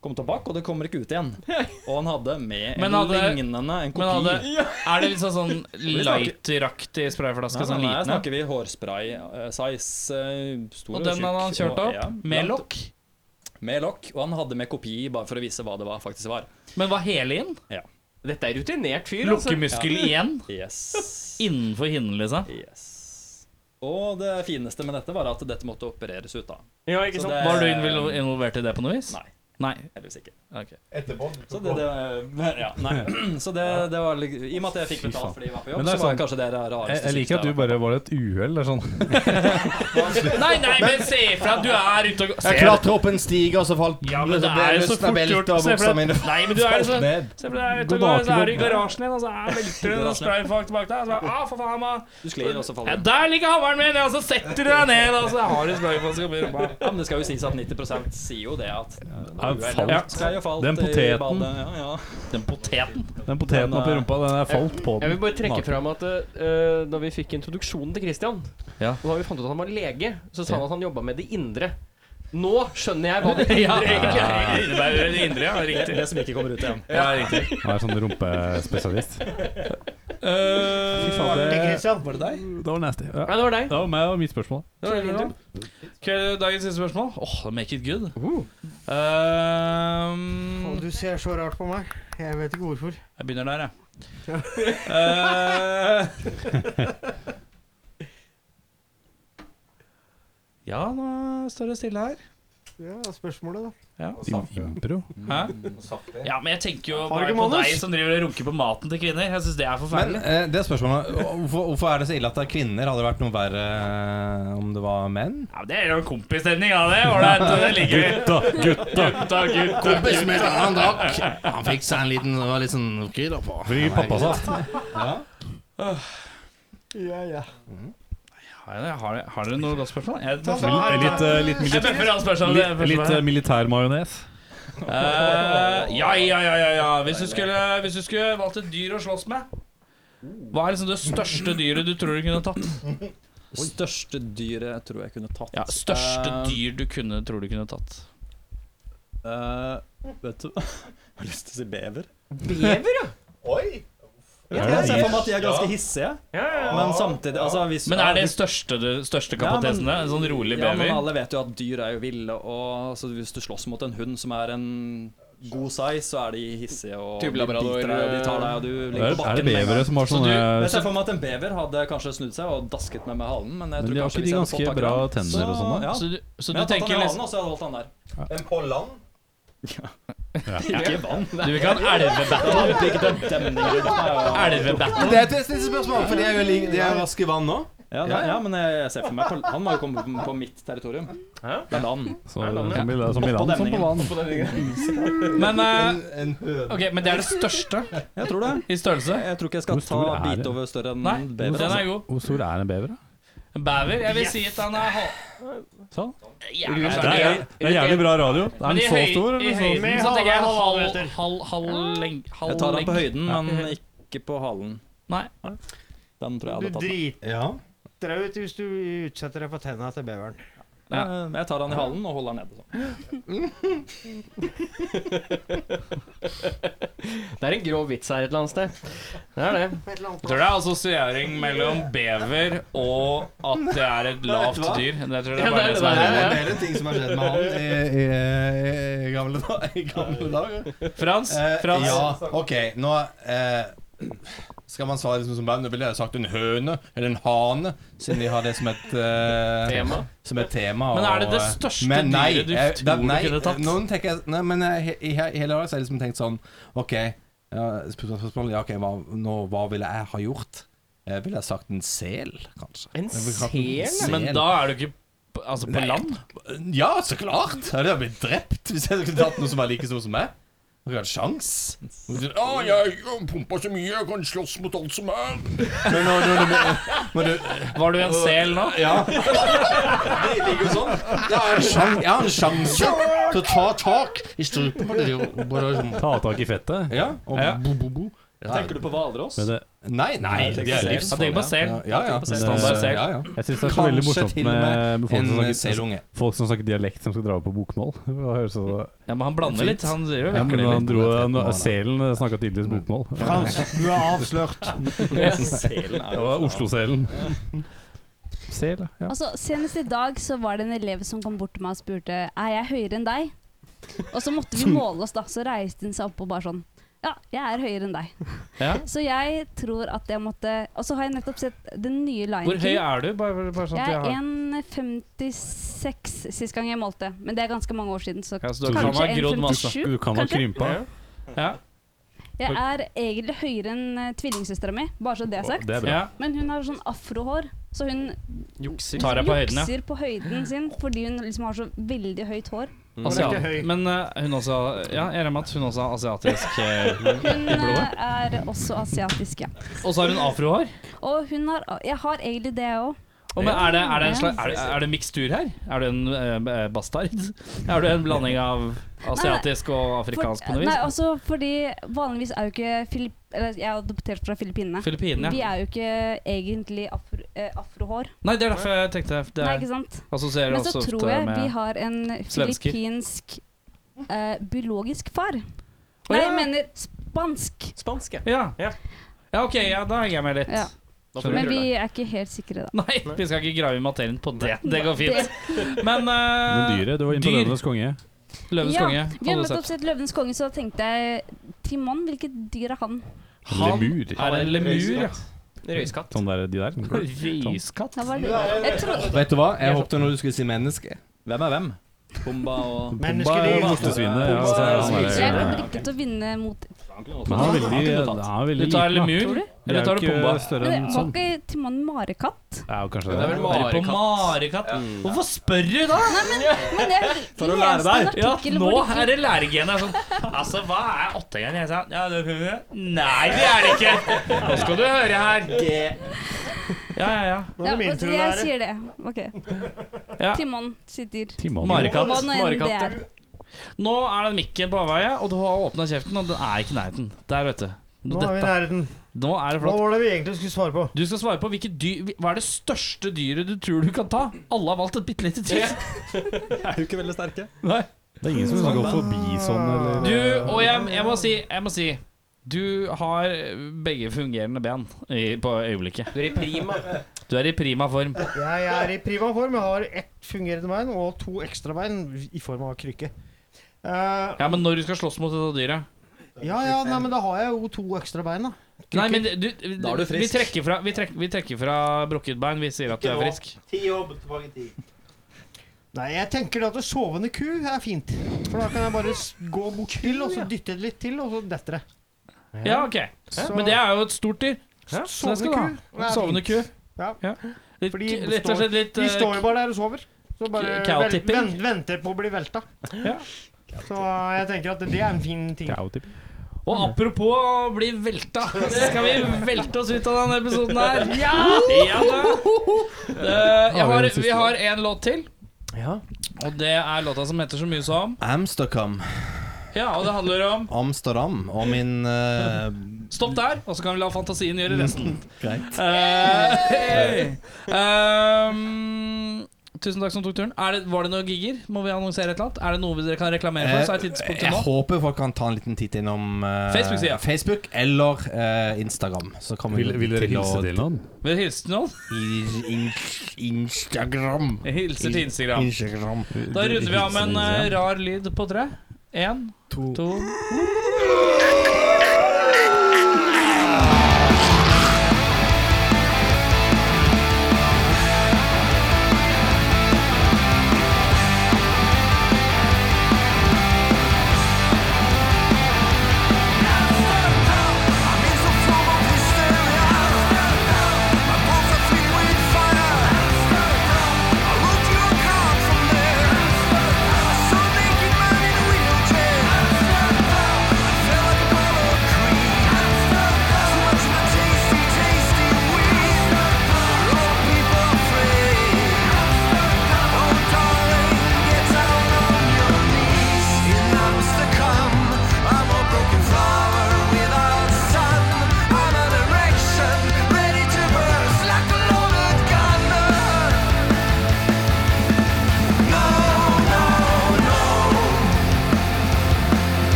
kommet opp bak, og det kommer ikke ut igjen. Og han hadde med en Men hadde- lignende, en kopi. Men hadde, er det liksom sånn Vi snakker- light-raktig sprayflaske? Nei, nei, Sånn nei, her liten? snakker vi hårspray eh, size. eh, stor Og den tjukk, hadde han kjørt og- opp? Med blant- lokk? Med lokk, og han hadde med kopi bare for å vise hva det var, faktisk var. Men var hele inn? Ja. Dette er rutinert fyr. altså. Lukkemuskel igjen? Yes. Innenfor hinnen, liksom? Og det fineste med dette var at dette måtte opereres ut, da. Ja, ikke Så sant? det- Var du invol- involvert i det på noe vis? sånn- Nei. Nei. Heldigvis ikke. Ok. Etterpå? Så det, det, ja, nei. Så det, det var lik- I og med at jeg fikk Fy betalt faen. fordi jeg var på jobb, Men det er så var sånn- kanskje det det rareste Jeg, jeg liker at du syktet bare var et uhell. det er Sånn. Nei, nei, men se fra at du er ute og Se- Jeg klatra opp en stige, og så falt Ja, men det er jo så fort gjort. og Se for buksa deg- mine Nei, men du er falt så ned. Se for deg ute God og går, så dag, er du i god- garasjen igjen, og så er velter det noen sprayfolk bak deg. Og så er, ah, for faen, man. Du sklir, og så faller Ja, du. der ligger hammeren min, og så setter du deg ned, og så har du sprayflaske oppi rumpa. Ja, men det skal jo sies at 90 sier jo det at Ja, det falt. ja. skal jo falt Den i poteten. badet, Ja, ja. Den poteten. Den poteten Den, oppi eh, rumpa, den er falt på Jeg den. vil bare trekke Naken. fram at eh, da vi fikk introduksjonen til Christian, Ja. og da vi fant ut at han var lege, så sa han at han jobba med det indre. Nå skjønner jeg hva det indre Ja, egentlig er. innebærer det indre, ja. Det, Riktig. det som ikke kommer ut igjen. Ja, riktig. Han er sånn rumpespesialist. Fy Uh, faen, det, Var det deg? det var nasty. Ja. Nei, det var deg. Det var meg og mitt spørsmål. Det var din tur. dagens siste spørsmål. Åh, make it good. Uh. Ehm, du ser så rart på meg. Jeg vet ikke hvorfor. jeg begynner der, jeg. Eh, ja, nå står det stille her. Ja, spørsmålet, da. Impro. Hæ? Ja, men jeg tenker jo Har du bare ikke på manus? deg som driver og runker på maten til kvinner. Jeg syns det er Men forferdelig. eh, det spørsmålet hvorfor, hvorfor er det så ille at det er kvinner? Hadde det vært noe verre eh, om det var menn? Ja, men det er jo kompisstemning av det. Ålreit, det ligger vi. Gutta, gutta. Gutta, gutta. Kompis min, han drakk. Han fikk seg en liten Det var litt sånn krydder på. Fordi pappa sa Ja, ja. Har dere- Har dere- har dere noe godt spørsmål? Jeg tar Litt, litt, eh, Jeg litt, militær- bøffer alle spørsmålene. litt, litt eh, militærmajones. Eh, ja, ja, ja, ja, ja. Hvis, du skulle, hvis du skulle valgt et dyr å slåss med Hva er liksom det største dyret du tror du kunne tatt? Største dyret jeg tror jeg kunne tatt. Ja, Største Eh, dyr du kunne, tror du kunne tatt? eh, vet du Jeg har lyst til å si bever. Oi! Jeg ser for meg at de er ganske hissige, men samtidig altså, hvis, Men er det største, det største kapasiteten? Ja, det? en sånn rolig Ja, men bever? alle vet jo at dyr er jo ville, og altså, hvis du slåss mot en hund som er en god size, så er de hissige og de Type labrador, eh, biter deg, og de tar deg, og du Er ligger på er det bakken. med en bevere gang. som har Så du- Jeg sånne ser for meg at en bever hadde kanskje snudd seg og dasket meg med halen, men jeg Men tror de har kanskje ikke hvis jeg de hadde ganske fått tak i bra den, tenner og sånn, da? Ja. Så du, så du Men jeg hadde tatt tenker han i liksom halen, og så hadde jeg holdt han der. Men på land? Ikke vann. Du vil ikke ha en elvebattle? Elvebattle? Det er et vesentlig spørsmål, for de er jo li- de er raske i vann nå. Ja, nei, ja, men jeg ser for meg på, Han må jo komme på, på mitt territorium. Det er land. Så- Som i som i land, som på land. Men, eh, En høne. ok, men det er det største Jeg tror det. i størrelse? Jeg tror ikke jeg skal ta Hvor stor er det? bit over større enn Nei, bever. den altså. er god. Hvor stor er en bever, da? En Bever? Jeg vil si at han er halv... Sånn. Jævla Det er, det er jævlig bra radio. Er Men den i så høy- i stor, eller så høyden stor? så sånn tenker jeg halv, halv, halv, leng, halv Jeg tar den på lengd. høyden, men ikke på halen. Nei. Den tror jeg Du hadde tatt. driter Ja. deg ut hvis du utsetter deg for tenna til beveren. Ja, Eh, Jeg tar den i halen og holder den nede. Sånn. Det er en grov vits her et eller annet sted. Det er det. Jeg tror det er assosiering mellom bever og at det er et lavt hva? dyr. Det tror jeg Ja, det er bare det er det som det er der, ja. det. Flere ting som har skjedd med han i, i, i gamle da- i gamle dager. Frans? Eh, Frans? Ja, ok, nå eh, Skal man svare liksom som band, da ville jeg sagt en høne eller en hane, siden de har det som et eh, Tema. Som et tema Men er det og, det eh, største men nei, dyret du jeg- tror da- du nei, eh, kunne tatt? Noen tenker, jeg- nei, men jeg, he- i, he- hele dag så har jeg liksom tenkt sånn Ok, ja, spørsmål, spørsmål, ja, ok, hva, nå, hva ville jeg ha gjort? Eh, ville jeg sagt en sel, kanskje? En Jeg ville kalt sel? en sel. Men da er du ikke p- altså, på land? Ja, så klart! Jeg hadde blitt drept hvis jeg skulle tatt noe som var like stor som meg. Har ikke hatt sjans. Å, jeg har pumpa så mye, jeg kan slåss mot alt som er. Men nå, nå, nå, Var du en sel nå? Ja. Det ligger jo sånn. Jeg har en sjan- jeg har en sjanse til å ta tak i strupen på det. og Bare sånn. Ta tak i fettet? Ja. Og Ja. bo, bo, bo. Ja. Tenker du på Hvalross? Men det- Nei, nei, det er livsfarlig. Jeg tenker på sel. Ja, ja. ja. Men det- Jeg eh, Ja, ja. syns det er så veldig Kanskje morsomt til med, og med altså. folk, som en eh, selunge. snakker, folk som snakker dialekt, som skal dra på bokmål. Det høres så- Ja, men han blander litt, han driver og Ja, vekker men det han litt. dro, han, Selen snakka tydeligvis bokmål. Altså, Frans, du er avslørt. Ja. Selen er Det var Oslo-selen. Sel, ja. Altså, Senest i dag så var det en elev som kom bort til meg og spurte Er jeg høyere enn deg. Og så måtte vi måle oss, da. Så reiste hun seg opp og bare sånn Ja, jeg er høyere enn deg. Ja. Så jeg tror at jeg måtte Og så har jeg nettopp sett den nye Lion Hvor høy King. er du? Bare, bare sånn at Jeg jeg er har 1,56 sist gang jeg målte, men det er ganske mange år siden. Så Ja, så du kan kanskje ha grodd masse. 1,57? Du kan ha kanskje? krympa. Ja. Jeg er egentlig høyere enn uh, tvillingsøstera mi, bare så det er Å, sagt. det er bra. Ja. Men hun har sånn afrohår, så hun Jukser. Tar deg på høyden, ja. jukser på høyden sin fordi hun liksom har så veldig høyt hår. Asiat. Men eh, hun også Ja, jeg regner med at hun også har asiatisk eh, Hun i blodet. eh, er også asiatisk, ja. Og så har hun afrohår. Og hun har Jeg har egentlig det òg. Og men er det, er, det en slags, er, det- er det en mikstur her? Er du en eh, bastard? Er du en blanding av asiatisk og afrikansk på noe Nei, vis? altså fordi vanligvis er jo ikke Filip... Eller jeg er adoptert fra Filippinene. Filippinene, ja. Vi er jo ikke egentlig afro, eh, afrohår. Nei, det er derfor jeg tenkte det Nei, ikke sant? assosierer Men så også tror ofte jeg med vi har en svensker. filippinsk eh, biologisk Å, far. Nei, ja. jeg mener spansk. Spansk, Ja. ja. ok, ja, da henger jeg med litt. Ja. Da får vi Men gjøre vi det. er ikke helt sikre, da. Nei, vi skal ikke grave i materien på det. Det går Det- fint. Men, uh, Men dyret, du var inne på Løvenes konge. Løvenes ja, konge. Vi har hadde nettopp sett. sett Løvens konge, så tenkte jeg Timon, hvilket dyr er han? Han Lemur. er en lemur, ja. Røyskatt. Sånn der, de der. Røyskatt? Hva var det? Jeg trodde Vet du hva? Jeg håpte når du skulle si menneske. Hvem er hvem? Pumba og Menneskeliv. Ostesvinet, ja, så er han der. Jeg kommer ikke til å vinne mot Men han er veldig, han er veldig Du tar liten, da. lemur, Det eller er tar jo du ikke Pumba? større Men enn det- Var sånn. ikke Timon marekatt? Ja, Det kanskje er det. vel marekatt. marekatt. Mm. Hvorfor spør du da? Nei, men, men jeg For å lære leste en deg. Ja, artikkel nå hvor de- er det læregenet. er Sånn. Altså, hva er åttegeren? Jeg sa ja, det Nei, det er det ikke. Nå skal du høre her. Ja, ja, ja. Nå er det Ja, min og tur å jeg lære. sier det. Ok. Ja. Timon sitt dyr. Timon. Marekatt. Hva nå enn det Marekatt. er. Nå er den mikken på avveie, og du har åpna kjeften, og den er ikke i nærheten. Der, vet du. Nå er vi i Dette- nærheten. Nå er det Hva flott. var det vi egentlig skulle svare på? Du skal svare på hvilket dyr, hva er det største dyret du tror du kan ta. Alle har valgt et bitte lite dyr. Er jo ikke veldig sterke. Nei. Det er ingen som snakker om forbisonn sånn, eller Du, og jeg, jeg må si, jeg må si Du har begge fungerende ben i, på øyeblikket. Du er i prima. Du er i prima form. Jeg er i prima form. Jeg har ett fungerende bein og to ekstra bein i form av krykke. Eh, Ja, Men når du skal slåss mot dette dyret ja ja, nei, men da har jeg jo to ekstra bein, da. Nei, men du, Da er du vi frisk. trekker fra, vi trekker, vi trekker fra brukket bein. Vi sier at du er frisk. Ti jobb tilbake i tid. Nei, jeg tenker at sovende ku er fint. For da kan jeg bare s- gå bort til, og så dytte det litt til, og så detter det. Ja, ok. Så- Men det er jo et stort dyr. Så det skal du ha. ku er Sovende fint. ku. Ja. Litt, For de rett og slett litt står- De eh, står jo bare der og sover. Så bare vel, Cow-tipping. ven, venter på å bli velta. Ja. Så jeg tenker at det er en fin ting. Cow-tipping. Og apropos å bli velta, så skal vi velte oss ut av denne episoden her. Ja! da. Eh, jeg har, vi har en låt til, Ja. og det er låta som heter så mye som Amsterdam. Ah. Ja, og det handler om Amsterdam og min eh, Stopp der, og så kan vi la fantasien gjøre resten. Mm, Greit. Eh, hey. Ehm, tusen takk som tok turen. Er det, var det noen gigger? Må vi annonsere et eller annet? Er det noe dere kan reklamere for? Så er Eh, tidspunktet jeg nå. håper folk kan ta en liten titt innom eh, Facebook-sida. Facebook eller eh, Instagram. Så kan vi Vil, vil dere hilse til noen? Vil du hilse til noen? I- in- Instagram. Jeg hilser til Instagram. Instagram. Da runder vi av med en eh, rar lyd på tre. Én, to